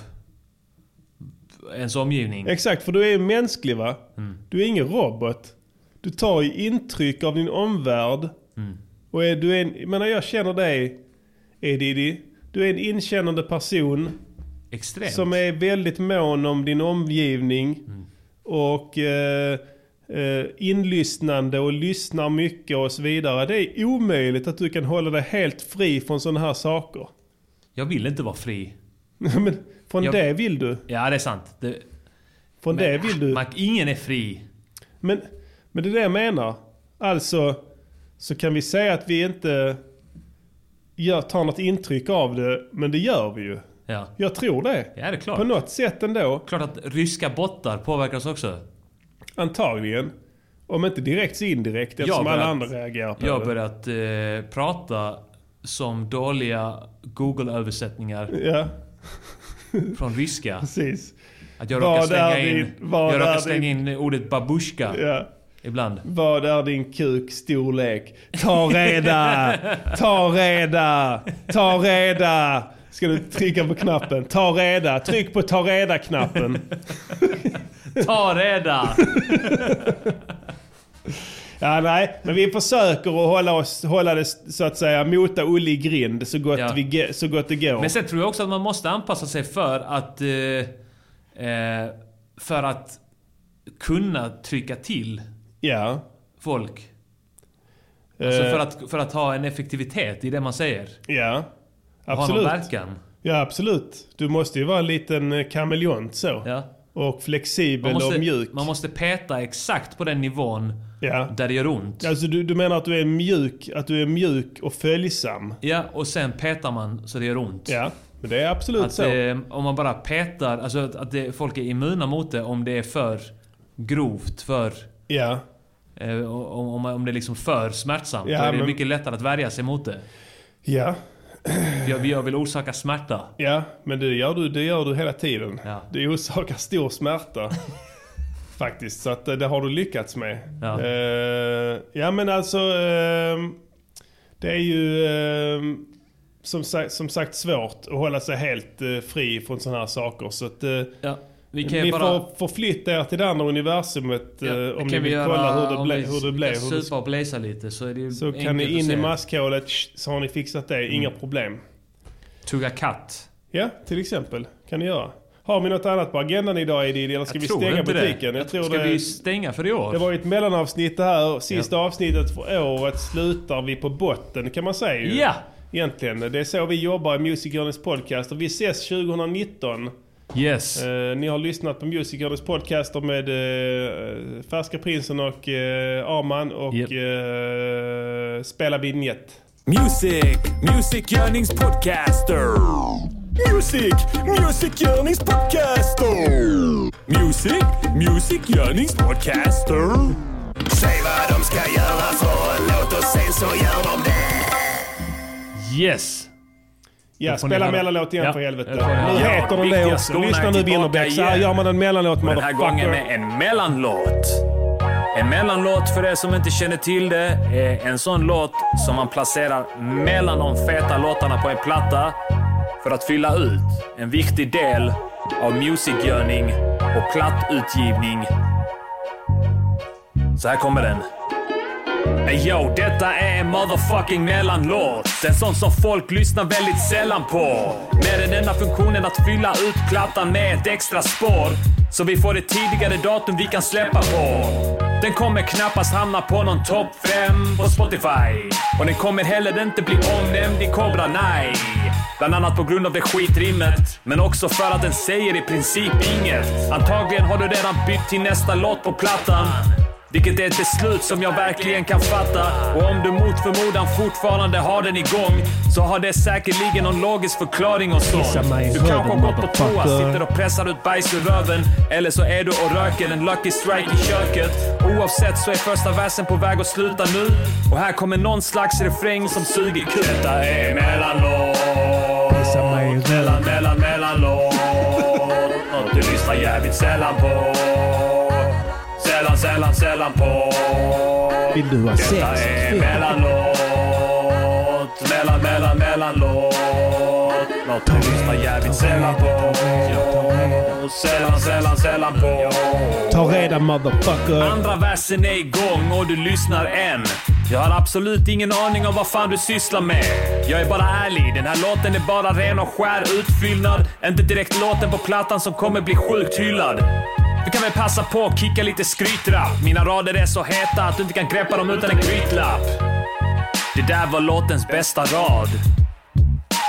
[SPEAKER 3] ens omgivning.
[SPEAKER 1] Exakt, för du är ju mänsklig va?
[SPEAKER 3] Mm.
[SPEAKER 1] Du är ingen robot. Du tar ju intryck av din omvärld.
[SPEAKER 3] Mm.
[SPEAKER 1] Och är, du är en, jag menar jag känner dig Edidi. Du är en inkännande person.
[SPEAKER 3] Extremt.
[SPEAKER 1] Som är väldigt mån om din omgivning.
[SPEAKER 3] Mm.
[SPEAKER 1] Och eh, eh, inlyssnande och lyssnar mycket och så vidare. Det är omöjligt att du kan hålla dig helt fri från sådana här saker.
[SPEAKER 3] Jag vill inte vara fri.
[SPEAKER 1] Men från
[SPEAKER 3] Jag-
[SPEAKER 1] det vill du.
[SPEAKER 3] Ja, det är sant. Det,
[SPEAKER 1] Från det vill du.
[SPEAKER 3] Man, ingen är fri.
[SPEAKER 1] Men, men det är det jag menar. Alltså, så kan vi säga att vi inte gör, tar något intryck av det, men det gör vi ju.
[SPEAKER 3] Ja.
[SPEAKER 1] Jag tror det.
[SPEAKER 3] Ja, det är klart.
[SPEAKER 1] På något sätt ändå.
[SPEAKER 3] Klart att ryska bottar påverkas också.
[SPEAKER 1] Antagligen. Om inte direkt så indirekt
[SPEAKER 3] Jag
[SPEAKER 1] eftersom
[SPEAKER 3] har
[SPEAKER 1] alla
[SPEAKER 3] börjat-
[SPEAKER 1] andra reagerar på
[SPEAKER 3] Jag har
[SPEAKER 1] det.
[SPEAKER 3] börjat eh, prata som dåliga Google-översättningar.
[SPEAKER 1] Ja.
[SPEAKER 3] Från ryska.
[SPEAKER 1] Precis.
[SPEAKER 3] Att jag
[SPEAKER 1] Vad
[SPEAKER 3] råkar
[SPEAKER 1] är
[SPEAKER 3] slänga, in,
[SPEAKER 1] din- vad
[SPEAKER 3] jag
[SPEAKER 1] är
[SPEAKER 3] råkar slänga in ordet babushka.
[SPEAKER 1] Ja.
[SPEAKER 3] Ibland.
[SPEAKER 1] Vad är din kuk storlek? Ta reda! Ta reda! Ta reda! Ska du trycka på knappen? Ta reda! Tryck på ta reda-knappen.
[SPEAKER 3] Ta reda!
[SPEAKER 1] Ja, nej, men vi försöker att hålla, oss, hålla det så att säga, mota Olle i grind så gott, vi, ge- så gott det går.
[SPEAKER 3] Men sen tror jag också att man måste anpassa sig för att... eh, Eh, för att kunna trycka till
[SPEAKER 1] ja.
[SPEAKER 3] folk. Alltså
[SPEAKER 1] Eh.
[SPEAKER 3] för att, för att ha en effektivitet i det man säger.
[SPEAKER 1] Ja,
[SPEAKER 3] Och ha någon verkan.
[SPEAKER 1] Ja, absolut. Du måste ju vara en liten eh, kameleont så. Och flexibel
[SPEAKER 3] Man måste,
[SPEAKER 1] och mjuk.
[SPEAKER 3] man måste peta exakt på den nivån där det gör ont.
[SPEAKER 1] Alltså du, du menar att du är mjuk, att du är mjuk och följsam?
[SPEAKER 3] Ja, och sen petar man så det gör ont.
[SPEAKER 1] Ja, men det är absolut
[SPEAKER 3] att,
[SPEAKER 1] så.
[SPEAKER 3] eh, om man bara petar, alltså att, att det, folk är immuna mot det om det är för grovt, för...
[SPEAKER 1] Ja.
[SPEAKER 3] Eh, om, om, om det är liksom för smärtsamt.
[SPEAKER 1] Ja,
[SPEAKER 3] då är det
[SPEAKER 1] men-
[SPEAKER 3] mycket lättare att värja sig mot det.
[SPEAKER 1] Ja.
[SPEAKER 3] Jag, jag vill orsaka smärta.
[SPEAKER 1] Ja, men det gör du, det gör du hela tiden. Du orsakar stor smärta. Faktiskt, så att eh, det har du lyckats med.
[SPEAKER 3] Ja.
[SPEAKER 1] Eh, ja men alltså, eh, det är ju eh, som, sa- som sagt svårt att hålla sig helt eh, fri från sådana här saker. Så att, eh,
[SPEAKER 3] vi kan ju
[SPEAKER 1] ni
[SPEAKER 3] bara-
[SPEAKER 1] får förflytta er till det andra universumet eh,
[SPEAKER 3] Det
[SPEAKER 1] om
[SPEAKER 3] kan
[SPEAKER 1] ni
[SPEAKER 3] vi
[SPEAKER 1] vill
[SPEAKER 3] göra
[SPEAKER 1] kolla hur det,
[SPEAKER 3] om
[SPEAKER 1] ble,
[SPEAKER 3] vi
[SPEAKER 1] hur det blev.
[SPEAKER 3] ska
[SPEAKER 1] Hur det
[SPEAKER 3] Supa och blazea lite så är det ju
[SPEAKER 1] så kan
[SPEAKER 3] enkelt
[SPEAKER 1] ni
[SPEAKER 3] att
[SPEAKER 1] in i
[SPEAKER 3] se. Mm.
[SPEAKER 1] maskhålet, tsch, så har ni fixat det. Inga problem.
[SPEAKER 3] Tugga katt.
[SPEAKER 1] Ja, till exempel. Kan ni göra. Har vi något annat på agendan idag Edidi? Eller ska
[SPEAKER 3] Jag
[SPEAKER 1] vi
[SPEAKER 3] tror
[SPEAKER 1] stänga
[SPEAKER 3] inte det.
[SPEAKER 1] butiken?
[SPEAKER 3] Jag tror- ska vi stänga för i år?
[SPEAKER 1] Det var ju ett mellanavsnitt det här. Sista avsnittet för året slutar vi på botten kan man säga ju.
[SPEAKER 3] Ja.
[SPEAKER 1] Egentligen. Det är så vi jobbar i Music Journeys podcast. Och vi ses 2019.
[SPEAKER 3] Yes.
[SPEAKER 1] Eh, ni har lyssnat på Music Journeys podcaster med eh, Färska Prinsen och eh, Arman och eh, Spela Vignett.
[SPEAKER 11] Music, Music Yearnings Podcaster. Music, Music Yearnings Podcaster. Music, Music Yearnings Podcaster.
[SPEAKER 9] Säg vad de ska göra för en låt och sen så gör de det.
[SPEAKER 3] Yes!
[SPEAKER 1] Ja,
[SPEAKER 3] Då får
[SPEAKER 1] spela
[SPEAKER 3] ni höra.
[SPEAKER 1] mellanlåt igen
[SPEAKER 3] Ja,
[SPEAKER 1] för helvete.
[SPEAKER 3] det får ni höra.
[SPEAKER 1] Nu heter den det
[SPEAKER 6] Viktiga
[SPEAKER 1] också.
[SPEAKER 6] skorna
[SPEAKER 1] Lyssna
[SPEAKER 6] är
[SPEAKER 1] nu
[SPEAKER 6] tillbaka
[SPEAKER 1] Winnerbäck. Så här
[SPEAKER 6] igen.
[SPEAKER 1] gör man en mellanlåt
[SPEAKER 6] Och Den här gången
[SPEAKER 1] motherfucker.
[SPEAKER 6] med en mellanlåt. En mellanlåt, för er som inte känner till det, är en sån låt som man placerar mellan de feta låtarna på en platta för att fylla ut en viktig del av musikgörning och plattutgivning. Så här kommer den. Ey, Yo, detta är en motherfucking mellanlåt. En sån som folk lyssnar väldigt sällan på. Med den enda funktionen att fylla ut plattan med ett extra spår. Så vi får ett tidigare datum vi kan släppa på. Den kommer knappast hamna på någon topp 5 på Spotify. Och den kommer heller inte bli omnämnd i Cobra Nej. Bland annat på grund av det skitrimmet, men också för att den säger i princip inget. Antagligen har du redan bytt till nästa låt på plattan. Vilket är ett beslut som jag verkligen kan fatta. Och om du mot förmodan fortfarande har den igång så har det säkerligen någon logisk förklaring och sånt. Du kanske har gått på toa, sitter och pressar ut bajs ur röven. Eller så är du och röker en Lucky Strike i köket. Oavsett så är första versen på väg att sluta nu. Och här kommer någon slags refräng som suger kuk. Detta är mellanlåt. Mellan, mellan, mellanlåt. Något du lyssnar jävligt sällan på. Sällan, sällan, sällan på.
[SPEAKER 9] Vill du ha sex?
[SPEAKER 6] Detta är mellanlåt. Mellan, mellan, mellanlåt. Något du lyssnar jävligt sällan på. Sällan, sällan, sällan på.
[SPEAKER 1] Ta reda motherfucker.
[SPEAKER 6] Andra versen är igång och du lyssnar än. Jag har absolut ingen aning om vad fan du sysslar med. Jag är bara ärlig, den här låten är bara ren och skär utfyllnad. Inte direkt låten på plattan som kommer bli sjukt hyllad. Du kan väl passa på att kicka lite skrytrapp. Mina rader är så heta att du inte kan greppa dem utan en grytlapp. Det där var låtens bästa rad.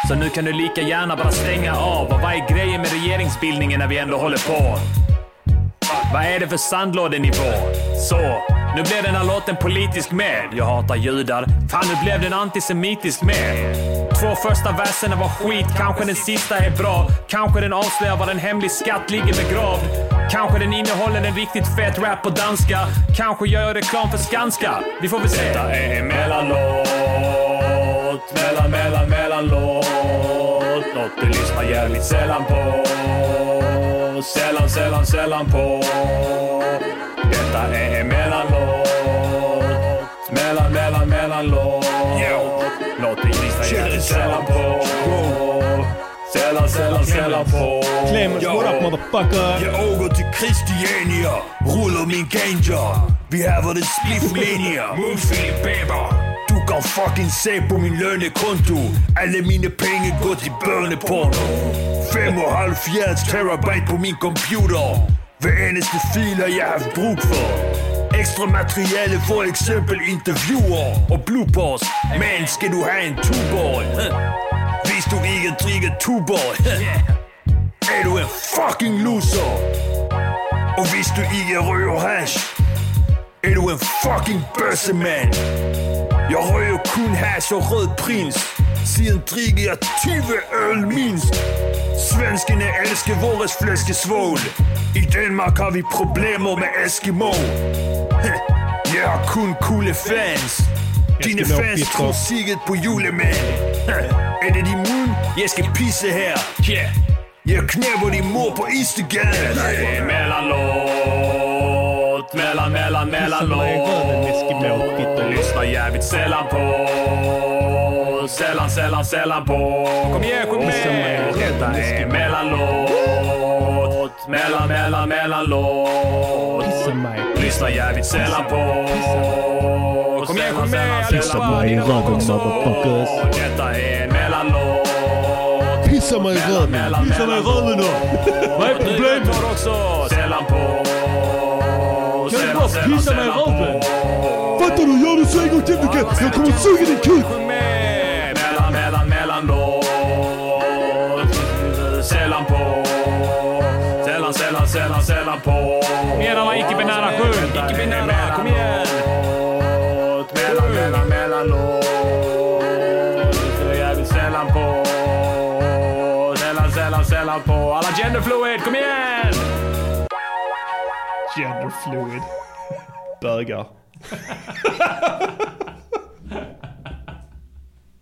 [SPEAKER 6] Så nu kan du lika gärna bara stänga av. Och vad är grejen med regeringsbildningen när vi ändå håller på? Vad är det för sandlådenivå? Så, nu blev den här låten politisk med. Jag hatar judar. Fan, nu blev den antisemitisk med. Två första verserna var skit, kanske den sista är bra. Kanske den avslöjar var en hemlig skatt ligger begravd. Kanske den innehåller en riktigt fet rap på danska. Kanske gör jag reklam för Skanska. Vi får väl se. Detta är mellanlåt, mellan, mellan, mellanlåt. Något du lyssnar jävligt sällan på. Sällan, sällan, sällan på. Detta är en mellanlåt. Mellan, mellan, mellanlåt. Något du lyssnar jävligt sällan på. Sällan, sällan, sällan på.
[SPEAKER 1] Clemens, what up motherfucker?
[SPEAKER 2] Jeg åker til Christiania, ruller min ganja. Vi haver det splifflinjer. Mund Philip Baber. Du kan fucking se på min lønnekonto. Alle mine penge går til børneporno. 75 terabyte på min computer. Hver eneste filer jeg har haft brug for. Ekstra materiale, for eksempel interviewer og bloopers. Men skal du have en tuborg? Hvis du ikke drikker tuborg, er du en fucking loser. Og hvis du ikke røger hash, er du en fucking bøssemand. Jeg røger kun hash og rød prins. Siden drikker jeg 20 øl minst. Svenskene elsker vores flæskesvål. I Danmark har vi problemer med Eskimo. Jeg har kun coole fans. Dine
[SPEAKER 1] Eskimo
[SPEAKER 2] fans
[SPEAKER 1] fitter.
[SPEAKER 2] tror sikkert på julemand. Er det din mund? Jeg skal pisse her. Yeah. Jeg knæpper din mor på Istegade.
[SPEAKER 6] Det är mellanlåt, mellan, mellan, mellanlåt. Lyssnar jävligt sällan på. Sällan, sällan, sällan på. Kom igen, sjung med! Detta är mellanlåt, mellan, mellan, mellanlåt. Lyssnar jävligt sällan på. Kom igen, sjung med allihopa!
[SPEAKER 1] mig i röven motherfuckers.
[SPEAKER 6] Detta är mellanlåt.
[SPEAKER 1] Pissa mig i röven. Pissa mig i röven då.
[SPEAKER 6] Vad är problemet? tar också sällan på.
[SPEAKER 11] Kan du bara pissa mig i röven?
[SPEAKER 6] Fattar
[SPEAKER 11] du? Gör du så en gång till Micke! Jag kommer att suga din kuk!
[SPEAKER 6] Mellan, mellan, mellanlåt. Sällan på. Sällan, sällan, sällan, sällan på.
[SPEAKER 3] Mera var icke-binära sjung.
[SPEAKER 6] Icke-binära, kom igen. Mellan, mellan, mellanlåt. Så jävligt sällan på. Sällan, sällan, sällan på. Alla genderfluid, kom igen!
[SPEAKER 1] Genderfluid. Bögar.